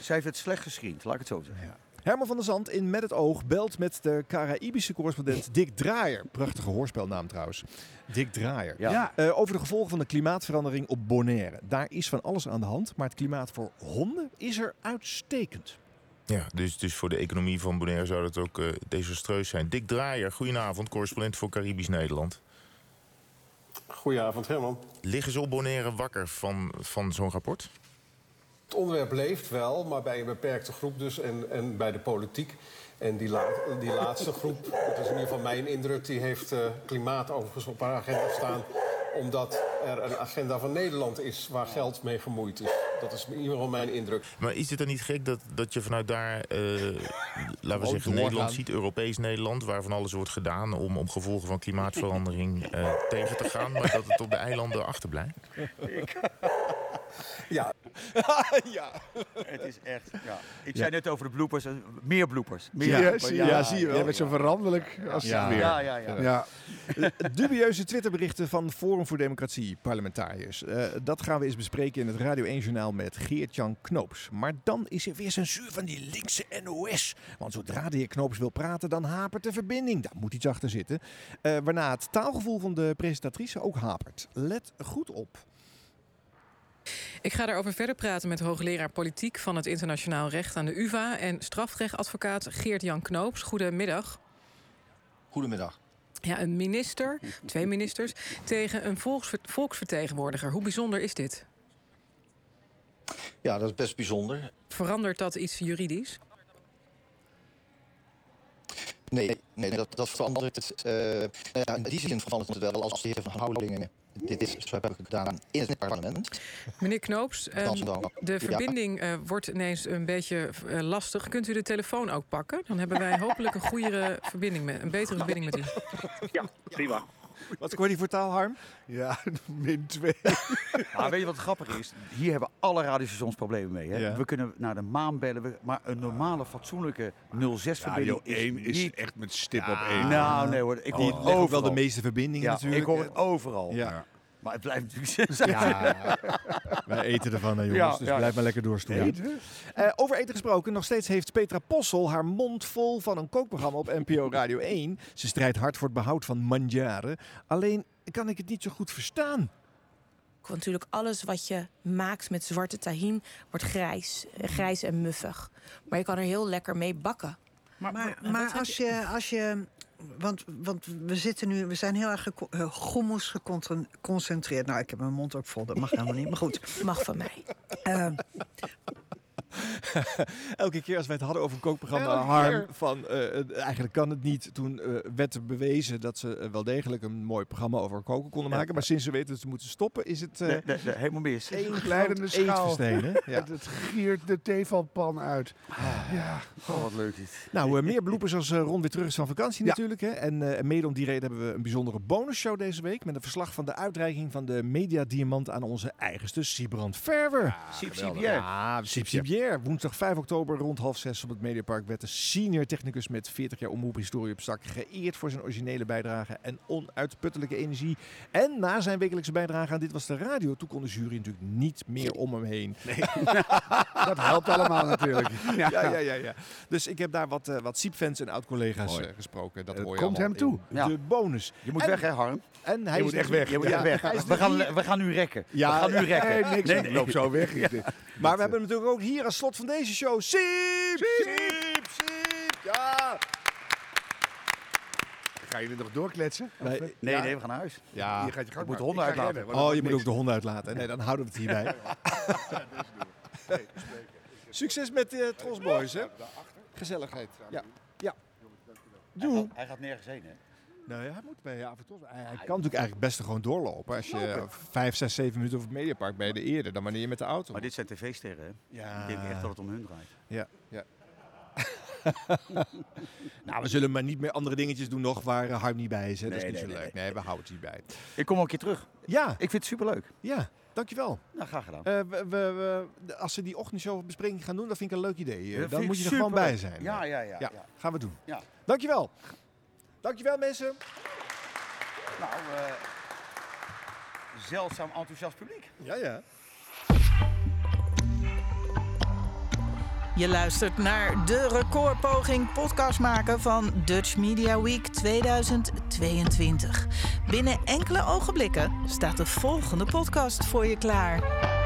Speaker 3: Zij heeft het slecht gescreend, laat ik het zo zeggen.
Speaker 1: Herman van der Zand in Met het Oog belt met de Caraïbische correspondent Dick Draaier. Prachtige hoorspelnaam trouwens. Dick Draaier.
Speaker 3: Ja. Ja.
Speaker 1: Eh, over de gevolgen van de klimaatverandering op Bonaire. Daar is van alles aan de hand, maar het klimaat voor honden is er uitstekend.
Speaker 6: Ja, dus, dus voor de economie van Bonaire zou dat ook eh, desastreus zijn. Dick Draaier, goedenavond, correspondent voor Caribisch Nederland.
Speaker 11: Goedenavond, Herman.
Speaker 6: Liggen ze op Bonaire wakker van, van zo'n rapport?
Speaker 11: Het onderwerp leeft wel, maar bij een beperkte groep dus en, en bij de politiek. En die, la- die laatste groep, dat is in ieder geval mijn indruk... die heeft eh, klimaat overigens op haar agenda staan... omdat er een agenda van Nederland is waar geld mee gemoeid is. Dat is in ieder geval mijn indruk.
Speaker 6: Maar is het dan niet gek dat, dat je vanuit daar, eh, laten we zeggen,
Speaker 11: doorgaan.
Speaker 6: Nederland ziet, Europees Nederland, waar van alles wordt gedaan om, om gevolgen van klimaatverandering eh, tegen te gaan, maar dat het op de eilanden achterblijft?
Speaker 11: Ja.
Speaker 1: ja.
Speaker 3: Het is echt... Ja. Ik zei net over de bloepers. Meer bloepers. Meer
Speaker 2: Ja,
Speaker 3: bloepers,
Speaker 2: zie je- ja, zie je wel. Jij bent zo veranderlijk als het weer.
Speaker 3: Ja, ja, ja.
Speaker 2: Ja.
Speaker 1: Dubieuze Twitterberichten van Forum voor Democratie, parlementariërs. Eh, dat gaan we eens bespreken in het Radio 1-journaal met Geert-Jan Knoops. Maar dan is er weer censuur van die linkse NOS. Want zodra de heer Knoops wil praten, dan hapert de verbinding. Daar moet iets achter zitten. Eh, waarna het taalgevoel van de presentatrice ook hapert. Let goed op.
Speaker 16: Ik ga daarover verder praten met hoogleraar politiek van het internationaal recht aan de UvA en strafrechtadvocaat Geert-Jan Knoops. Goedemiddag.
Speaker 17: Goedemiddag.
Speaker 16: Ja, een minister, twee ministers, tegen een volksver- volksvertegenwoordiger. Hoe bijzonder is dit?
Speaker 17: Ja, dat is best bijzonder.
Speaker 16: Verandert dat iets juridisch?
Speaker 17: Nee, nee dat, dat verandert het. eh, nou ja, in die zin verandert het wel als de heer Van Houwelingen dit is zo hebben gedaan in het parlement.
Speaker 16: Meneer Knoops, ehm,
Speaker 17: Dan- dan-
Speaker 16: de
Speaker 17: ja.
Speaker 16: verbinding eh, wordt ineens een beetje eh, lastig. Kunt u de telefoon ook pakken? Dan hebben wij hopelijk een goede verbinding, met, een betere verbinding met u.
Speaker 1: Ja, prima. Wat scoort hij voor taal, Harm?
Speaker 2: Ja, min 2.
Speaker 3: Maar weet je wat grappig is? Hier hebben alle radiostations problemen mee. Hè? We kunnen naar de maan bellen, we- maar een normale, fatsoenlijke 06-verbinding
Speaker 2: Radio 1
Speaker 3: is,
Speaker 2: is
Speaker 3: niet...
Speaker 2: echt met stip op 1.
Speaker 3: Nou, nee hoor. Ik
Speaker 2: Oh.
Speaker 3: hoor
Speaker 2: Die
Speaker 3: het
Speaker 2: leggen ook
Speaker 3: overal.
Speaker 2: wel de meeste verbindingen
Speaker 3: ja,
Speaker 2: natuurlijk,
Speaker 3: ik hoor
Speaker 2: hè?
Speaker 3: het overal.
Speaker 2: Ja.
Speaker 3: Maar het blijft natuurlijk...
Speaker 1: Ja, wij eten ervan, hè, jongens, dus blijf maar lekker doorstoeien.
Speaker 3: Eten?
Speaker 1: Eh, over eten gesproken, nog steeds heeft Petra Possel haar mond vol van een kookprogramma op NPO Radio 1. Ze strijdt hard voor het behoud van manjaren. Alleen kan ik het niet zo goed verstaan.
Speaker 18: Want natuurlijk alles wat je maakt met zwarte tahin wordt grijs. eh, Grijs en muffig. Maar je kan er heel lekker mee bakken.
Speaker 19: Maar, maar,
Speaker 18: wat heb
Speaker 19: als, je, als je. Want, want we zitten nu, we zijn heel erg gecon- eh, gommels geconcentreerd. geconcentreerd. Nou, ik heb mijn mond ook vol, dat mag helemaal niet. Maar goed. Ehm,
Speaker 18: Mag van mij.
Speaker 1: Elke keer als wij het hadden over een kookprogramma,
Speaker 18: Elke
Speaker 1: Harm,
Speaker 18: keer.
Speaker 1: van eh, eh, eigenlijk kan het niet. Toen eh, werd bewezen dat ze eh, wel degelijk een mooi programma over koken konden
Speaker 3: Ja.
Speaker 1: maken. Maar sinds ze weten dat ze moeten stoppen, is het... eh,
Speaker 3: Nee, nee, nee, helemaal mis.
Speaker 1: één groot
Speaker 2: Glijdende schaal.
Speaker 1: eendverstenen, ja.
Speaker 2: Het, het giert de tevalpan uit. Ja.
Speaker 3: Oh, wat leuk dit.
Speaker 1: Nou, eh, meer bloepers als eh, Ron weer terug is van vakantie
Speaker 2: Ja.
Speaker 1: natuurlijk. Hè? En eh, en mede om die reden hebben we een bijzondere bonusshow deze week... met een verslag van de uitreiking van de Media Diamant aan onze eigenste Sibrand Verwer.
Speaker 3: Siep,
Speaker 1: Ja,
Speaker 3: siep, ja.
Speaker 1: Siep Sibier. Woensdag 5 oktober rond half zes op het Mediapark... werd de senior technicus met 40 jaar omroephistorie op zak... geëerd voor zijn originele bijdrage en onuitputtelijke energie. En na zijn wekelijkse bijdrage aan Dit Was De Radio... toen kon de jury natuurlijk niet meer om hem heen.
Speaker 2: Dat helpt allemaal natuurlijk.
Speaker 1: Ja, ja, ja, ja, Dus ik heb daar wat, eh wat Siep-fans en oud-collega's eh, gesproken. Dat hoor je
Speaker 2: komt
Speaker 1: allemaal
Speaker 2: hem toe.
Speaker 1: in De bonus.
Speaker 3: Je moet
Speaker 1: En-
Speaker 3: weg, hè, Harm?
Speaker 1: En hij
Speaker 3: je
Speaker 1: is
Speaker 3: moet echt
Speaker 1: natuurlijk-
Speaker 3: weg. Je moet
Speaker 1: Ja,
Speaker 3: echt weg.
Speaker 1: hij is
Speaker 3: We gaan,
Speaker 1: natuurlijk-
Speaker 3: we gaan nu rekken.
Speaker 1: Ja,
Speaker 3: we gaan nu
Speaker 1: nee,
Speaker 3: rekken.
Speaker 1: nee, niks. Ik loop zo weg.
Speaker 3: Ja.
Speaker 1: Maar we hebben natuurlijk ook hier als slot van deze show Siep! Siep! Siep!
Speaker 2: Ga je er nog doorkletsen?
Speaker 3: Nee,
Speaker 2: Of, eh?
Speaker 3: nee,
Speaker 2: Ja.
Speaker 3: nee, we gaan naar huis.
Speaker 2: Ja. Je gaat je gang
Speaker 3: Ik moet de
Speaker 2: maar.
Speaker 3: honden
Speaker 2: Ik ga
Speaker 3: uitlaten.
Speaker 2: rennen, want
Speaker 1: Oh, je moet ook de honden uitlaten. Nee, dan houden we het hierbij. Succes met eh Tros Boys, hè? Gezelligheid. Ja. ja. Doe.
Speaker 3: Hij gaat nergens heen, hè?
Speaker 1: Nou ja, hij moet bij Avatros. Hij, hij kan natuurlijk eigenlijk best gewoon doorlopen. Als je eh, vijf, zes, zeven minuten over het Mediapark ben je er eerder dan wanneer je met de auto.
Speaker 3: Maar dit zijn tv-sterren, hè?
Speaker 1: Ja.
Speaker 3: Ik denk echt dat het om hun draait.
Speaker 1: Ja, ja. nou, we zullen maar niet meer andere dingetjes doen nog waar eh, Harm niet bij is. Hè? dat is
Speaker 3: Nee,
Speaker 1: niet
Speaker 3: nee,
Speaker 1: zo
Speaker 3: nee,
Speaker 1: leuk. Nee, we houden het hierbij.
Speaker 3: Ik kom ook een keer terug.
Speaker 1: Ja. Ik
Speaker 3: vind het superleuk.
Speaker 1: Ja, dankjewel.
Speaker 3: Nou, graag gedaan.
Speaker 1: Eh, we, we, we- de- als ze die ochtendshow bespreking gaan doen, dat vind ik een leuk idee. Eh,
Speaker 3: Ja, vind
Speaker 1: dan
Speaker 3: ik
Speaker 1: moet je er gewoon
Speaker 3: superleuk.
Speaker 1: bij zijn.
Speaker 3: Ja,
Speaker 1: Eh,
Speaker 3: ja, ja, ja.
Speaker 1: Gaan we doen.
Speaker 3: Ja.
Speaker 1: Dankjewel. Dankjewel mensen.
Speaker 3: Nou, eh, zeldzaam enthousiast publiek.
Speaker 1: Ja, ja.
Speaker 13: Je luistert naar de recordpoging podcast maken van Dutch Media Week 2022. Binnen enkele ogenblikken staat de volgende podcast voor je klaar.